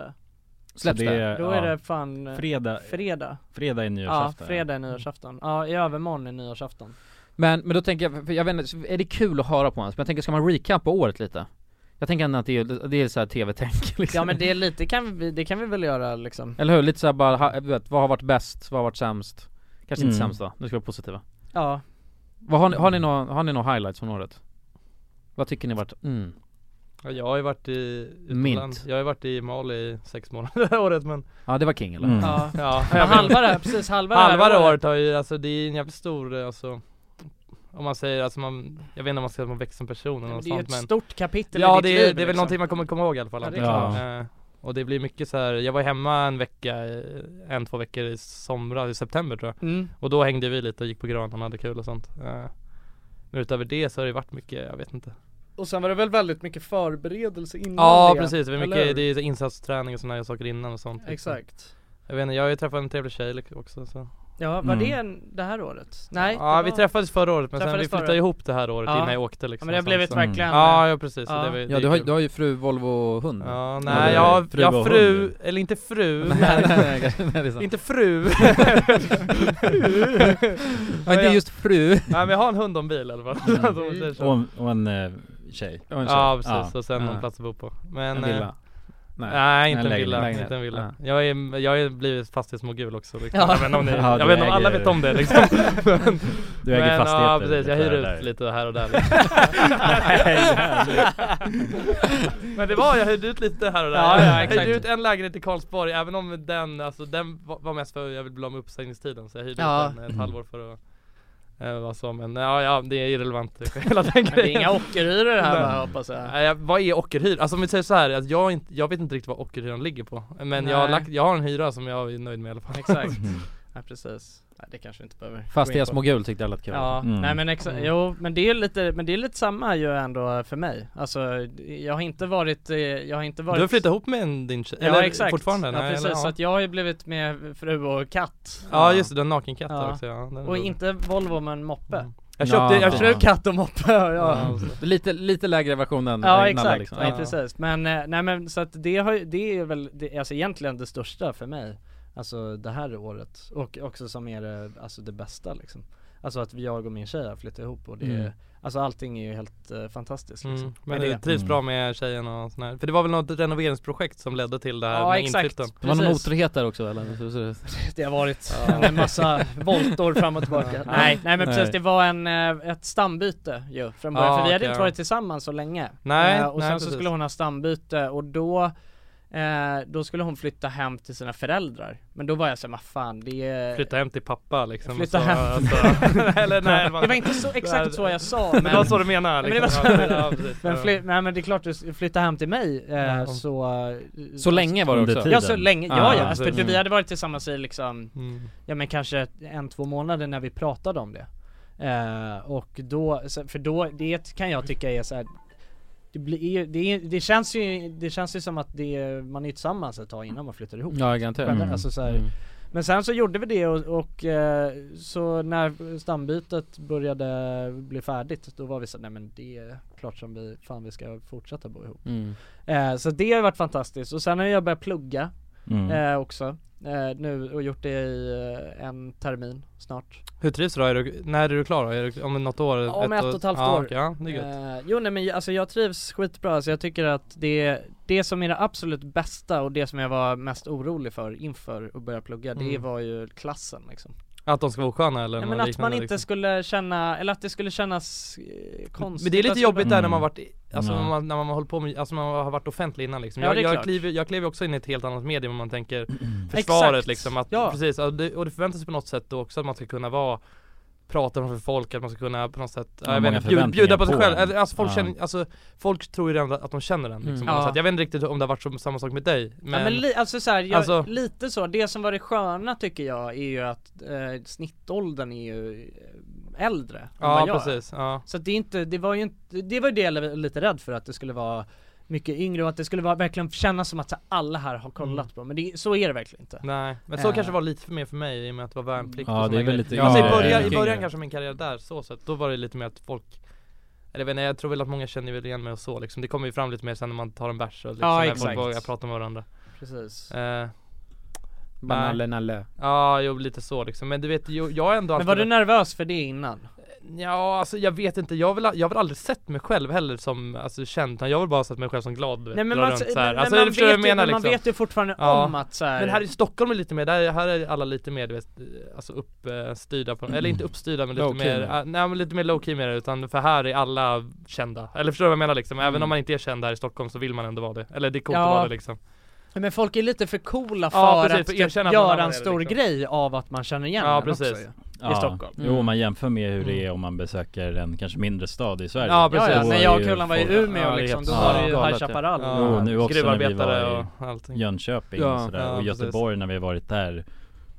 [SPEAKER 7] Släpps det? det?
[SPEAKER 3] Då
[SPEAKER 7] ja.
[SPEAKER 3] är det fan eh,
[SPEAKER 7] Fredag-
[SPEAKER 3] Fredag
[SPEAKER 7] fredag är nyårsafton,
[SPEAKER 3] Ja,
[SPEAKER 7] ja.
[SPEAKER 3] fredag är nyårsafton Ja, i övermorgon är nyårsafton
[SPEAKER 1] Men, men då tänker jag, för jag vet inte, så är det kul att höra på ens? Men jag tänker, ska man recapa året lite? Jag tänker ändå att det är, det är så här tv-tänk *laughs* liksom.
[SPEAKER 3] Ja men det är lite kan vi, det kan vi väl göra liksom
[SPEAKER 1] Eller hur? Lite såhär bara, ha- du vet, vad har varit bäst? Vad har varit sämst? Kanske inte
[SPEAKER 3] Mm.
[SPEAKER 1] sämst då, nu ska vi vara positiva
[SPEAKER 3] Ja
[SPEAKER 1] vad har, ni, har, ni några, har ni några highlights från året? Vad tycker ni varit, mm,
[SPEAKER 4] Ja, jag har ju varit i
[SPEAKER 1] Mint.
[SPEAKER 4] Jag har ju varit i Mali i sex månader *laughs* det här året men
[SPEAKER 1] Ja, det var king, eller?
[SPEAKER 4] Mm.
[SPEAKER 1] Ja.
[SPEAKER 4] ja
[SPEAKER 1] Men
[SPEAKER 4] jag vet.
[SPEAKER 1] halva det här- precis, halva det här
[SPEAKER 4] halva det
[SPEAKER 1] året.
[SPEAKER 4] året har ju, alltså det är en jävligt stor eh, alltså om man säger, alltså man, jag vet inte om man ska säga att man växer som person eller
[SPEAKER 3] men
[SPEAKER 4] något
[SPEAKER 3] det är ju
[SPEAKER 4] sånt,
[SPEAKER 3] ett stort kapitel i
[SPEAKER 4] Ja
[SPEAKER 3] ditt
[SPEAKER 4] det, är-
[SPEAKER 3] liv,
[SPEAKER 4] det är väl
[SPEAKER 3] liksom.
[SPEAKER 4] någonting man kommer komma ihåg i alla fall
[SPEAKER 3] Ja, det är
[SPEAKER 4] antar jag.
[SPEAKER 3] klart.
[SPEAKER 4] Eh, Och det blir mycket så här. jag var hemma en vecka, eh, en två veckor i somras, i september tror jag
[SPEAKER 3] Mm.
[SPEAKER 4] Och då hängde vi lite och gick på Grönan och hade kul och sånt Eh, Men utöver det så har det varit mycket, jag vet inte
[SPEAKER 3] Och sen var det väl väldigt mycket förberedelse innan
[SPEAKER 4] Ja
[SPEAKER 3] det,
[SPEAKER 4] precis, det är
[SPEAKER 3] eller hur?
[SPEAKER 4] mycket, det är insatsträning och sådana saker innan och sånt liksom.
[SPEAKER 3] Exakt.
[SPEAKER 4] Jag vet inte, jag har ju träffat en trevlig tjej liksom också så
[SPEAKER 3] Ja, var det en- det här året? Nej
[SPEAKER 4] Mm. Ja
[SPEAKER 3] det
[SPEAKER 4] vi
[SPEAKER 3] var-
[SPEAKER 4] träffades förra året men sen
[SPEAKER 3] Träffades
[SPEAKER 4] vi
[SPEAKER 3] förra
[SPEAKER 4] flyttade
[SPEAKER 3] året.
[SPEAKER 4] ihop det här året
[SPEAKER 3] Ja.
[SPEAKER 4] innan jag åkte liksom
[SPEAKER 3] Ja, men det
[SPEAKER 4] så-
[SPEAKER 3] blev
[SPEAKER 4] så-
[SPEAKER 3] ett verkligen
[SPEAKER 4] Ja, ja precis, så det var ju-
[SPEAKER 1] Ja
[SPEAKER 4] det
[SPEAKER 1] du har,
[SPEAKER 4] är kul.
[SPEAKER 1] du har ju fru, Volvo, hund
[SPEAKER 4] Ja, nej jag har fru, jag har fru eller
[SPEAKER 1] *laughs*
[SPEAKER 4] inte fru,
[SPEAKER 1] Nej, nej, nej, nej, nej, det är sant. *laughs*
[SPEAKER 4] inte fru
[SPEAKER 1] Ja, inte just fru.
[SPEAKER 4] Nej men jag har en hund och en bil i alla fall
[SPEAKER 7] Mm.
[SPEAKER 4] Alltså, Om man säger så.
[SPEAKER 7] Och en, och en eh, tjej
[SPEAKER 1] Och en tjej.
[SPEAKER 4] Ja precis,
[SPEAKER 1] Ja.
[SPEAKER 4] och sen
[SPEAKER 1] Ja.
[SPEAKER 4] någon plats att bo på Men
[SPEAKER 1] En
[SPEAKER 4] eh,
[SPEAKER 1] villa. Nej.
[SPEAKER 4] Nej, inte en
[SPEAKER 1] En
[SPEAKER 4] villa,
[SPEAKER 1] lägenhet.
[SPEAKER 4] inte en villa. Jag, är, jag har blivit fastighetsmogul också liksom.
[SPEAKER 7] Ja.
[SPEAKER 4] Jag vet inte om, ni,
[SPEAKER 7] Ja,
[SPEAKER 4] jag
[SPEAKER 7] du
[SPEAKER 4] vet inte om alla
[SPEAKER 7] äger-
[SPEAKER 4] vet om det liksom Men-
[SPEAKER 7] Du äger
[SPEAKER 4] men,
[SPEAKER 7] fastigheter
[SPEAKER 4] Ja precis, jag
[SPEAKER 7] lite
[SPEAKER 4] hyr
[SPEAKER 7] här och där.
[SPEAKER 4] ut lite här och där *laughs*
[SPEAKER 7] Nej,
[SPEAKER 4] liksom. Men det var, jag hyrde ut lite här och där
[SPEAKER 3] Ja, ja,
[SPEAKER 4] Jag
[SPEAKER 3] exakt.
[SPEAKER 4] hyrde ut en lägenhet i Karlsborg, även om den, alltså den var var mest för jag ville bli av med uppsägningstiden så jag hyrde
[SPEAKER 3] Ja.
[SPEAKER 4] ut den ett
[SPEAKER 3] Mm.
[SPEAKER 4] halvår för att eh, vara så men ja, ja det är
[SPEAKER 3] *laughs*
[SPEAKER 4] irrelevant hela den
[SPEAKER 3] Men det är
[SPEAKER 4] grejen
[SPEAKER 3] inga ockerhyror här,
[SPEAKER 4] Men-
[SPEAKER 3] va, hoppas jag.
[SPEAKER 4] Nej, jag- vad är ockerhyra? Alltså om vi säger så här, att jag, är inte, jag vet inte riktigt vad ockerhyran ligger på Men jag har,
[SPEAKER 3] Nej.
[SPEAKER 4] lagt, jag har en hyra som jag är nöjd med i alla fall *laughs*
[SPEAKER 3] Exakt, ja precis Nej, det kanske vi inte behöver gå in på.
[SPEAKER 1] Fastighetsmogul tyckte jag lät kul.
[SPEAKER 3] Ja,
[SPEAKER 1] Mm.
[SPEAKER 3] nej men exakt,
[SPEAKER 1] Mm.
[SPEAKER 3] jo men det är lite, men det är lite samma ju ändå för mig Alltså jag har inte varit, eh, jag har inte
[SPEAKER 4] Du
[SPEAKER 3] varit
[SPEAKER 4] har flyttat ihop med en, din tjej?
[SPEAKER 3] Ja exakt,
[SPEAKER 4] fortfarande?
[SPEAKER 3] ja
[SPEAKER 4] Nej,
[SPEAKER 3] precis,
[SPEAKER 4] eller,
[SPEAKER 3] så att jag har ju blivit med fru och katt
[SPEAKER 4] Ja, just det, du har en nakenkatt där också, ja, den är
[SPEAKER 3] Och
[SPEAKER 4] rolig. Mm.
[SPEAKER 3] inte Volvo men moppe
[SPEAKER 4] Jag köpte- jag
[SPEAKER 3] Fru,
[SPEAKER 4] köpte-
[SPEAKER 3] katt och moppe, ja,
[SPEAKER 4] Ja,
[SPEAKER 3] ja.
[SPEAKER 1] Lite, lite lägre version än
[SPEAKER 3] Ja
[SPEAKER 1] än
[SPEAKER 3] exakt,
[SPEAKER 1] alla, liksom.
[SPEAKER 3] nej, precis. Men eh, nej men så att det har ju- det är väl, det, alltså egentligen det största för mig Alltså det här året och också som är det, alltså det bästa liksom Alltså att jag och min tjej har flyttat ihop och det,
[SPEAKER 4] Mm.
[SPEAKER 3] alltså allting är ju helt eh, fantastiskt liksom
[SPEAKER 4] Mm. Men
[SPEAKER 3] Med
[SPEAKER 4] du trivs bra med tjejen och sådär? För det var väl något renoveringsprojekt som ledde till det här
[SPEAKER 3] Ja,
[SPEAKER 4] med
[SPEAKER 3] exakt.
[SPEAKER 4] inflytten?
[SPEAKER 1] Det var någon
[SPEAKER 3] Precis.
[SPEAKER 1] otrohet där också eller? Så- så-
[SPEAKER 3] Det har varit
[SPEAKER 1] Ja.
[SPEAKER 3] en massa voltor fram och tillbaka Nej, nej men precis det var en, eh, ett stambyte ju från början
[SPEAKER 4] Ja,
[SPEAKER 3] För vi
[SPEAKER 4] okej,
[SPEAKER 3] hade inte
[SPEAKER 4] ja.
[SPEAKER 3] varit tillsammans så länge
[SPEAKER 4] Nej,
[SPEAKER 3] Eh, Och
[SPEAKER 4] nej,
[SPEAKER 3] sen så
[SPEAKER 4] precis.
[SPEAKER 3] skulle hon ha stambyte och då eh, Då skulle hon flytta hem till sina föräldrar Men då var jag såhär, vad fan det är
[SPEAKER 4] Flytta hem till pappa liksom
[SPEAKER 3] Flytta
[SPEAKER 4] och så,
[SPEAKER 3] hem. *laughs*
[SPEAKER 4] Alltså, eller nej
[SPEAKER 3] Det var inte så, exakt så jag sa men
[SPEAKER 4] men *laughs* Det var så du menade
[SPEAKER 3] men, det var
[SPEAKER 4] liksom.
[SPEAKER 3] så,
[SPEAKER 4] Ja, precis.
[SPEAKER 3] men,
[SPEAKER 4] Ja.
[SPEAKER 3] fly, nej, men det är klart du s- flytta hem till mig eh,
[SPEAKER 4] Ja.
[SPEAKER 3] så
[SPEAKER 1] Så länge var det Under också?
[SPEAKER 3] Ja så
[SPEAKER 1] tiden.
[SPEAKER 3] länge, ja
[SPEAKER 1] Ah,
[SPEAKER 3] ja, alltså, för
[SPEAKER 1] precis.
[SPEAKER 3] du, vi hade varit tillsammans i liksom
[SPEAKER 4] Mm.
[SPEAKER 3] Ja men kanske ett- en, två månader när vi pratade om det eh, Och då, så- för då, det kan jag tycka är så här. Det, blir, ju- det, är- det känns ju, det känns ju som att det, är- man är tillsammans ett tag innan man flyttar ihop
[SPEAKER 1] Ja, garanterat.
[SPEAKER 3] Men,
[SPEAKER 1] Mm.
[SPEAKER 3] alltså, så här,
[SPEAKER 1] Mm.
[SPEAKER 3] men sen så gjorde vi det och, och eh, så när stambytet började bli färdigt då var vi så här, nej men det är klart som vi, fan vi ska fortsätta bo ihop.
[SPEAKER 1] Mm.
[SPEAKER 3] Eh, så det har ju varit fantastiskt och sen har jag börjat plugga
[SPEAKER 4] Mm.
[SPEAKER 3] eh, också eh, nu och gjort det i eh, en termin snart.
[SPEAKER 4] Hur trivs du då? Är du, när är du klar då? Är du, om något år?
[SPEAKER 3] Om ett och ett halvt
[SPEAKER 4] ja,
[SPEAKER 3] år.
[SPEAKER 4] okej, Ja, det är gött.
[SPEAKER 3] Eh, jo nej men jag- alltså jag trivs skitbra, så jag tycker att det, det som är det absolut bästa och det som jag var mest orolig för inför att börja plugga, det
[SPEAKER 4] Mm.
[SPEAKER 3] var ju klassen liksom.
[SPEAKER 4] Att de ska vara osköna eller
[SPEAKER 3] Nej,
[SPEAKER 4] något
[SPEAKER 3] men att man
[SPEAKER 4] liknande,
[SPEAKER 3] inte
[SPEAKER 4] liksom.
[SPEAKER 3] skulle känna, eller att det skulle kännas eh, konstigt
[SPEAKER 4] Men det är
[SPEAKER 3] att
[SPEAKER 4] lite
[SPEAKER 3] Mm. skulle-
[SPEAKER 4] jobbigt där när man varit, i- alltså
[SPEAKER 3] Ja.
[SPEAKER 4] när, man, när man håller på med, alltså när man har varit offentlig innan liksom.
[SPEAKER 3] Ja,
[SPEAKER 4] Jag,
[SPEAKER 3] det är
[SPEAKER 4] jag,
[SPEAKER 3] klart.
[SPEAKER 4] kliver, jag kliver också in i ett helt annat medium om
[SPEAKER 7] *clears throat*
[SPEAKER 4] man tänker försvaret
[SPEAKER 3] Exakt.
[SPEAKER 4] liksom. Att,
[SPEAKER 3] Ja.
[SPEAKER 4] Precis, och det, och det förväntas på något sätt då också att man ska kunna vara Prata framför folk, att man ska kunna på något sätt,
[SPEAKER 7] Ja,
[SPEAKER 4] ja, jag vet,
[SPEAKER 7] många
[SPEAKER 4] inte, bjud,
[SPEAKER 7] förväntningar
[SPEAKER 4] bjuda på sig
[SPEAKER 7] på
[SPEAKER 4] själv.
[SPEAKER 7] en.
[SPEAKER 4] Eller, Alltså folk,
[SPEAKER 7] Ja.
[SPEAKER 4] känner, alltså, folk tror ju redan att de känner den liksom,
[SPEAKER 3] Mm.
[SPEAKER 4] på något
[SPEAKER 3] Ja.
[SPEAKER 4] sätt. Jag vet inte riktigt om det har varit som, samma sak med dig men,
[SPEAKER 3] ja, men li, alltså så här, jag,
[SPEAKER 4] Alltså-
[SPEAKER 3] lite så, det som var det sköna tycker jag är ju att eh, snittåldern är ju eh, äldre än
[SPEAKER 4] Ja,
[SPEAKER 3] vad jag är.
[SPEAKER 4] precis, ja.
[SPEAKER 3] Så att det är inte, det var ju inte, det var ju det jag var lite rädd för att det skulle vara mycket yngre och att det skulle vara, verkligen kännas som att så, här, alla här har kollat på Men det, så är det verkligen inte
[SPEAKER 4] Mm. Nej, men så
[SPEAKER 3] Eh,
[SPEAKER 4] kanske det var lite mer för mig i och med att det var värnplikt
[SPEAKER 7] Mm. Ja,
[SPEAKER 4] och
[SPEAKER 7] det är
[SPEAKER 4] såna
[SPEAKER 7] väl
[SPEAKER 4] grejer.
[SPEAKER 7] lite eh,
[SPEAKER 4] alltså, i
[SPEAKER 7] yngre-
[SPEAKER 4] början, i
[SPEAKER 7] lite
[SPEAKER 4] början
[SPEAKER 7] yngre.
[SPEAKER 4] kanske min karriär där, så sett, då var det lite mer att folk eller jag vet inte, jag tror väl att många känner väl igen mig och så liksom. Det kommer ju fram lite mer sen när man tar en bärs och liksom,
[SPEAKER 3] Ja,
[SPEAKER 4] när folk
[SPEAKER 3] exakt.
[SPEAKER 4] vågar prata med varandra
[SPEAKER 3] Precis
[SPEAKER 4] eh,
[SPEAKER 12] Bara
[SPEAKER 4] nej.
[SPEAKER 12] nalle, nalle.
[SPEAKER 4] Ja, jo lite så liksom, men du vet, jo, jag har ändå
[SPEAKER 3] Men
[SPEAKER 4] alltid
[SPEAKER 3] var du
[SPEAKER 4] varit-
[SPEAKER 3] nervös för det innan?
[SPEAKER 4] Ja, alltså jag vet inte, jag har väl, jag har väl aldrig sett mig själv heller som, alltså känd, utan jag har väl bara sett mig själv som glad du vet,
[SPEAKER 3] Nej, men
[SPEAKER 4] dra
[SPEAKER 3] man-
[SPEAKER 4] runt så
[SPEAKER 3] men-
[SPEAKER 4] här.
[SPEAKER 3] men
[SPEAKER 4] Alltså,
[SPEAKER 3] man
[SPEAKER 4] du förstår vad jag
[SPEAKER 3] vet ju-
[SPEAKER 4] menar,
[SPEAKER 3] men man
[SPEAKER 4] liksom.
[SPEAKER 3] vet ju fortfarande om att så här-
[SPEAKER 4] Men här i Stockholm är det lite mer, där, här är alla lite mer du vet, alltså uppstyrda på, eller inte uppstyrda men lite
[SPEAKER 12] Low-key
[SPEAKER 4] mer,
[SPEAKER 12] mer.
[SPEAKER 4] ah, nej men lite mer low key mer utan för här är alla kända, eller förstår du vad jag menar liksom? Även
[SPEAKER 12] Mm.
[SPEAKER 4] om man inte är känd här i Stockholm så vill man ändå vara det, eller det är coolt
[SPEAKER 3] Ja.
[SPEAKER 4] att vara det liksom
[SPEAKER 3] Men folk är lite för coola för
[SPEAKER 4] Ja, precis, för
[SPEAKER 3] att
[SPEAKER 4] att erkänna
[SPEAKER 3] typ
[SPEAKER 4] att man
[SPEAKER 3] göra
[SPEAKER 4] har
[SPEAKER 3] en
[SPEAKER 4] det,
[SPEAKER 3] stor
[SPEAKER 4] liksom.
[SPEAKER 3] grej av att man känner igen
[SPEAKER 4] Ja,
[SPEAKER 3] den
[SPEAKER 4] precis.
[SPEAKER 3] också ju, Mm. I Stockholm
[SPEAKER 7] Jo man jämför med hur det är om man besöker en kanske mindre stad i Sverige
[SPEAKER 3] Ja, precis.
[SPEAKER 7] Då
[SPEAKER 3] Ja, ja. När jag och
[SPEAKER 7] är
[SPEAKER 3] Kulan var i
[SPEAKER 7] folk-
[SPEAKER 3] Umeå,
[SPEAKER 7] det är
[SPEAKER 3] liksom,
[SPEAKER 7] helt
[SPEAKER 3] då var det ju
[SPEAKER 7] galet,
[SPEAKER 3] High Chaparral.
[SPEAKER 7] Jo, nu också när vi
[SPEAKER 4] Gruvarbetare
[SPEAKER 7] var
[SPEAKER 4] och allting.
[SPEAKER 7] i Jönköping
[SPEAKER 1] Ja,
[SPEAKER 7] och sådär
[SPEAKER 1] ja,
[SPEAKER 7] och
[SPEAKER 1] precis.
[SPEAKER 7] Göteborg när vi varit där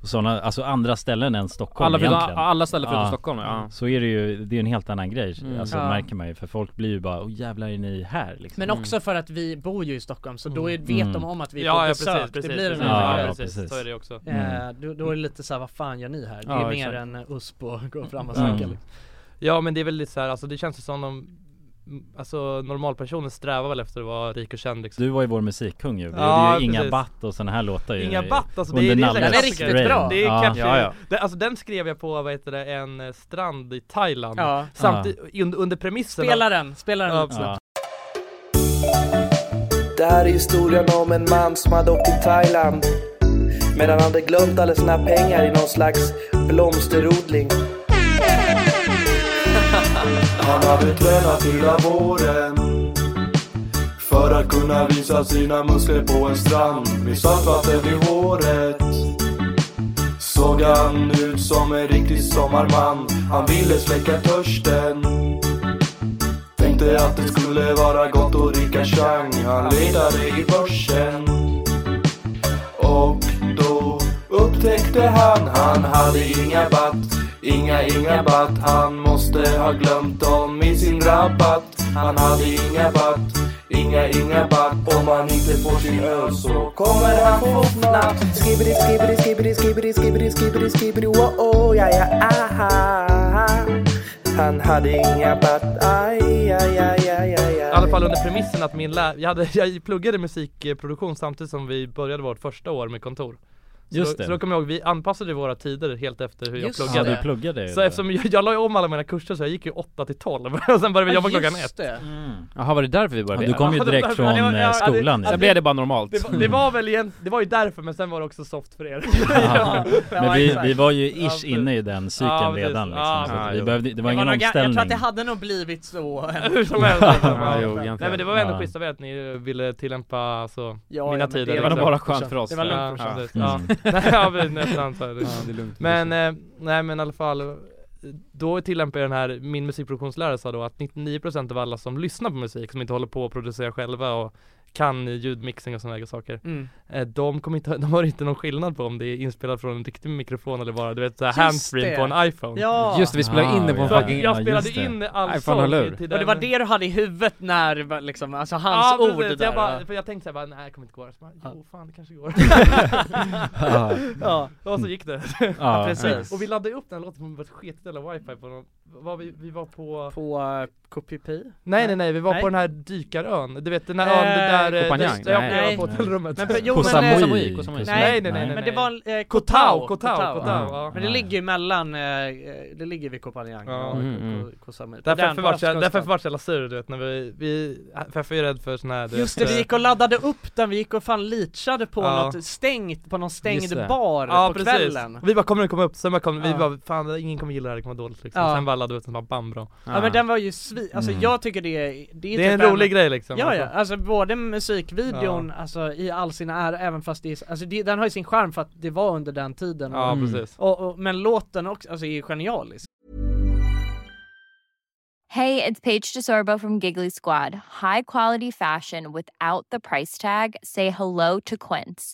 [SPEAKER 7] och såna, alltså andra ställen än Stockholm
[SPEAKER 1] Alla förutom-
[SPEAKER 7] egentligen.
[SPEAKER 1] alla ställen förutom Stockholm, ja.
[SPEAKER 7] Så är det ju, det är en helt annan grej
[SPEAKER 1] Mm.
[SPEAKER 7] Alltså
[SPEAKER 3] Ja.
[SPEAKER 7] märker man ju för folk blir ju bara, åh jävlar är ni här liksom
[SPEAKER 2] Mm.
[SPEAKER 3] Men också för att vi bor ju i Stockholm så då är, vet
[SPEAKER 7] Mm.
[SPEAKER 3] de om att vi är
[SPEAKER 4] Ja,
[SPEAKER 3] på
[SPEAKER 4] ja,
[SPEAKER 3] besök,
[SPEAKER 4] precis,
[SPEAKER 3] det
[SPEAKER 4] precis,
[SPEAKER 3] blir en
[SPEAKER 4] precis.
[SPEAKER 3] annan
[SPEAKER 4] Ja,
[SPEAKER 3] grej.
[SPEAKER 4] ja, precis. Mm. Så är det ju också.
[SPEAKER 7] Mm.
[SPEAKER 3] Eh, då, då är det lite såhär, vad fan gör ni här? Det är
[SPEAKER 4] Ja,
[SPEAKER 3] mer
[SPEAKER 4] exakt.
[SPEAKER 3] än eh, USP och gå fram och snacka
[SPEAKER 4] Mm.
[SPEAKER 3] liksom.
[SPEAKER 4] Ja men det är väl lite så här, alltså det känns ju som de Alltså normalpersonen strävar väl efter att vara rik och känd liksom
[SPEAKER 7] Du var ju vår musikkung ju, vi
[SPEAKER 4] Ja,
[SPEAKER 7] gjorde ju Inga
[SPEAKER 4] precis.
[SPEAKER 7] Batt och såna här låtar ju
[SPEAKER 4] Inga batt alltså,
[SPEAKER 7] under
[SPEAKER 4] det är, det är,
[SPEAKER 7] Nalles
[SPEAKER 4] en
[SPEAKER 7] reign.
[SPEAKER 4] klassiker. Det är
[SPEAKER 7] Ja.
[SPEAKER 4] kanske,
[SPEAKER 7] Ja, ja.
[SPEAKER 4] Det, alltså den skrev jag på vad heter det, en eh, strand i Thailand
[SPEAKER 3] Ja.
[SPEAKER 4] Samtidigt, under, under premissen av-
[SPEAKER 3] Spela den, spela den
[SPEAKER 4] Ja,
[SPEAKER 3] lite
[SPEAKER 4] absolut.
[SPEAKER 3] snabbt.
[SPEAKER 13] Det här är historien om en man som hade åkt till Thailand men han hade glömt alla sina pengar i någon slags blomsterodling.
[SPEAKER 14] *laughs* Han hade tränat hela våren för att kunna visa sina muskler på en strand med saltvatten i håret. Såg han ut som en riktig sommarman. Han ville släcka törsten. Tänkte att det skulle vara gott och dricka chang. Han letade i börsen. Och då upptäckte han, han hade inga batt. Inga, inga batt. Han måste ha glömt dem i sin rabatt. Han hade inga batt. Inga, inga batt. Om han inte får sin öl så kommer han få fnatt.
[SPEAKER 13] Skibbidi, skibbidi, skibbidi, skibbidi, skibbidi, skibbidi, skibbidi, oh, ja, ja, aha. Han hade inga batt, aj, aj, aj, aj, aj, aj.
[SPEAKER 4] I alla fall under premissen att min lä- jag, hade, jag pluggade musikproduktion samtidigt som vi började vårt första år med kontor så
[SPEAKER 7] Just
[SPEAKER 4] då,
[SPEAKER 7] det.
[SPEAKER 4] så då kommer jag ihåg, vi anpassade våra tider helt efter hur
[SPEAKER 7] Just
[SPEAKER 4] jag pluggade
[SPEAKER 7] det. Ja, du pluggade ju
[SPEAKER 4] Så
[SPEAKER 7] det.
[SPEAKER 4] eftersom jag, jag la ju om alla mina kurser så jag gick ju 8 till 12 *laughs* och sen började vi
[SPEAKER 1] Ja,
[SPEAKER 4] jobba klockan
[SPEAKER 1] just
[SPEAKER 4] 1
[SPEAKER 1] det. Mm. Jaha var det därför vi började?
[SPEAKER 7] Ja, du kom ju
[SPEAKER 4] Ja, det var
[SPEAKER 7] direkt
[SPEAKER 4] därför-
[SPEAKER 7] från,
[SPEAKER 4] ja, det var-
[SPEAKER 7] eh,
[SPEAKER 4] ja, det-
[SPEAKER 7] skolan ju.
[SPEAKER 4] ja,
[SPEAKER 7] Sen blev det bara normalt.
[SPEAKER 4] Det var, det var väl egent, det var ju därför men sen var det också soft för er
[SPEAKER 7] *laughs*
[SPEAKER 4] *laughs*
[SPEAKER 7] Ja. Men vi,
[SPEAKER 4] exakt.
[SPEAKER 7] vi var ju ish
[SPEAKER 4] Ja,
[SPEAKER 7] inne i den cykeln
[SPEAKER 4] Ja, precis.
[SPEAKER 7] redan liksom,
[SPEAKER 4] Ja,
[SPEAKER 7] så att vi
[SPEAKER 4] precis.
[SPEAKER 7] behövde, det var ingen
[SPEAKER 3] nog ga- Jag tror att
[SPEAKER 7] omställning
[SPEAKER 3] det hade nog blivit så
[SPEAKER 4] *laughs* Hur som helst liksom.
[SPEAKER 7] Ja, jo,
[SPEAKER 4] Nej
[SPEAKER 7] jämfört.
[SPEAKER 4] men det var ändå
[SPEAKER 7] Ja.
[SPEAKER 4] schysst av er att ni ville tillämpa alltså,
[SPEAKER 3] Ja,
[SPEAKER 4] mina
[SPEAKER 3] ja, men
[SPEAKER 4] tider
[SPEAKER 3] det
[SPEAKER 4] liksom.
[SPEAKER 3] var nog bara skönt för oss.
[SPEAKER 4] Det var
[SPEAKER 3] Ja,
[SPEAKER 4] lugnt för oss.
[SPEAKER 3] ja.
[SPEAKER 4] Ja,
[SPEAKER 3] Mm.
[SPEAKER 4] *laughs* ja
[SPEAKER 3] *laughs*
[SPEAKER 4] vi nästan så här.
[SPEAKER 3] Ja, det är lugnt.
[SPEAKER 4] Men, eh, nej men i alla fall då tillämpar jag den här, min musikproduktionslärare sa då att 99% av alla som lyssnar på musik, som inte håller på att producera själva och kan ljudmixing och sådana saker
[SPEAKER 3] Mm.
[SPEAKER 4] eh, de, kommer inte, *laughs* de har inte någon skillnad på om det är inspelat från en riktig mikrofon eller bara du vet såhär
[SPEAKER 3] Just
[SPEAKER 4] handsfree
[SPEAKER 3] det.
[SPEAKER 4] på en iPhone
[SPEAKER 3] Ja. Just det, vi spelade in det på en
[SPEAKER 4] Så att
[SPEAKER 3] fucking-
[SPEAKER 4] Jag
[SPEAKER 3] ja,
[SPEAKER 4] spelade
[SPEAKER 3] just det.
[SPEAKER 4] in all
[SPEAKER 1] iPhone-hörlur.
[SPEAKER 4] sång till
[SPEAKER 3] Och det
[SPEAKER 4] den-
[SPEAKER 3] var det du hade i huvudet när va- liksom, alltså hans
[SPEAKER 4] ja,
[SPEAKER 3] ord
[SPEAKER 4] precis.
[SPEAKER 3] där
[SPEAKER 4] jag bara,
[SPEAKER 3] va?
[SPEAKER 4] för jag tänkte såhär bara, nej det kommer inte gå så bara, jo fan det kanske *laughs* går
[SPEAKER 3] Ja.
[SPEAKER 4] ja. Och så gick det *laughs*
[SPEAKER 3] Ja, precis.
[SPEAKER 4] Och vi laddade upp den här låten på ett sketigt jävla wifi på någon, var vi, vi var på
[SPEAKER 3] På uh, KPP?
[SPEAKER 4] Nej nej nej, vi var på den här dykarön, du vet den här ön
[SPEAKER 3] Eh,
[SPEAKER 4] där, eh,
[SPEAKER 3] Koh
[SPEAKER 4] där,
[SPEAKER 3] Phangan?
[SPEAKER 4] där jag
[SPEAKER 3] Nej.
[SPEAKER 4] blev på hotellrummet
[SPEAKER 3] Men, jo, Koh men, Samui. eh,
[SPEAKER 4] nej,
[SPEAKER 3] Koh Samui.
[SPEAKER 4] nej nej nej
[SPEAKER 3] Men det var en, eh,
[SPEAKER 4] Koh Tao, Koh Tao, Koh Tao,
[SPEAKER 3] ja.
[SPEAKER 4] ja.
[SPEAKER 3] Men det ligger ju mellan, eh, eh, det ligger vid Koh Phangan
[SPEAKER 4] Ja.
[SPEAKER 3] och
[SPEAKER 4] Mm,
[SPEAKER 3] Koh-
[SPEAKER 4] mm.
[SPEAKER 3] Koh- Koh Samui. På
[SPEAKER 4] Därför
[SPEAKER 3] den
[SPEAKER 4] vart jag,
[SPEAKER 3] östkusten.
[SPEAKER 4] därför vart jag la sur du vet när vi, vi, för jag är ju rädd för sån här du
[SPEAKER 3] Just det,
[SPEAKER 4] vet,
[SPEAKER 3] vi gick och laddade upp den, vi gick och fan leachade på
[SPEAKER 4] Ja.
[SPEAKER 3] något stängt, på någon
[SPEAKER 4] Just det.
[SPEAKER 3] stängd bar
[SPEAKER 4] ja,
[SPEAKER 3] på
[SPEAKER 4] precis.
[SPEAKER 3] kvällen
[SPEAKER 4] Vi bara kommer den komma upp, sen bara kom, vi
[SPEAKER 3] Ja.
[SPEAKER 4] bara fan ingen kommer gilla det här, det kommer vara dåligt liksom.
[SPEAKER 3] Ja.
[SPEAKER 4] Sen bara laddade vi upp den bara bam bra
[SPEAKER 3] Ja, men den var ju svi, alltså
[SPEAKER 4] Mm.
[SPEAKER 3] jag tycker det är Det är,
[SPEAKER 4] Det är en rolig grej, liksom.
[SPEAKER 3] Ja ja, alltså både musikvideon,
[SPEAKER 4] Ja.
[SPEAKER 3] alltså i all sin ära, även fast det är, alltså det, den har ju sin charm för att det var under den tiden
[SPEAKER 4] Ja,
[SPEAKER 3] och,
[SPEAKER 4] precis.
[SPEAKER 3] Och, och, men låten också, alltså är ju genialisk
[SPEAKER 15] Hey, it's Paige DeSorbo from Giggly Squad. High quality fashion without the price tag. Say hello to Quince.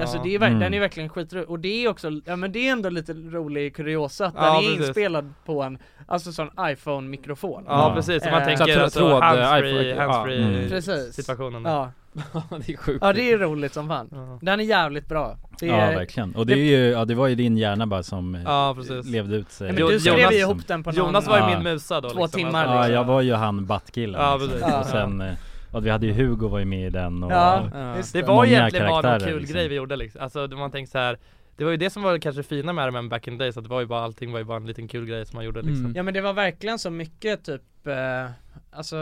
[SPEAKER 3] Alltså det är, ver- den
[SPEAKER 4] Mm.
[SPEAKER 3] är verkligen skitrolig, och det är också, ja men det är ändå lite rolig kuriosa att
[SPEAKER 4] Ja,
[SPEAKER 3] den är
[SPEAKER 4] precis.
[SPEAKER 3] inspelad på en, alltså sån iPhone-mikrofon
[SPEAKER 4] Ja, precis, så man tänker Så att alltså tråd, handsfree- iPhone- ja. handsfree
[SPEAKER 3] Mm. Precis.
[SPEAKER 4] situationen där. *laughs*
[SPEAKER 3] Ja
[SPEAKER 1] det är sjukt
[SPEAKER 3] Ja det är roligt som fan, den är jävligt bra det är,
[SPEAKER 7] Ja verkligen, och det är ju, ja det var ju din hjärna bara som eh,
[SPEAKER 4] Ja, precis.
[SPEAKER 7] levde ut sig
[SPEAKER 4] Ja, men du skrev ju
[SPEAKER 7] Liksom.
[SPEAKER 4] ihop den på någon- Jonas var ju min musa då, Två liksom. timmar,
[SPEAKER 7] Ja
[SPEAKER 4] liksom.
[SPEAKER 7] jag var ju han battkillen
[SPEAKER 4] Ja,
[SPEAKER 7] liksom.
[SPEAKER 4] precis.
[SPEAKER 7] och sen, eh, och vi hade ju Hugo var ju med i den och
[SPEAKER 4] Ja,
[SPEAKER 7] och
[SPEAKER 4] det var
[SPEAKER 7] många
[SPEAKER 4] egentligen bara en
[SPEAKER 7] karaktärer,
[SPEAKER 4] kul
[SPEAKER 7] liksom.
[SPEAKER 4] grej vi gjorde liksom. Alltså det- man tänkte så här. Det var ju det som var kanske det fina med RMM back in the days, att det var ju bara allting var ju bara en liten kul grej som man gjorde liksom.
[SPEAKER 3] Ja men det var verkligen så mycket typ eh, Alltså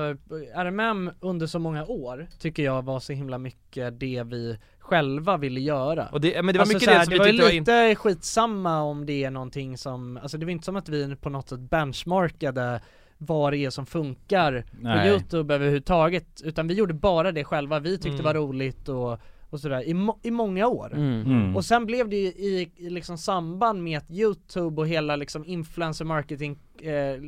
[SPEAKER 3] RMM under så många år tycker jag var så himla mycket det vi själva ville göra
[SPEAKER 4] Och det- men det var
[SPEAKER 3] alltså,
[SPEAKER 4] mycket
[SPEAKER 3] så
[SPEAKER 4] det
[SPEAKER 3] här,
[SPEAKER 4] som
[SPEAKER 3] det
[SPEAKER 4] vi
[SPEAKER 3] var ju
[SPEAKER 4] tyckte var
[SPEAKER 3] lite skitsamma om det är någonting som, alltså det var inte som att vi på något sätt benchmarkade vad det är som funkar på
[SPEAKER 7] Nej.
[SPEAKER 3] youtube överhuvudtaget Utan vi gjorde bara det själva vi tyckte
[SPEAKER 7] Mm.
[SPEAKER 3] var roligt och, och sådär i, må- i många år
[SPEAKER 7] Mm. Mm.
[SPEAKER 3] Och sen blev det ju i, i liksom samband med att youtube och hela liksom influencer marketing eh,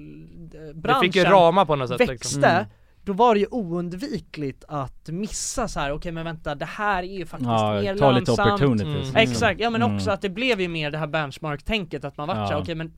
[SPEAKER 3] branschen
[SPEAKER 4] fick ju ramar på något sätt, liksom.
[SPEAKER 3] växte
[SPEAKER 4] Mm.
[SPEAKER 3] Då var det ju oundvikligt att missa så här. okej men vänta det här är ju faktiskt
[SPEAKER 7] Ja,
[SPEAKER 3] mer
[SPEAKER 7] ta lite
[SPEAKER 3] lönsamt."
[SPEAKER 7] opportunities, Mm. liksom.
[SPEAKER 3] Exakt, ja men
[SPEAKER 7] Mm.
[SPEAKER 3] också att det blev ju mer det här benchmark-tänket att man vart
[SPEAKER 7] Ja.
[SPEAKER 3] såhär, okej men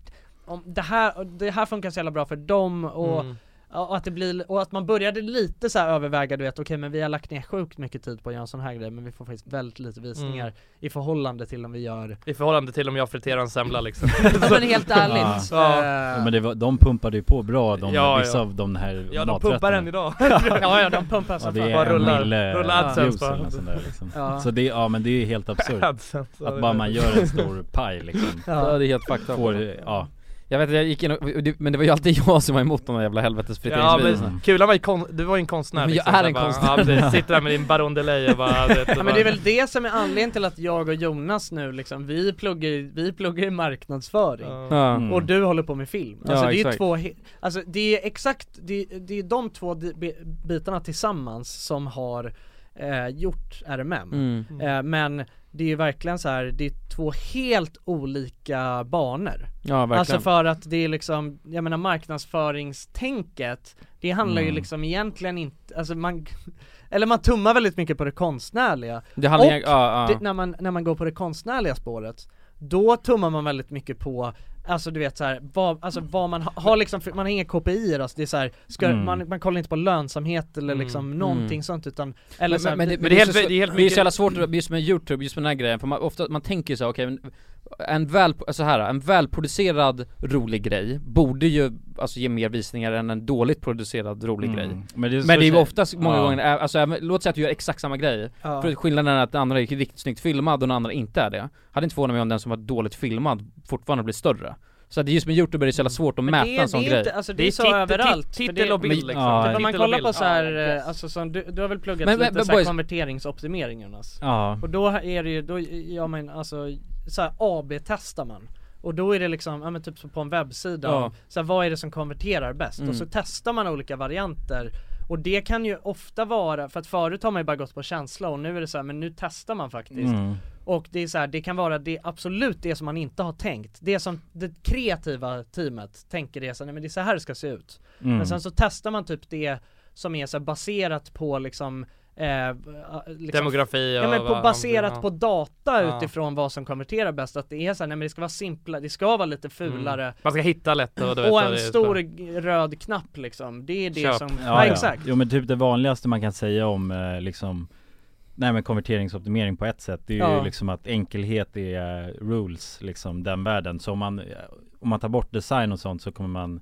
[SPEAKER 3] om det här, det här funkar så jävla bra för dem och
[SPEAKER 4] Mm.
[SPEAKER 3] ja, Och att det blir, och att man började lite så här överväga du vet, okej men vi har lagt ner sjukt mycket tid på att göra en sån här grej men vi får faktiskt väldigt lite visningar
[SPEAKER 4] Mm.
[SPEAKER 3] i förhållande till om vi gör
[SPEAKER 4] I förhållande till om jag friterar en semla
[SPEAKER 3] *laughs*
[SPEAKER 4] liksom.
[SPEAKER 3] men helt ärligt.
[SPEAKER 4] *laughs*
[SPEAKER 3] Eh,
[SPEAKER 4] Ja.
[SPEAKER 7] Ja, men det var, de pumpade ju på bra de,
[SPEAKER 4] Ja,
[SPEAKER 7] vissa
[SPEAKER 4] ja.
[SPEAKER 7] av de här
[SPEAKER 4] Ja, de pumpar
[SPEAKER 7] maträtterna.
[SPEAKER 4] än idag.
[SPEAKER 3] *laughs* Ja, ja, de pumpar
[SPEAKER 7] ja,
[SPEAKER 3] som
[SPEAKER 7] det
[SPEAKER 3] fan.
[SPEAKER 7] är
[SPEAKER 3] Bara
[SPEAKER 7] en
[SPEAKER 3] rullar-
[SPEAKER 7] mille
[SPEAKER 3] rullar AdSense
[SPEAKER 7] views
[SPEAKER 3] bara.
[SPEAKER 7] eller något sånt där, liksom.
[SPEAKER 3] Ja.
[SPEAKER 7] Så det, ja men det är ju
[SPEAKER 3] *laughs*
[SPEAKER 7] helt absurt
[SPEAKER 4] AdSense, ja,
[SPEAKER 7] Att
[SPEAKER 4] det
[SPEAKER 7] bara
[SPEAKER 4] är-
[SPEAKER 7] man gör en stor paj liksom
[SPEAKER 1] Ja det är helt fucked
[SPEAKER 7] Får,
[SPEAKER 1] up
[SPEAKER 7] ja
[SPEAKER 1] Jag vet att jag gick in och, och det- men det var ju alltid *laughs* jag som var emot de där jävla helvetes
[SPEAKER 4] Ja
[SPEAKER 1] friteringsvideorna
[SPEAKER 4] men Kulan var ju kon- du var ju en konstnär
[SPEAKER 1] Men jag
[SPEAKER 4] liksom,
[SPEAKER 1] är
[SPEAKER 4] så
[SPEAKER 1] en
[SPEAKER 4] bara,
[SPEAKER 1] konstnär.
[SPEAKER 4] Ja, precis.
[SPEAKER 1] *laughs*
[SPEAKER 4] sitter där med din Baron de Ley och
[SPEAKER 3] *laughs*
[SPEAKER 4] bara, du vet,
[SPEAKER 3] Ja, men det är väl det som är anledningen till att jag och Jonas nu liksom, vi pluggar ju, vi pluggar ju marknadsföring
[SPEAKER 1] Ja. Mm.
[SPEAKER 3] och du håller på med film.
[SPEAKER 1] Ja,
[SPEAKER 3] Alltså det är ju
[SPEAKER 1] exakt.
[SPEAKER 3] två, he- alltså det är exakt, det, alltså, det är de två di- bi- bitarna tillsammans som har eh, gjort RMM.
[SPEAKER 1] Mm.
[SPEAKER 3] Eh, men det är ju verkligen så här, det är två helt olika banor.
[SPEAKER 1] Ja, verkligen.
[SPEAKER 3] Alltså för att det är liksom, jag menar marknadsföringstänket, det handlar ju
[SPEAKER 1] Mm.
[SPEAKER 3] liksom egentligen inte, alltså man *laughs* eller man tummar väldigt mycket på det konstnärliga
[SPEAKER 1] Det handlar
[SPEAKER 3] Och
[SPEAKER 1] ju- ja, ja.
[SPEAKER 3] Det, när, man, när man går på det konstnärliga spåret Då tummar man väldigt mycket på Alltså du vet så här, vad, alltså vad man ha, har liksom, för- man har inga KPI alltså det är så här, ska,
[SPEAKER 1] Mm.
[SPEAKER 3] man, man kollar inte på lönsamhet eller liksom
[SPEAKER 1] Mm.
[SPEAKER 3] någonting sånt utan Eller
[SPEAKER 1] men,
[SPEAKER 3] så här,
[SPEAKER 1] men, det, men det, är så, det, är ju så jävla svårt att- just med youtube, just med den här grejen, för man, ofta, man tänker ju såhär okej, men en väl, så här, en välproducerad rolig grej borde ju alltså ge mer visningar än en dåligt producerad rolig
[SPEAKER 7] Mm.
[SPEAKER 1] grej
[SPEAKER 7] Men
[SPEAKER 1] Men
[SPEAKER 7] det
[SPEAKER 1] det
[SPEAKER 7] är så-
[SPEAKER 1] är ju oftast många
[SPEAKER 7] Ja.
[SPEAKER 1] gånger, ä- alltså även, låt säga att du gör exakt samma grej,
[SPEAKER 7] Ja.
[SPEAKER 1] för skillnaden är att den andra är riktigt snyggt filmad och den andra inte är det Hade inte förvånat mig om den som var dåligt filmad fortfarande blir större Så att just med youtube är det så jävla svårt att mäta
[SPEAKER 3] Mm. det,
[SPEAKER 1] en sån
[SPEAKER 3] det är
[SPEAKER 1] grej
[SPEAKER 3] Inte, alltså, det, är så överallt. för det-
[SPEAKER 1] Men-
[SPEAKER 4] liksom.
[SPEAKER 1] ja,
[SPEAKER 3] Typ om man
[SPEAKER 1] titel och
[SPEAKER 3] kollar
[SPEAKER 1] bild.
[SPEAKER 3] på så här, eh, alltså som du, du har väl pluggat
[SPEAKER 1] Men-
[SPEAKER 3] lite
[SPEAKER 1] men-
[SPEAKER 3] så här
[SPEAKER 1] boys-
[SPEAKER 3] konverteringsoptimering Jonas?
[SPEAKER 1] Ja.
[SPEAKER 3] Och då är det ju, då, ja men alltså, så här AB-testar man. Och då är det liksom, ja men typ så på en webbsida,
[SPEAKER 1] Ja.
[SPEAKER 3] så här, vad är det som konverterar bäst?
[SPEAKER 1] Mm.
[SPEAKER 3] Och så testar man olika varianter och det kan ju ofta vara, för att förut har man ju bara gått på känsla och nu är det så här, men nu testar man faktiskt
[SPEAKER 7] Mm.
[SPEAKER 3] och det är så här, det kan vara det absolut det som man inte har tänkt. Det som det kreativa teamet tänker det så här, nej men det är så här det ska se ut.
[SPEAKER 7] Mm.
[SPEAKER 3] Men sen så testar man typ det som är så här baserat på liksom Eh, liksom,
[SPEAKER 4] Demografi och
[SPEAKER 3] ja, men på,
[SPEAKER 4] vad-
[SPEAKER 3] baserat
[SPEAKER 4] ja.
[SPEAKER 3] på data
[SPEAKER 4] Ja.
[SPEAKER 3] utifrån vad som konverterar bäst att det är så här, nej men det ska vara simpla, det ska vara lite fulare
[SPEAKER 4] Mm. Man ska hitta lätt och du vet
[SPEAKER 3] Och
[SPEAKER 4] vad
[SPEAKER 3] en
[SPEAKER 4] det är.
[SPEAKER 3] stor g- röd knapp liksom, det är det som, ja,
[SPEAKER 7] Ja, ja.
[SPEAKER 3] exakt
[SPEAKER 7] Jo men typ det vanligaste man kan säga om eh, liksom Nej men konverteringsoptimering på ett sätt Det är
[SPEAKER 3] Ja.
[SPEAKER 7] ju liksom att enkelhet är eh, rules liksom den världen Så om man eh,
[SPEAKER 2] om man tar bort design och sånt så kommer man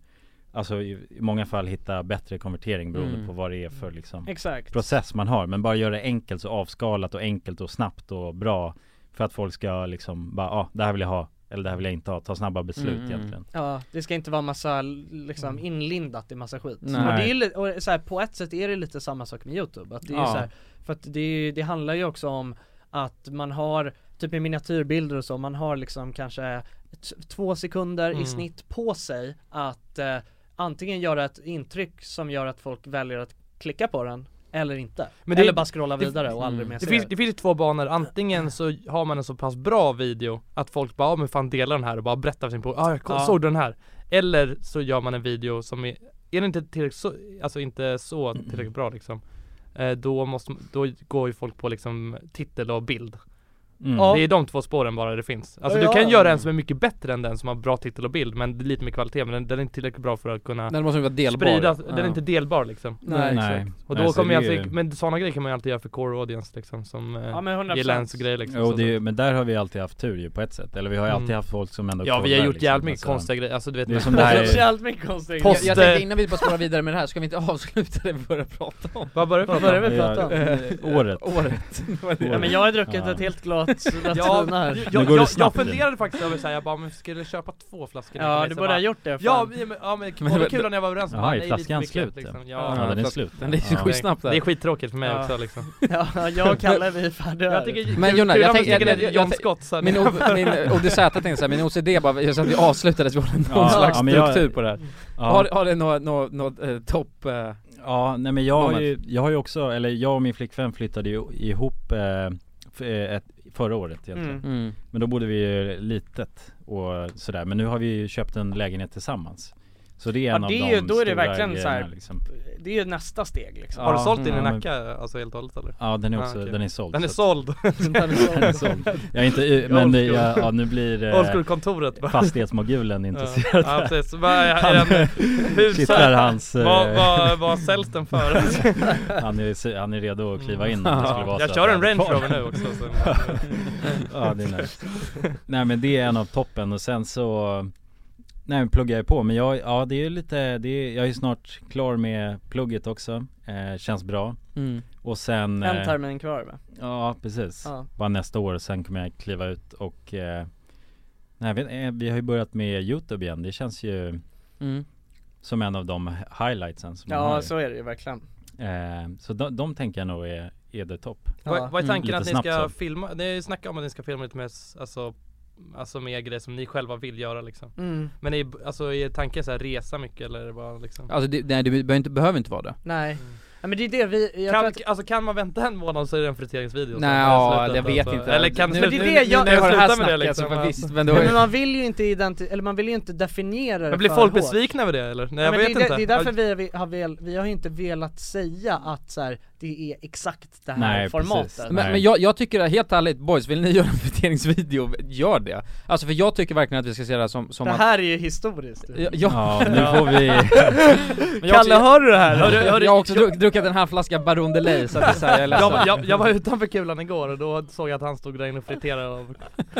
[SPEAKER 2] Alltså i, i många fall hitta bättre konvertering beroende
[SPEAKER 3] Mm.
[SPEAKER 2] på vad det är för liksom
[SPEAKER 3] Exakt.
[SPEAKER 2] process man har Men bara göra det enkelt så avskalat och enkelt och snabbt och bra För att folk ska liksom bara, ah, det här vill jag ha Eller det här vill jag inte ha, ta snabba beslut
[SPEAKER 3] Mm.
[SPEAKER 2] egentligen
[SPEAKER 3] Ja, det ska inte vara massa
[SPEAKER 4] Mm.
[SPEAKER 3] liksom inlindat i massa skit.
[SPEAKER 2] Nej.
[SPEAKER 3] Och, det är, li- och så här, på ett sätt är det lite samma sak med Youtube. Att det, är
[SPEAKER 2] Ja.
[SPEAKER 3] så här, för att det, är- det handlar ju också om att man har, typ i miniatyrbilder och så, man har liksom kanske t- två sekunder
[SPEAKER 16] Mm.
[SPEAKER 3] i snitt på sig att eh, antingen göra ett intryck som gör att folk väljer att klicka på den eller inte.
[SPEAKER 4] det-
[SPEAKER 3] eller bara scrolla vidare och aldrig
[SPEAKER 4] Mm.
[SPEAKER 3] mer
[SPEAKER 4] det
[SPEAKER 3] se
[SPEAKER 4] finns, det finns ju två banor, antingen så har man en så pass bra video att folk bara ah, men fan dela den här och bara berättar för sin polare, ah, jag ko-
[SPEAKER 3] Ja.
[SPEAKER 4] såg den här Eller så gör man en video som är, är den inte tillräckligt så, alltså inte så tillräckligt bra liksom eh, då, måste, då går ju folk på liksom titel och bild
[SPEAKER 2] Mm.
[SPEAKER 3] Ja.
[SPEAKER 4] Det är de två spåren bara det finns Alltså
[SPEAKER 3] Ja,
[SPEAKER 4] du kan
[SPEAKER 3] ja.
[SPEAKER 4] göra en som är mycket bättre än den som har bra titel och bild men lite mer kvalitet men den, den är inte tillräckligt bra för att kunna
[SPEAKER 1] Den måste ju vara delbar.
[SPEAKER 4] spridas, Den
[SPEAKER 1] Ja.
[SPEAKER 4] är inte delbar liksom
[SPEAKER 1] Nej, Nej.
[SPEAKER 4] exakt. Och
[SPEAKER 1] Nej,
[SPEAKER 4] då
[SPEAKER 1] så
[SPEAKER 4] kommer jag
[SPEAKER 1] det är ju-
[SPEAKER 4] alltid, men sådana grejer kan man ju alltid göra för core audience liksom som eh,
[SPEAKER 3] Ja, men 100%.
[SPEAKER 4] gillar ens grejer liksom
[SPEAKER 2] Jo,
[SPEAKER 4] Så-
[SPEAKER 2] det är, ju- men där har vi alltid haft tur ju på ett sätt Eller vi har ju alltid
[SPEAKER 4] Mm.
[SPEAKER 2] haft folk som ändå
[SPEAKER 4] Ja, vi har
[SPEAKER 2] kollar,
[SPEAKER 4] gjort jävligt mycket
[SPEAKER 2] Alltså,
[SPEAKER 4] konstiga grejer. Alltså, du vet-
[SPEAKER 2] Det är som det här
[SPEAKER 4] Vi har
[SPEAKER 2] är...
[SPEAKER 4] gjort jävligt mycket konstiga
[SPEAKER 1] Post,
[SPEAKER 4] grejer.
[SPEAKER 1] jag, jag
[SPEAKER 4] Post, eh,
[SPEAKER 1] tänkte innan vi bara spårar vidare med det här, ska vi inte avsluta det vi började prata om?
[SPEAKER 4] Vad började
[SPEAKER 3] vi började vi prata om?
[SPEAKER 2] Året.
[SPEAKER 1] Året. *laughs* Det var det.
[SPEAKER 3] Ja men jag har druckit ett helt
[SPEAKER 4] *laughs*
[SPEAKER 3] glas Ratsuna
[SPEAKER 4] jag,
[SPEAKER 3] här
[SPEAKER 4] jag, jag, jag funderade faktiskt över såhär, jag bara men skulle jag köpa två flaskor? Liksom,
[SPEAKER 3] Ja, du borde ha gjort det, fan.
[SPEAKER 4] Ja men,
[SPEAKER 2] *laughs*
[SPEAKER 4] ja, men,
[SPEAKER 3] Men
[SPEAKER 4] det var
[SPEAKER 3] det-
[SPEAKER 4] kul när jag var överens
[SPEAKER 2] Jaha,
[SPEAKER 4] bara,
[SPEAKER 2] är
[SPEAKER 4] nej,
[SPEAKER 2] flaskan
[SPEAKER 4] lite mycket,
[SPEAKER 2] slut?
[SPEAKER 4] liksom.
[SPEAKER 2] Ja, den är
[SPEAKER 4] flaskan-
[SPEAKER 2] slut.
[SPEAKER 4] Den är ju
[SPEAKER 2] Ja.
[SPEAKER 4] skitsnabbt där. Det är skittråkigt för mig
[SPEAKER 3] Ja.
[SPEAKER 4] också liksom
[SPEAKER 3] *laughs* Ja, jag och Kalle vi är färdiga
[SPEAKER 4] Jag tycker,
[SPEAKER 1] Men Jonna, jag tänkte, jag, jag,
[SPEAKER 4] John
[SPEAKER 1] jag-
[SPEAKER 4] Scott så här-
[SPEAKER 1] min, o, min ODZ jag tänkte såhär, min OCD bara, jag sa att vi avslutade så vi håller någon
[SPEAKER 2] Ja,
[SPEAKER 1] slags
[SPEAKER 2] ja, men jag-
[SPEAKER 1] struktur på det här
[SPEAKER 2] Ja.
[SPEAKER 1] Har, har det något, något, något eh, topp... Eh,
[SPEAKER 2] Ja, nej men jag har,
[SPEAKER 1] moment?
[SPEAKER 2] ju, jag har ju också, eller jag och min flickvän flyttade ju ihop eh, f- eh, ett, förra året egentligen
[SPEAKER 1] Mm. Mm.
[SPEAKER 2] Men då bodde vi ju litet och sådär, men nu har vi ju köpt en lägenhet tillsammans Så det är en
[SPEAKER 3] Ja,
[SPEAKER 2] av
[SPEAKER 3] det
[SPEAKER 2] de
[SPEAKER 3] är ju, då är det
[SPEAKER 2] stora
[SPEAKER 3] verkligen så här,
[SPEAKER 2] grejerna, liksom. Mm.
[SPEAKER 3] det är ju nästa steg liksom
[SPEAKER 4] Har du sålt din
[SPEAKER 2] Ja,
[SPEAKER 4] i
[SPEAKER 2] men-
[SPEAKER 4] Nacka alltså helt och hållet eller?
[SPEAKER 2] Ja den är också,
[SPEAKER 4] okej.
[SPEAKER 2] den är såld
[SPEAKER 4] Den är
[SPEAKER 2] så att- *laughs*
[SPEAKER 4] såld!
[SPEAKER 2] Den är
[SPEAKER 4] *laughs*
[SPEAKER 2] såld Jag är inte, men det, ja, ja, nu blir eh,
[SPEAKER 4] Old kontoret
[SPEAKER 2] Fastighetsmogulen intresserad
[SPEAKER 4] Ja, ja precis, vad är en hus-
[SPEAKER 2] kittlar hans eh,
[SPEAKER 4] Vad, vad, vad säljs den för?
[SPEAKER 2] *laughs* han, är, han är redo att kliva in om det
[SPEAKER 4] Ja.
[SPEAKER 2] skulle vara
[SPEAKER 4] Jag
[SPEAKER 2] så
[SPEAKER 4] kör
[SPEAKER 2] att
[SPEAKER 4] en
[SPEAKER 2] han är
[SPEAKER 4] Range
[SPEAKER 2] kvar.
[SPEAKER 4] Rover nu också, så-
[SPEAKER 2] *laughs* Ja det är nice Nej men det är en av toppen och sen så Nej men pluggar jag på men jag, ja det är lite, det är, jag är snart klar med plugget också eh, Känns bra
[SPEAKER 3] Mm.
[SPEAKER 2] Och sen
[SPEAKER 3] En
[SPEAKER 2] eh,
[SPEAKER 3] termin kvar va?
[SPEAKER 2] Ja precis,
[SPEAKER 3] Ja.
[SPEAKER 2] bara nästa år sen kommer jag kliva ut och eh, Nej jag vet, eh, vi har ju börjat med Youtube igen, det känns ju
[SPEAKER 1] Mm.
[SPEAKER 2] Som en av de highlightsen som man har
[SPEAKER 3] Ja
[SPEAKER 2] ju.
[SPEAKER 3] så är det ju verkligen
[SPEAKER 4] Mm.
[SPEAKER 2] Eh, Så de, de tänker jag nog är, är det topp
[SPEAKER 4] Vad, vad är
[SPEAKER 2] Mm.
[SPEAKER 4] tanken
[SPEAKER 2] Lite
[SPEAKER 4] att ni
[SPEAKER 2] snabbt
[SPEAKER 4] ska
[SPEAKER 2] så.
[SPEAKER 4] filma? Ni snackar om att ni ska filma lite mer, s- alltså Alltså mer grejer som ni själva vill göra liksom
[SPEAKER 3] Mm.
[SPEAKER 4] Men är, alltså, är tanken så här resa mycket eller är det bara liksom?
[SPEAKER 1] alltså det, nej, det behöver inte, behöver inte vara det
[SPEAKER 3] Nej Ja, men det är det vi, jag
[SPEAKER 4] kan,
[SPEAKER 3] tror att
[SPEAKER 4] alltså kan man vänta en månad så är det en friteringsvideo
[SPEAKER 1] Nej,
[SPEAKER 4] så-
[SPEAKER 1] ja,
[SPEAKER 4] slutet,
[SPEAKER 1] jag vet
[SPEAKER 4] alltså.
[SPEAKER 1] inte.
[SPEAKER 4] Eller kan
[SPEAKER 1] Nu-
[SPEAKER 4] men
[SPEAKER 1] nu- nu- nu när vi har det här snacket
[SPEAKER 4] liksom,
[SPEAKER 1] så men visst, men då-
[SPEAKER 3] liksom. men man vill ju inte identi- eller man vill ju inte definiera det
[SPEAKER 4] Men blir
[SPEAKER 3] för
[SPEAKER 4] folk
[SPEAKER 3] hårt.
[SPEAKER 4] besvikna över det eller? Nej
[SPEAKER 3] Ja,
[SPEAKER 4] jag
[SPEAKER 3] men
[SPEAKER 4] vet
[SPEAKER 3] det, är
[SPEAKER 4] inte
[SPEAKER 3] det- Det är därför vi, vi, har väl, vi har ju inte velat säga att så här, det är exakt det här formatet
[SPEAKER 1] Men, men jag, jag tycker helt ärligt boys, vill ni göra en fitteringsvideo, gör det! Alltså för jag tycker verkligen att vi ska se det här som, som
[SPEAKER 3] Det
[SPEAKER 1] att-
[SPEAKER 3] här är ju historiskt
[SPEAKER 1] Ja,
[SPEAKER 2] Ja, nu får vi- *laughs*
[SPEAKER 1] *laughs*
[SPEAKER 4] *laughs*
[SPEAKER 1] Men jag har också-
[SPEAKER 3] Kalle, hör du det här?
[SPEAKER 1] Hör du- hör du- Jag har också
[SPEAKER 4] jag-
[SPEAKER 1] druck, druckit en halv flaska Baron de Lay så att det är så här, jag är ledsen.
[SPEAKER 4] jag, jag, jag var utanför kulan igår och då såg jag att han stod där inne och friterade och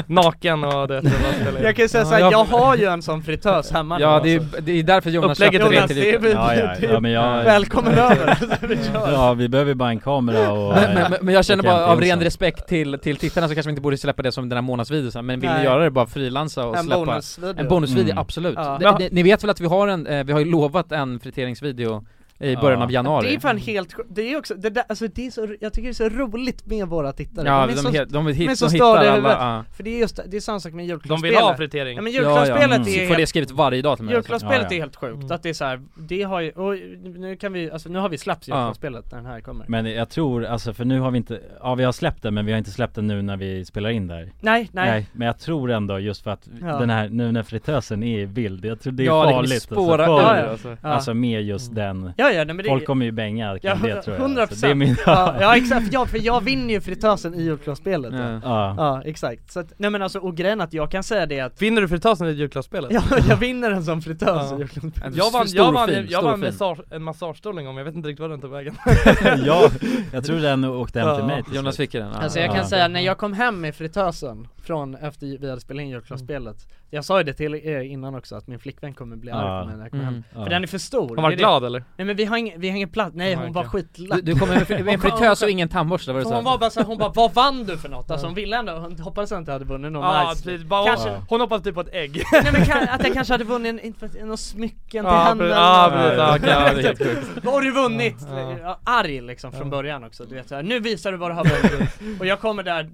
[SPEAKER 4] naken och det, det var
[SPEAKER 3] Jag kan ju säga såhär, jag har ju en sån fritös hemma nu,
[SPEAKER 1] Ja det
[SPEAKER 3] alltså.
[SPEAKER 1] är, det är därför Jonas
[SPEAKER 3] Upplägget
[SPEAKER 1] köpte
[SPEAKER 3] är
[SPEAKER 1] det till
[SPEAKER 3] rent.
[SPEAKER 1] Ica.
[SPEAKER 2] Ja, ja, ja, men jag...
[SPEAKER 3] Välkommen över. Vi
[SPEAKER 2] *laughs*
[SPEAKER 3] kör.
[SPEAKER 2] Ja vi behöver bara en kamera och...
[SPEAKER 1] men, men, men- men jag känner
[SPEAKER 2] och
[SPEAKER 1] bara
[SPEAKER 2] Kent
[SPEAKER 1] av ren
[SPEAKER 2] Olsson.
[SPEAKER 1] respekt till, till tittarna så kanske vi inte borde släppa det som den här månadsvideon men vill ni
[SPEAKER 2] Nej.
[SPEAKER 1] göra det bara frilansa och
[SPEAKER 2] En
[SPEAKER 1] släppa
[SPEAKER 2] bonusvideo.
[SPEAKER 1] En bonusvideo,
[SPEAKER 2] Mm.
[SPEAKER 1] absolut.
[SPEAKER 3] Ja.
[SPEAKER 1] Det- det- ni vet väl att vi har en, eh, vi har ju lovat en friteringsvideo i början av januari?
[SPEAKER 3] Det är fan helt sjukt. det är också, det där, alltså det är så, jag tycker det är så roligt med våra tittare
[SPEAKER 1] Ja,
[SPEAKER 3] är
[SPEAKER 1] de
[SPEAKER 3] så,
[SPEAKER 1] he- de vill hit-
[SPEAKER 3] är så
[SPEAKER 1] de hittar
[SPEAKER 3] störda i
[SPEAKER 1] alla,
[SPEAKER 3] huvudet.
[SPEAKER 1] ja.
[SPEAKER 3] För det är just, det är samma sak med
[SPEAKER 4] De
[SPEAKER 3] julklappsspelet
[SPEAKER 4] vill ha fritering
[SPEAKER 3] Ja men julklappsspelet
[SPEAKER 1] Ja, ja.
[SPEAKER 3] är
[SPEAKER 1] Får det skrivet varje dag till mig, alltså.
[SPEAKER 3] Julklappsspelet
[SPEAKER 1] Ja, ja.
[SPEAKER 3] är helt sjukt, att det är så här, det har ju, och nu kan vi, alltså nu har vi släppt
[SPEAKER 2] Ja.
[SPEAKER 3] julklappsspelet när den här kommer
[SPEAKER 2] Men jag tror, alltså för nu har vi inte, ja vi har släppt den men vi har inte släppt den nu när vi spelar in där
[SPEAKER 3] nej.
[SPEAKER 2] Men jag tror ändå just för att
[SPEAKER 3] Ja.
[SPEAKER 2] den här, nu när fritösen är i bild, jag tror det är
[SPEAKER 3] Ja, det kommer
[SPEAKER 2] farligt
[SPEAKER 3] spåra
[SPEAKER 2] alltså,
[SPEAKER 3] ur, alltså.
[SPEAKER 2] alltså.
[SPEAKER 3] Ja.
[SPEAKER 2] alltså med just den
[SPEAKER 3] Ja, ja, nej, men det-
[SPEAKER 2] Folk kommer ju bänga kan det tror jag
[SPEAKER 3] hundra
[SPEAKER 2] alltså. Det är
[SPEAKER 3] procent!
[SPEAKER 2] min, *laughs*
[SPEAKER 3] ja, ja exakt, ja, för jag vinner ju fritösen i julklappsspelet då.
[SPEAKER 2] Ja.
[SPEAKER 3] ja.
[SPEAKER 2] Ja.
[SPEAKER 3] exakt, så att, nej men alltså och grejen att jag kan säga det att
[SPEAKER 4] Vinner du fritösen i julklappsspelet?
[SPEAKER 3] Ja, jag vinner en sån fritös i julklappsspelet
[SPEAKER 4] Jag vann, jag vann, jag vann massage, en massagestol en gång, men jag vet inte riktigt var den
[SPEAKER 2] *laughs*
[SPEAKER 4] tog vägen *laughs*
[SPEAKER 2] Ja, jag tror den åkte hem till mig till slut.
[SPEAKER 1] Jonas fick ju den, ja.
[SPEAKER 3] Alltså jag kan säga, när jag kom hem med fritösen från efter vi hade spelat in julklappsspelet Jag sa ju det till er innan också att min flickvän kommer bli arg
[SPEAKER 4] Ja.
[SPEAKER 3] på mig när jag kommer hem
[SPEAKER 4] Mm.
[SPEAKER 3] För
[SPEAKER 4] Ja.
[SPEAKER 3] den är för stor
[SPEAKER 4] Hon var
[SPEAKER 3] Det är det-
[SPEAKER 4] glad, eller?
[SPEAKER 3] Nej men vi har ingen, vi har ingen plats, nej
[SPEAKER 4] Ja,
[SPEAKER 3] hon var
[SPEAKER 4] okej.
[SPEAKER 3] skitlack
[SPEAKER 1] Du- du kommer med- med en
[SPEAKER 3] Hon bara-
[SPEAKER 1] fritös och
[SPEAKER 3] hon-
[SPEAKER 1] ingen tandborste, var det
[SPEAKER 3] För
[SPEAKER 1] så?
[SPEAKER 3] Hon var bara så här, hon bara 'Vad vann du för något?' Alltså hon ville ändå, hon hoppades att jag inte hade vunnit någon
[SPEAKER 4] Ja,
[SPEAKER 3] nice
[SPEAKER 4] precis. Bara-
[SPEAKER 3] Kanske,
[SPEAKER 4] Ja. Hon hoppades typ på ett ägg
[SPEAKER 3] Nej men kan, att jag kanske hade vunnit en, inte vet jag, någon smycken till
[SPEAKER 4] Ja,
[SPEAKER 3] handen
[SPEAKER 4] precis. Ja,
[SPEAKER 3] eller-
[SPEAKER 4] precis. Ja, okej, ja, det är helt sjukt.
[SPEAKER 3] Vad har du vunnit?
[SPEAKER 4] Ja.
[SPEAKER 3] Ja, Arg liksom från
[SPEAKER 4] Ja.
[SPEAKER 3] början också, du vet så här, nu visar du vad du har vunnit Och jag kommer där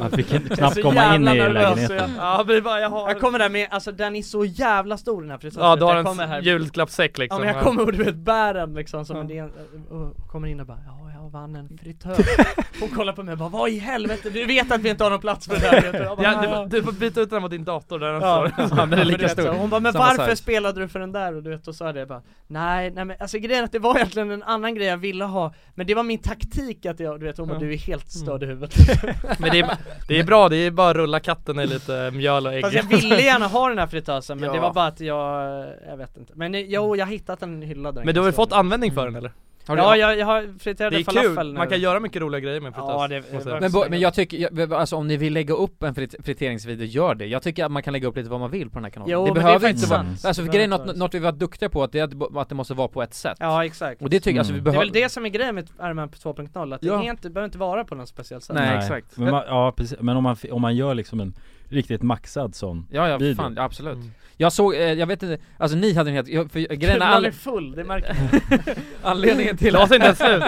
[SPEAKER 7] Han fick
[SPEAKER 3] Jag är
[SPEAKER 7] knappt
[SPEAKER 3] så
[SPEAKER 7] komma
[SPEAKER 3] jävla
[SPEAKER 7] in i
[SPEAKER 3] nervös,
[SPEAKER 7] lägenheten.
[SPEAKER 3] så jag- ja, men bara, jag, har... jag kommer där med, alltså den är så jävla stor den här prinsessan
[SPEAKER 4] Ja, du har
[SPEAKER 3] Jag
[SPEAKER 4] en
[SPEAKER 3] kommer här-
[SPEAKER 4] julklappssäck, liksom.
[SPEAKER 3] Ja men jag
[SPEAKER 4] Ja.
[SPEAKER 3] kommer och du vet bär den liksom som det är en, och kommer in och bara ja jag vann en *laughs* fritös Hon kollar på mig och bara vad i helvete, du vet att vi inte har någon plats för det här vet du? *laughs* Jag bara,
[SPEAKER 4] Ja, du
[SPEAKER 3] "Ah."
[SPEAKER 4] får- du får byta ut den mot din dator där den
[SPEAKER 3] Ja.
[SPEAKER 4] står Den är
[SPEAKER 3] Men *laughs* du
[SPEAKER 4] lika
[SPEAKER 3] vet, så,
[SPEAKER 4] stor
[SPEAKER 3] Hon bara, men
[SPEAKER 4] Samma
[SPEAKER 3] varför
[SPEAKER 4] size.
[SPEAKER 3] spelade du för den där? Och du vet, och sa det jag bara, nej, nej men alltså grejen är att det var egentligen en annan grej jag ville ha, men det var min taktik att jag, du vet hon bara,
[SPEAKER 4] Ja.
[SPEAKER 3] du är helt
[SPEAKER 1] Mm.
[SPEAKER 3] störd
[SPEAKER 1] *laughs*
[SPEAKER 3] i huvudet.
[SPEAKER 4] Men det
[SPEAKER 3] *laughs*
[SPEAKER 4] är, det är bra, det är bara att rulla katten i lite mjöl och ägg
[SPEAKER 3] Fast jag ville gärna ha den här fritösen men
[SPEAKER 4] Ja.
[SPEAKER 3] det var bara att jag, jag vet inte. Men eh, jo, jag har hittat en hylla där den
[SPEAKER 4] Men du har
[SPEAKER 3] kan
[SPEAKER 4] väl
[SPEAKER 3] stå.
[SPEAKER 4] fått användning för den eller?
[SPEAKER 3] Har du- Ja, jag- jag har friterade
[SPEAKER 4] Det är
[SPEAKER 3] falafel
[SPEAKER 4] kul,
[SPEAKER 3] nu.
[SPEAKER 4] man kan göra mycket roliga grejer med fritös
[SPEAKER 3] Ja, det-
[SPEAKER 4] måste jag säga.
[SPEAKER 1] Men, bo- men jag tycker, jag, alltså om ni vill lägga upp en frit- friteringsvideo, gör det. Jag tycker att man kan lägga upp lite vad man vill på den här kanalen.
[SPEAKER 3] Jo,
[SPEAKER 1] det
[SPEAKER 3] men det är
[SPEAKER 1] behöver
[SPEAKER 3] faktiskt
[SPEAKER 1] inte vara,
[SPEAKER 3] sant.
[SPEAKER 1] alltså
[SPEAKER 3] Det
[SPEAKER 1] för grejen är
[SPEAKER 3] behöver
[SPEAKER 1] något, något vi var duktiga på, att det, är att det bo- att det måste vara på ett sätt.
[SPEAKER 3] Ja exakt.
[SPEAKER 1] Och det tycker jag, alltså vi
[SPEAKER 3] Mm. Det är
[SPEAKER 1] behöver
[SPEAKER 3] väl det som är grejen med Ironman 2.0, att det
[SPEAKER 1] Ja.
[SPEAKER 3] är inte, behöver inte vara på något speciellt sätt.
[SPEAKER 7] Men, man, ja, precis. men om, man, fi- om man gör liksom en riktigt maxad sån
[SPEAKER 1] Ja, ja,
[SPEAKER 7] video.
[SPEAKER 1] fan, absolut. Jag såg, eh, jag vet inte, alltså ni hade en helt, jag, för grejen är
[SPEAKER 3] Man
[SPEAKER 1] all-
[SPEAKER 3] är full, det märker man.
[SPEAKER 1] *laughs* Anledningen till...
[SPEAKER 4] Glas är inte ens slut.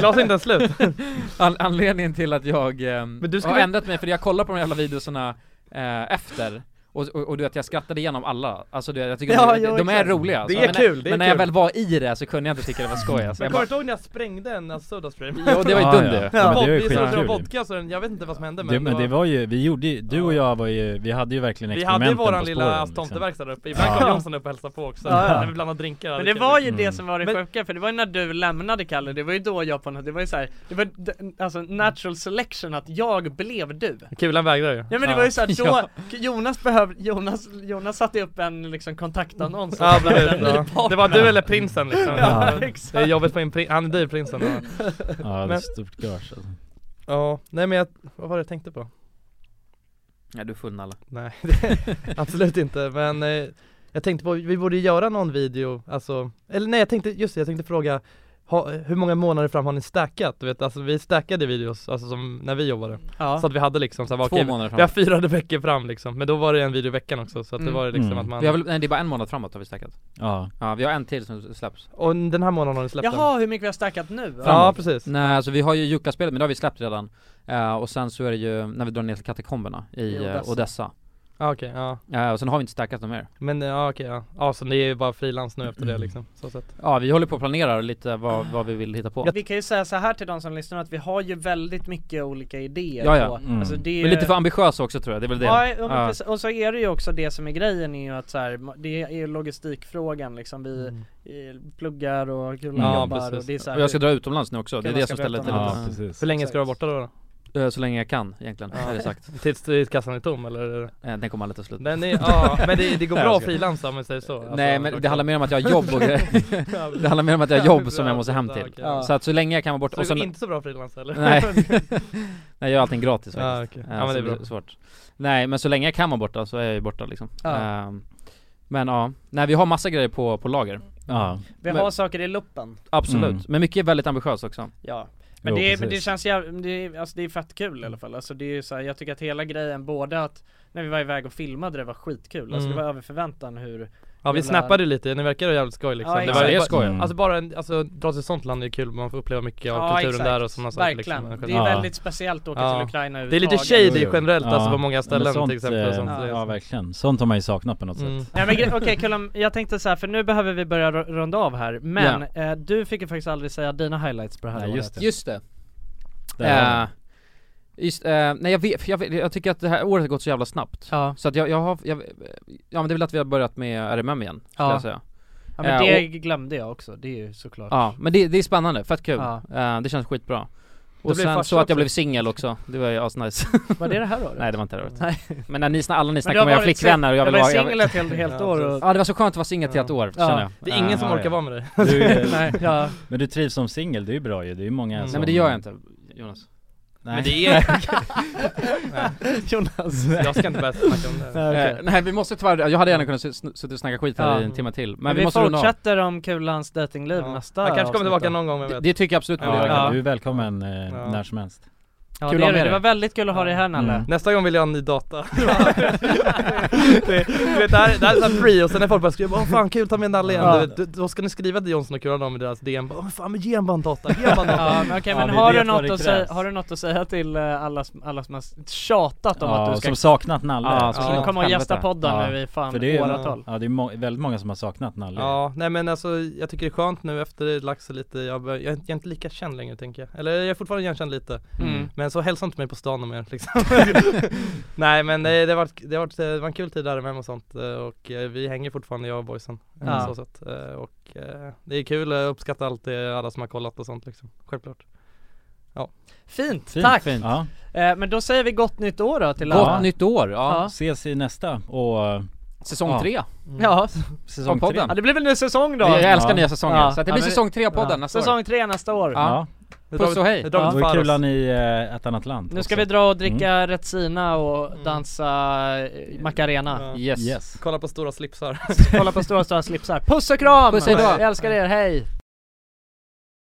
[SPEAKER 4] Glas är inte ens slut.
[SPEAKER 1] *laughs* An- anledningen till att jag ehm,
[SPEAKER 4] Men du
[SPEAKER 1] har
[SPEAKER 4] skulle-
[SPEAKER 1] ändrat mig, för jag kollar på de jävla videoserna eh, efter och, och, och du vet, jag skrattade igenom alla, alltså du, vet, jag tycker
[SPEAKER 4] Ja,
[SPEAKER 1] de,
[SPEAKER 4] ja,
[SPEAKER 1] de är
[SPEAKER 4] exakt.
[SPEAKER 1] roliga alltså.
[SPEAKER 4] Det är
[SPEAKER 1] men,
[SPEAKER 4] kul, det är
[SPEAKER 1] Men när jag
[SPEAKER 4] kul.
[SPEAKER 1] väl var i det så kunde jag inte tycka det var
[SPEAKER 4] *laughs*
[SPEAKER 1] skoj alltså.
[SPEAKER 4] Men
[SPEAKER 1] jag bara,
[SPEAKER 4] kommer du ihåg när jag sprängde en alltså, Sodastream?
[SPEAKER 1] Jo, det var ju
[SPEAKER 7] Ja,
[SPEAKER 1] dumt
[SPEAKER 7] ja.
[SPEAKER 1] det.
[SPEAKER 7] Ja, men det var ju
[SPEAKER 4] Bobby
[SPEAKER 7] skitkul
[SPEAKER 4] som
[SPEAKER 7] ju.
[SPEAKER 4] vodka så den, jag vet inte vad som hände men,
[SPEAKER 7] det, men det var ju, vi gjorde ju, du och jag var ju, vi hade ju verkligen
[SPEAKER 4] Vi hade ju
[SPEAKER 7] experimenten på
[SPEAKER 4] våran
[SPEAKER 7] spåren
[SPEAKER 4] lilla
[SPEAKER 7] liksom.
[SPEAKER 4] tomteverkstad där uppe, ibland kom Jonsson upp och hälsade på också,
[SPEAKER 3] Ja, ja.
[SPEAKER 4] när vi blandade drinkar
[SPEAKER 3] Men
[SPEAKER 4] hade
[SPEAKER 3] det
[SPEAKER 4] kul.
[SPEAKER 3] var ju det som var det sjuka, för det var ju när du lämnade Kalle, det var ju då jag på något, det var ju såhär, det var d- alltså natural selection att jag blev du.
[SPEAKER 4] Kulan vägrar ju
[SPEAKER 3] Ja men det var
[SPEAKER 4] *laughs*
[SPEAKER 3] ju såhär då, Jonas behövde, Jonas, Jonas satte upp en liksom kontaktannons och
[SPEAKER 4] Ja,
[SPEAKER 3] så
[SPEAKER 4] precis,
[SPEAKER 3] behövde en ny *laughs*
[SPEAKER 4] ja.
[SPEAKER 3] partner.
[SPEAKER 4] Det var du eller prinsen liksom
[SPEAKER 3] Ja, exakt.
[SPEAKER 4] Det är jobbigt för en prin- han är dyr prinsen ja.
[SPEAKER 7] Ja det är
[SPEAKER 4] Men-
[SPEAKER 7] stort gage alltså.
[SPEAKER 4] Ja, nej men jag, vad var det jag tänkte på?
[SPEAKER 1] Nej du är full Nalle.
[SPEAKER 4] Nej, *laughs* absolut inte men eh, jag tänkte på, vi borde göra någon video, alltså, eller nej jag tänkte, just det, jag tänkte fråga ha, hur många månader fram har ni stackat? Du vet, alltså vi stackade videos, alltså som när vi jobbade
[SPEAKER 3] Ja.
[SPEAKER 4] Så att vi hade liksom så här,
[SPEAKER 1] Två
[SPEAKER 4] okej,
[SPEAKER 1] månader fram.
[SPEAKER 4] vi har fyra *laughs* veckor fram liksom, men då var det en video i veckan också så att
[SPEAKER 1] Mm.
[SPEAKER 4] det var det liksom
[SPEAKER 1] Mm.
[SPEAKER 4] att man
[SPEAKER 1] Vi har väl, nej det är bara en månad framåt har vi stackat.
[SPEAKER 7] Ja.
[SPEAKER 1] Ja, vi har en till som släpps.
[SPEAKER 4] Och den här månaden har ni släppt den?
[SPEAKER 3] Jaha, hur mycket vi har stackat nu?
[SPEAKER 4] Ja, precis.
[SPEAKER 1] Nej alltså vi har ju Jukka-spelet men det har vi släppt redan. Eh, och sen så är det ju när vi drar ner till katakomberna i,
[SPEAKER 4] I
[SPEAKER 1] eh,
[SPEAKER 4] Odessa.
[SPEAKER 1] Odessa.
[SPEAKER 4] Ja okej, ja.
[SPEAKER 1] Eh, och sen har vi inte stackat dem mer.
[SPEAKER 4] Men eh, ja okej ja. Ja så ni är ju bara frilans nu efter det liksom, så sett.
[SPEAKER 1] Ja vi håller på att planera lite vad, vad vi vill hitta på.
[SPEAKER 3] Vi kan ju säga så här till de som lyssnar att vi har ju väldigt mycket olika idéer
[SPEAKER 1] Ja, ja.
[SPEAKER 3] på-
[SPEAKER 1] Mm.
[SPEAKER 3] alltså, det är
[SPEAKER 1] Men lite för ambitiösa också tror jag, det är väl det.
[SPEAKER 3] Ja, ja, men
[SPEAKER 1] Ja.
[SPEAKER 3] precis. och så är det ju också det som är grejen är ju att så här, det är ju logistikfrågan liksom vi eh, pluggar och Kulan
[SPEAKER 1] Mm, Ja,
[SPEAKER 3] jobbar
[SPEAKER 1] precis.
[SPEAKER 3] och det är så här,
[SPEAKER 1] Och jag ska dra utomlands nu också, det är
[SPEAKER 3] Kulan
[SPEAKER 1] det
[SPEAKER 3] ska
[SPEAKER 1] som
[SPEAKER 3] dra
[SPEAKER 1] ställer till
[SPEAKER 3] utomlands.
[SPEAKER 1] lite.
[SPEAKER 4] Hur länge ska du vara borta då? då?
[SPEAKER 1] Eh, Så länge jag kan egentligen,
[SPEAKER 4] Ja.
[SPEAKER 1] har jag sagt.
[SPEAKER 4] *laughs* Tills, tills kassan är tom eller?
[SPEAKER 1] Eh, Den kommer aldrig ta slut.
[SPEAKER 4] Den är, ja, men det, det går
[SPEAKER 1] *laughs* Nej,
[SPEAKER 4] bra
[SPEAKER 1] jag
[SPEAKER 4] att
[SPEAKER 1] ska-
[SPEAKER 4] frilansa om man säger så alltså,
[SPEAKER 1] Nej men det
[SPEAKER 4] också.
[SPEAKER 1] handlar mer om att jag har jobb
[SPEAKER 4] *laughs*
[SPEAKER 1] och grejer. *laughs* Det handlar mer om att jag har jobb som jag måste hem till.
[SPEAKER 4] Ja.
[SPEAKER 1] Så att så länge jag kan vara borta
[SPEAKER 4] Så det går inte så bra att frilansa, eller? *laughs*
[SPEAKER 1] Nej. *laughs* Nej jag gör allting gratis faktiskt.
[SPEAKER 4] Ja, okej.
[SPEAKER 1] Eh,
[SPEAKER 4] Ja, men
[SPEAKER 1] så
[SPEAKER 4] det är bra.
[SPEAKER 1] blir svårt. Nej men så länge jag kan vara borta så är jag ju borta liksom.
[SPEAKER 3] Ja.
[SPEAKER 1] Ehm, Men ja, nej vi har massa grejer på, på lager.
[SPEAKER 7] Ja.
[SPEAKER 3] Vi har saker i luppen.
[SPEAKER 1] Absolut,
[SPEAKER 3] Mm.
[SPEAKER 1] men mycket är väldigt ambitiöst också.
[SPEAKER 3] Ja. Men, det, är, men det känns jävligt, det, är- alltså det är fett kul i alla fall. Alltså det är ju så här, jag tycker att hela grejen, både att när vi var iväg och filmade det var skitkul, alltså det
[SPEAKER 4] Mm.
[SPEAKER 3] var över förväntan hur
[SPEAKER 4] Ja vi
[SPEAKER 3] jävla-
[SPEAKER 4] snappade ju lite, ni verkar ha jävligt skoj liksom
[SPEAKER 3] Ja, exakt.
[SPEAKER 4] ju
[SPEAKER 3] Ja, det är
[SPEAKER 4] bara-
[SPEAKER 3] skoj. Mm.
[SPEAKER 4] Alltså bara en, alltså dra till ett sånt land är ju kul, man får uppleva mycket av
[SPEAKER 3] Ja,
[SPEAKER 4] kulturen
[SPEAKER 3] exakt.
[SPEAKER 4] där och sådana saker
[SPEAKER 3] Verkligen.
[SPEAKER 4] liksom.
[SPEAKER 3] Det är väldigt speciellt att åka till Ukraina
[SPEAKER 4] Det är lite
[SPEAKER 3] överhuvudtaget.
[SPEAKER 4] shady generellt alltså
[SPEAKER 7] Ja,
[SPEAKER 4] på många
[SPEAKER 7] men
[SPEAKER 4] ställen
[SPEAKER 7] sånt,
[SPEAKER 4] till exempel och
[SPEAKER 7] eh,
[SPEAKER 4] sånt,
[SPEAKER 7] ja,
[SPEAKER 4] det är-
[SPEAKER 7] verkligen, sånt har man ju saknat på något
[SPEAKER 4] Mm.
[SPEAKER 7] sätt
[SPEAKER 3] Nej men gre- okej Kullan, jag tänkte så här, för nu behöver vi börja ru- runda av här, men eh, du fick ju faktiskt aldrig säga dina highlights på det här
[SPEAKER 1] Nej,
[SPEAKER 3] året.
[SPEAKER 1] just det. Just det.
[SPEAKER 3] Där har
[SPEAKER 1] Eh, just, eh, nej jag vet, för jag, vet, jag tycker att det här året har gått så jävla snabbt. Så att jag, jag har, jag, ja men det är väl att vi har börjat med RMM igen, skulle
[SPEAKER 3] Ja.
[SPEAKER 1] jag säga.
[SPEAKER 3] Ja men
[SPEAKER 1] Eh,
[SPEAKER 3] det
[SPEAKER 1] och,
[SPEAKER 3] glömde jag också, det är ju såklart
[SPEAKER 1] Ja, men det, det är spännande, fett kul.
[SPEAKER 3] Ja.
[SPEAKER 1] Eh, det känns skitbra.
[SPEAKER 3] Du
[SPEAKER 1] Och
[SPEAKER 3] blev
[SPEAKER 1] sen
[SPEAKER 3] farsa
[SPEAKER 1] så att
[SPEAKER 3] också.
[SPEAKER 1] jag blev singel också, det var ju asnice
[SPEAKER 3] Var det det här året?
[SPEAKER 1] *laughs* Nej det var inte det här året
[SPEAKER 3] Nej.
[SPEAKER 1] Men när ni, sna- alla ni
[SPEAKER 3] Men
[SPEAKER 1] snackar
[SPEAKER 3] du
[SPEAKER 1] om
[SPEAKER 3] har
[SPEAKER 1] era
[SPEAKER 3] varit
[SPEAKER 1] flickvänner och jag
[SPEAKER 3] sing-
[SPEAKER 1] vill
[SPEAKER 3] du har
[SPEAKER 1] vara
[SPEAKER 3] varit singel ett helt- helt Ja, år och-
[SPEAKER 1] Ja det var så skönt att vara singel till ett år,
[SPEAKER 3] Ja.
[SPEAKER 1] känner jag
[SPEAKER 3] Det är ingen som orkar vara med dig.
[SPEAKER 7] Du,
[SPEAKER 4] *laughs*
[SPEAKER 7] eh,
[SPEAKER 3] *laughs* Nej. Ja.
[SPEAKER 7] Men du trivs som singel, det är ju
[SPEAKER 4] Mm.
[SPEAKER 2] Mm.
[SPEAKER 7] bra ju, det är ju många
[SPEAKER 1] Nej
[SPEAKER 7] som...
[SPEAKER 1] men det gör jag inte, Jonas
[SPEAKER 7] Nej.
[SPEAKER 1] Men det är-
[SPEAKER 7] Nej.
[SPEAKER 1] *laughs*
[SPEAKER 3] Jonas.
[SPEAKER 4] Jag ska inte börja snacka om det.
[SPEAKER 1] Eh, Nej vi måste tyvärr, jag hade gärna kunnat s- sn- suttit och snacka skit här
[SPEAKER 3] Ja.
[SPEAKER 1] i en timme till Men,
[SPEAKER 3] Men
[SPEAKER 1] vi,
[SPEAKER 3] vi
[SPEAKER 1] måste runda av
[SPEAKER 3] fortsätter om Kulans datingliv nästa
[SPEAKER 4] Jag kanske kommer
[SPEAKER 3] avsnitt
[SPEAKER 4] tillbaka
[SPEAKER 3] då.
[SPEAKER 4] någon gång, vem
[SPEAKER 1] det,
[SPEAKER 4] vet.
[SPEAKER 1] det tycker jag absolut man vill
[SPEAKER 2] Ja,
[SPEAKER 1] göra.
[SPEAKER 2] Du är välkommen eh, när som helst
[SPEAKER 3] Ja
[SPEAKER 1] Kul
[SPEAKER 3] det
[SPEAKER 1] att ha
[SPEAKER 3] är det,
[SPEAKER 1] med
[SPEAKER 3] det
[SPEAKER 1] dig.
[SPEAKER 3] var väldigt kul att ha dig här Nalle
[SPEAKER 2] Mm.
[SPEAKER 4] Nästa gång vill jag ha en ny
[SPEAKER 3] *laughs*
[SPEAKER 4] data det, Du vet det här, det här är såhär free och sen när folk bara skriver 'Åh fan kul, ta med Nalle igen'
[SPEAKER 3] Ja.
[SPEAKER 4] du vet, du- Då ska ni skriva till Jonsson och Kulan om i deras DM bara, "Åh, fan men ge en bara en data,
[SPEAKER 3] *laughs*
[SPEAKER 4] ge en bara en data
[SPEAKER 3] Ja, men okej, men har, du något att säga, har du något att säga till eh, alla, som- alla som har tjatat om
[SPEAKER 2] Ja,
[SPEAKER 3] att du ska
[SPEAKER 2] som saknat Nalle
[SPEAKER 3] Ja, som skulle
[SPEAKER 2] Ja.
[SPEAKER 3] komma och gästa
[SPEAKER 2] Helvete.
[SPEAKER 3] podden
[SPEAKER 2] Ja.
[SPEAKER 3] nu i fan
[SPEAKER 2] För det är,
[SPEAKER 3] åratal
[SPEAKER 2] Ja det är må- väldigt många som har saknat Nalle
[SPEAKER 4] Ja, nej men alltså jag tycker det är skönt nu efter det lagt sig lite, jag, bör, jag, är inte- jag är inte lika känd längre tänker jag Eller jag är fortfarande igenkänd lite
[SPEAKER 3] Mm.
[SPEAKER 4] Men så hälsa inte mig på stan om er
[SPEAKER 3] *laughs*
[SPEAKER 4] liksom *laughs* Nej men det, det, har varit, det, har varit, det var en kul tid där med och sånt eh, och eh, vi hänger fortfarande jag och boysen eh,
[SPEAKER 3] Ja.
[SPEAKER 4] så sätt. Eh, Och eh, det är kul, jag uppskattar allt det, alla som har kollat och sånt liksom, självklart Ja
[SPEAKER 3] Fint,
[SPEAKER 2] Fint,
[SPEAKER 3] tack!
[SPEAKER 2] fint. Ja.
[SPEAKER 3] Eh, men då säger vi gott nytt år då till alla
[SPEAKER 2] Ses i nästa och...
[SPEAKER 1] Säsong tre.
[SPEAKER 3] Ja,
[SPEAKER 2] Säsong
[SPEAKER 1] Av
[SPEAKER 2] tre
[SPEAKER 1] podden.
[SPEAKER 3] Ja det blir väl ny säsong då?
[SPEAKER 1] Jag älskar nya säsonger, så att det blir
[SPEAKER 3] men-
[SPEAKER 1] säsong tre av podden
[SPEAKER 3] ja.
[SPEAKER 1] nästa år.
[SPEAKER 3] Säsong tre nästa år
[SPEAKER 1] Ja.
[SPEAKER 2] Ja.
[SPEAKER 1] Puss och hej!
[SPEAKER 2] Det var kul att ni eh, ett annat land
[SPEAKER 3] Nu ska
[SPEAKER 2] också.
[SPEAKER 3] vi dra och dricka
[SPEAKER 1] Mm.
[SPEAKER 3] Retsina och
[SPEAKER 2] Mm.
[SPEAKER 3] dansa eh, Macarena
[SPEAKER 4] Kolla på stora slipsar
[SPEAKER 3] Kolla på stora stora slipsar, puss och kram!
[SPEAKER 1] Puss, hejdå.
[SPEAKER 3] Jag älskar er, hej!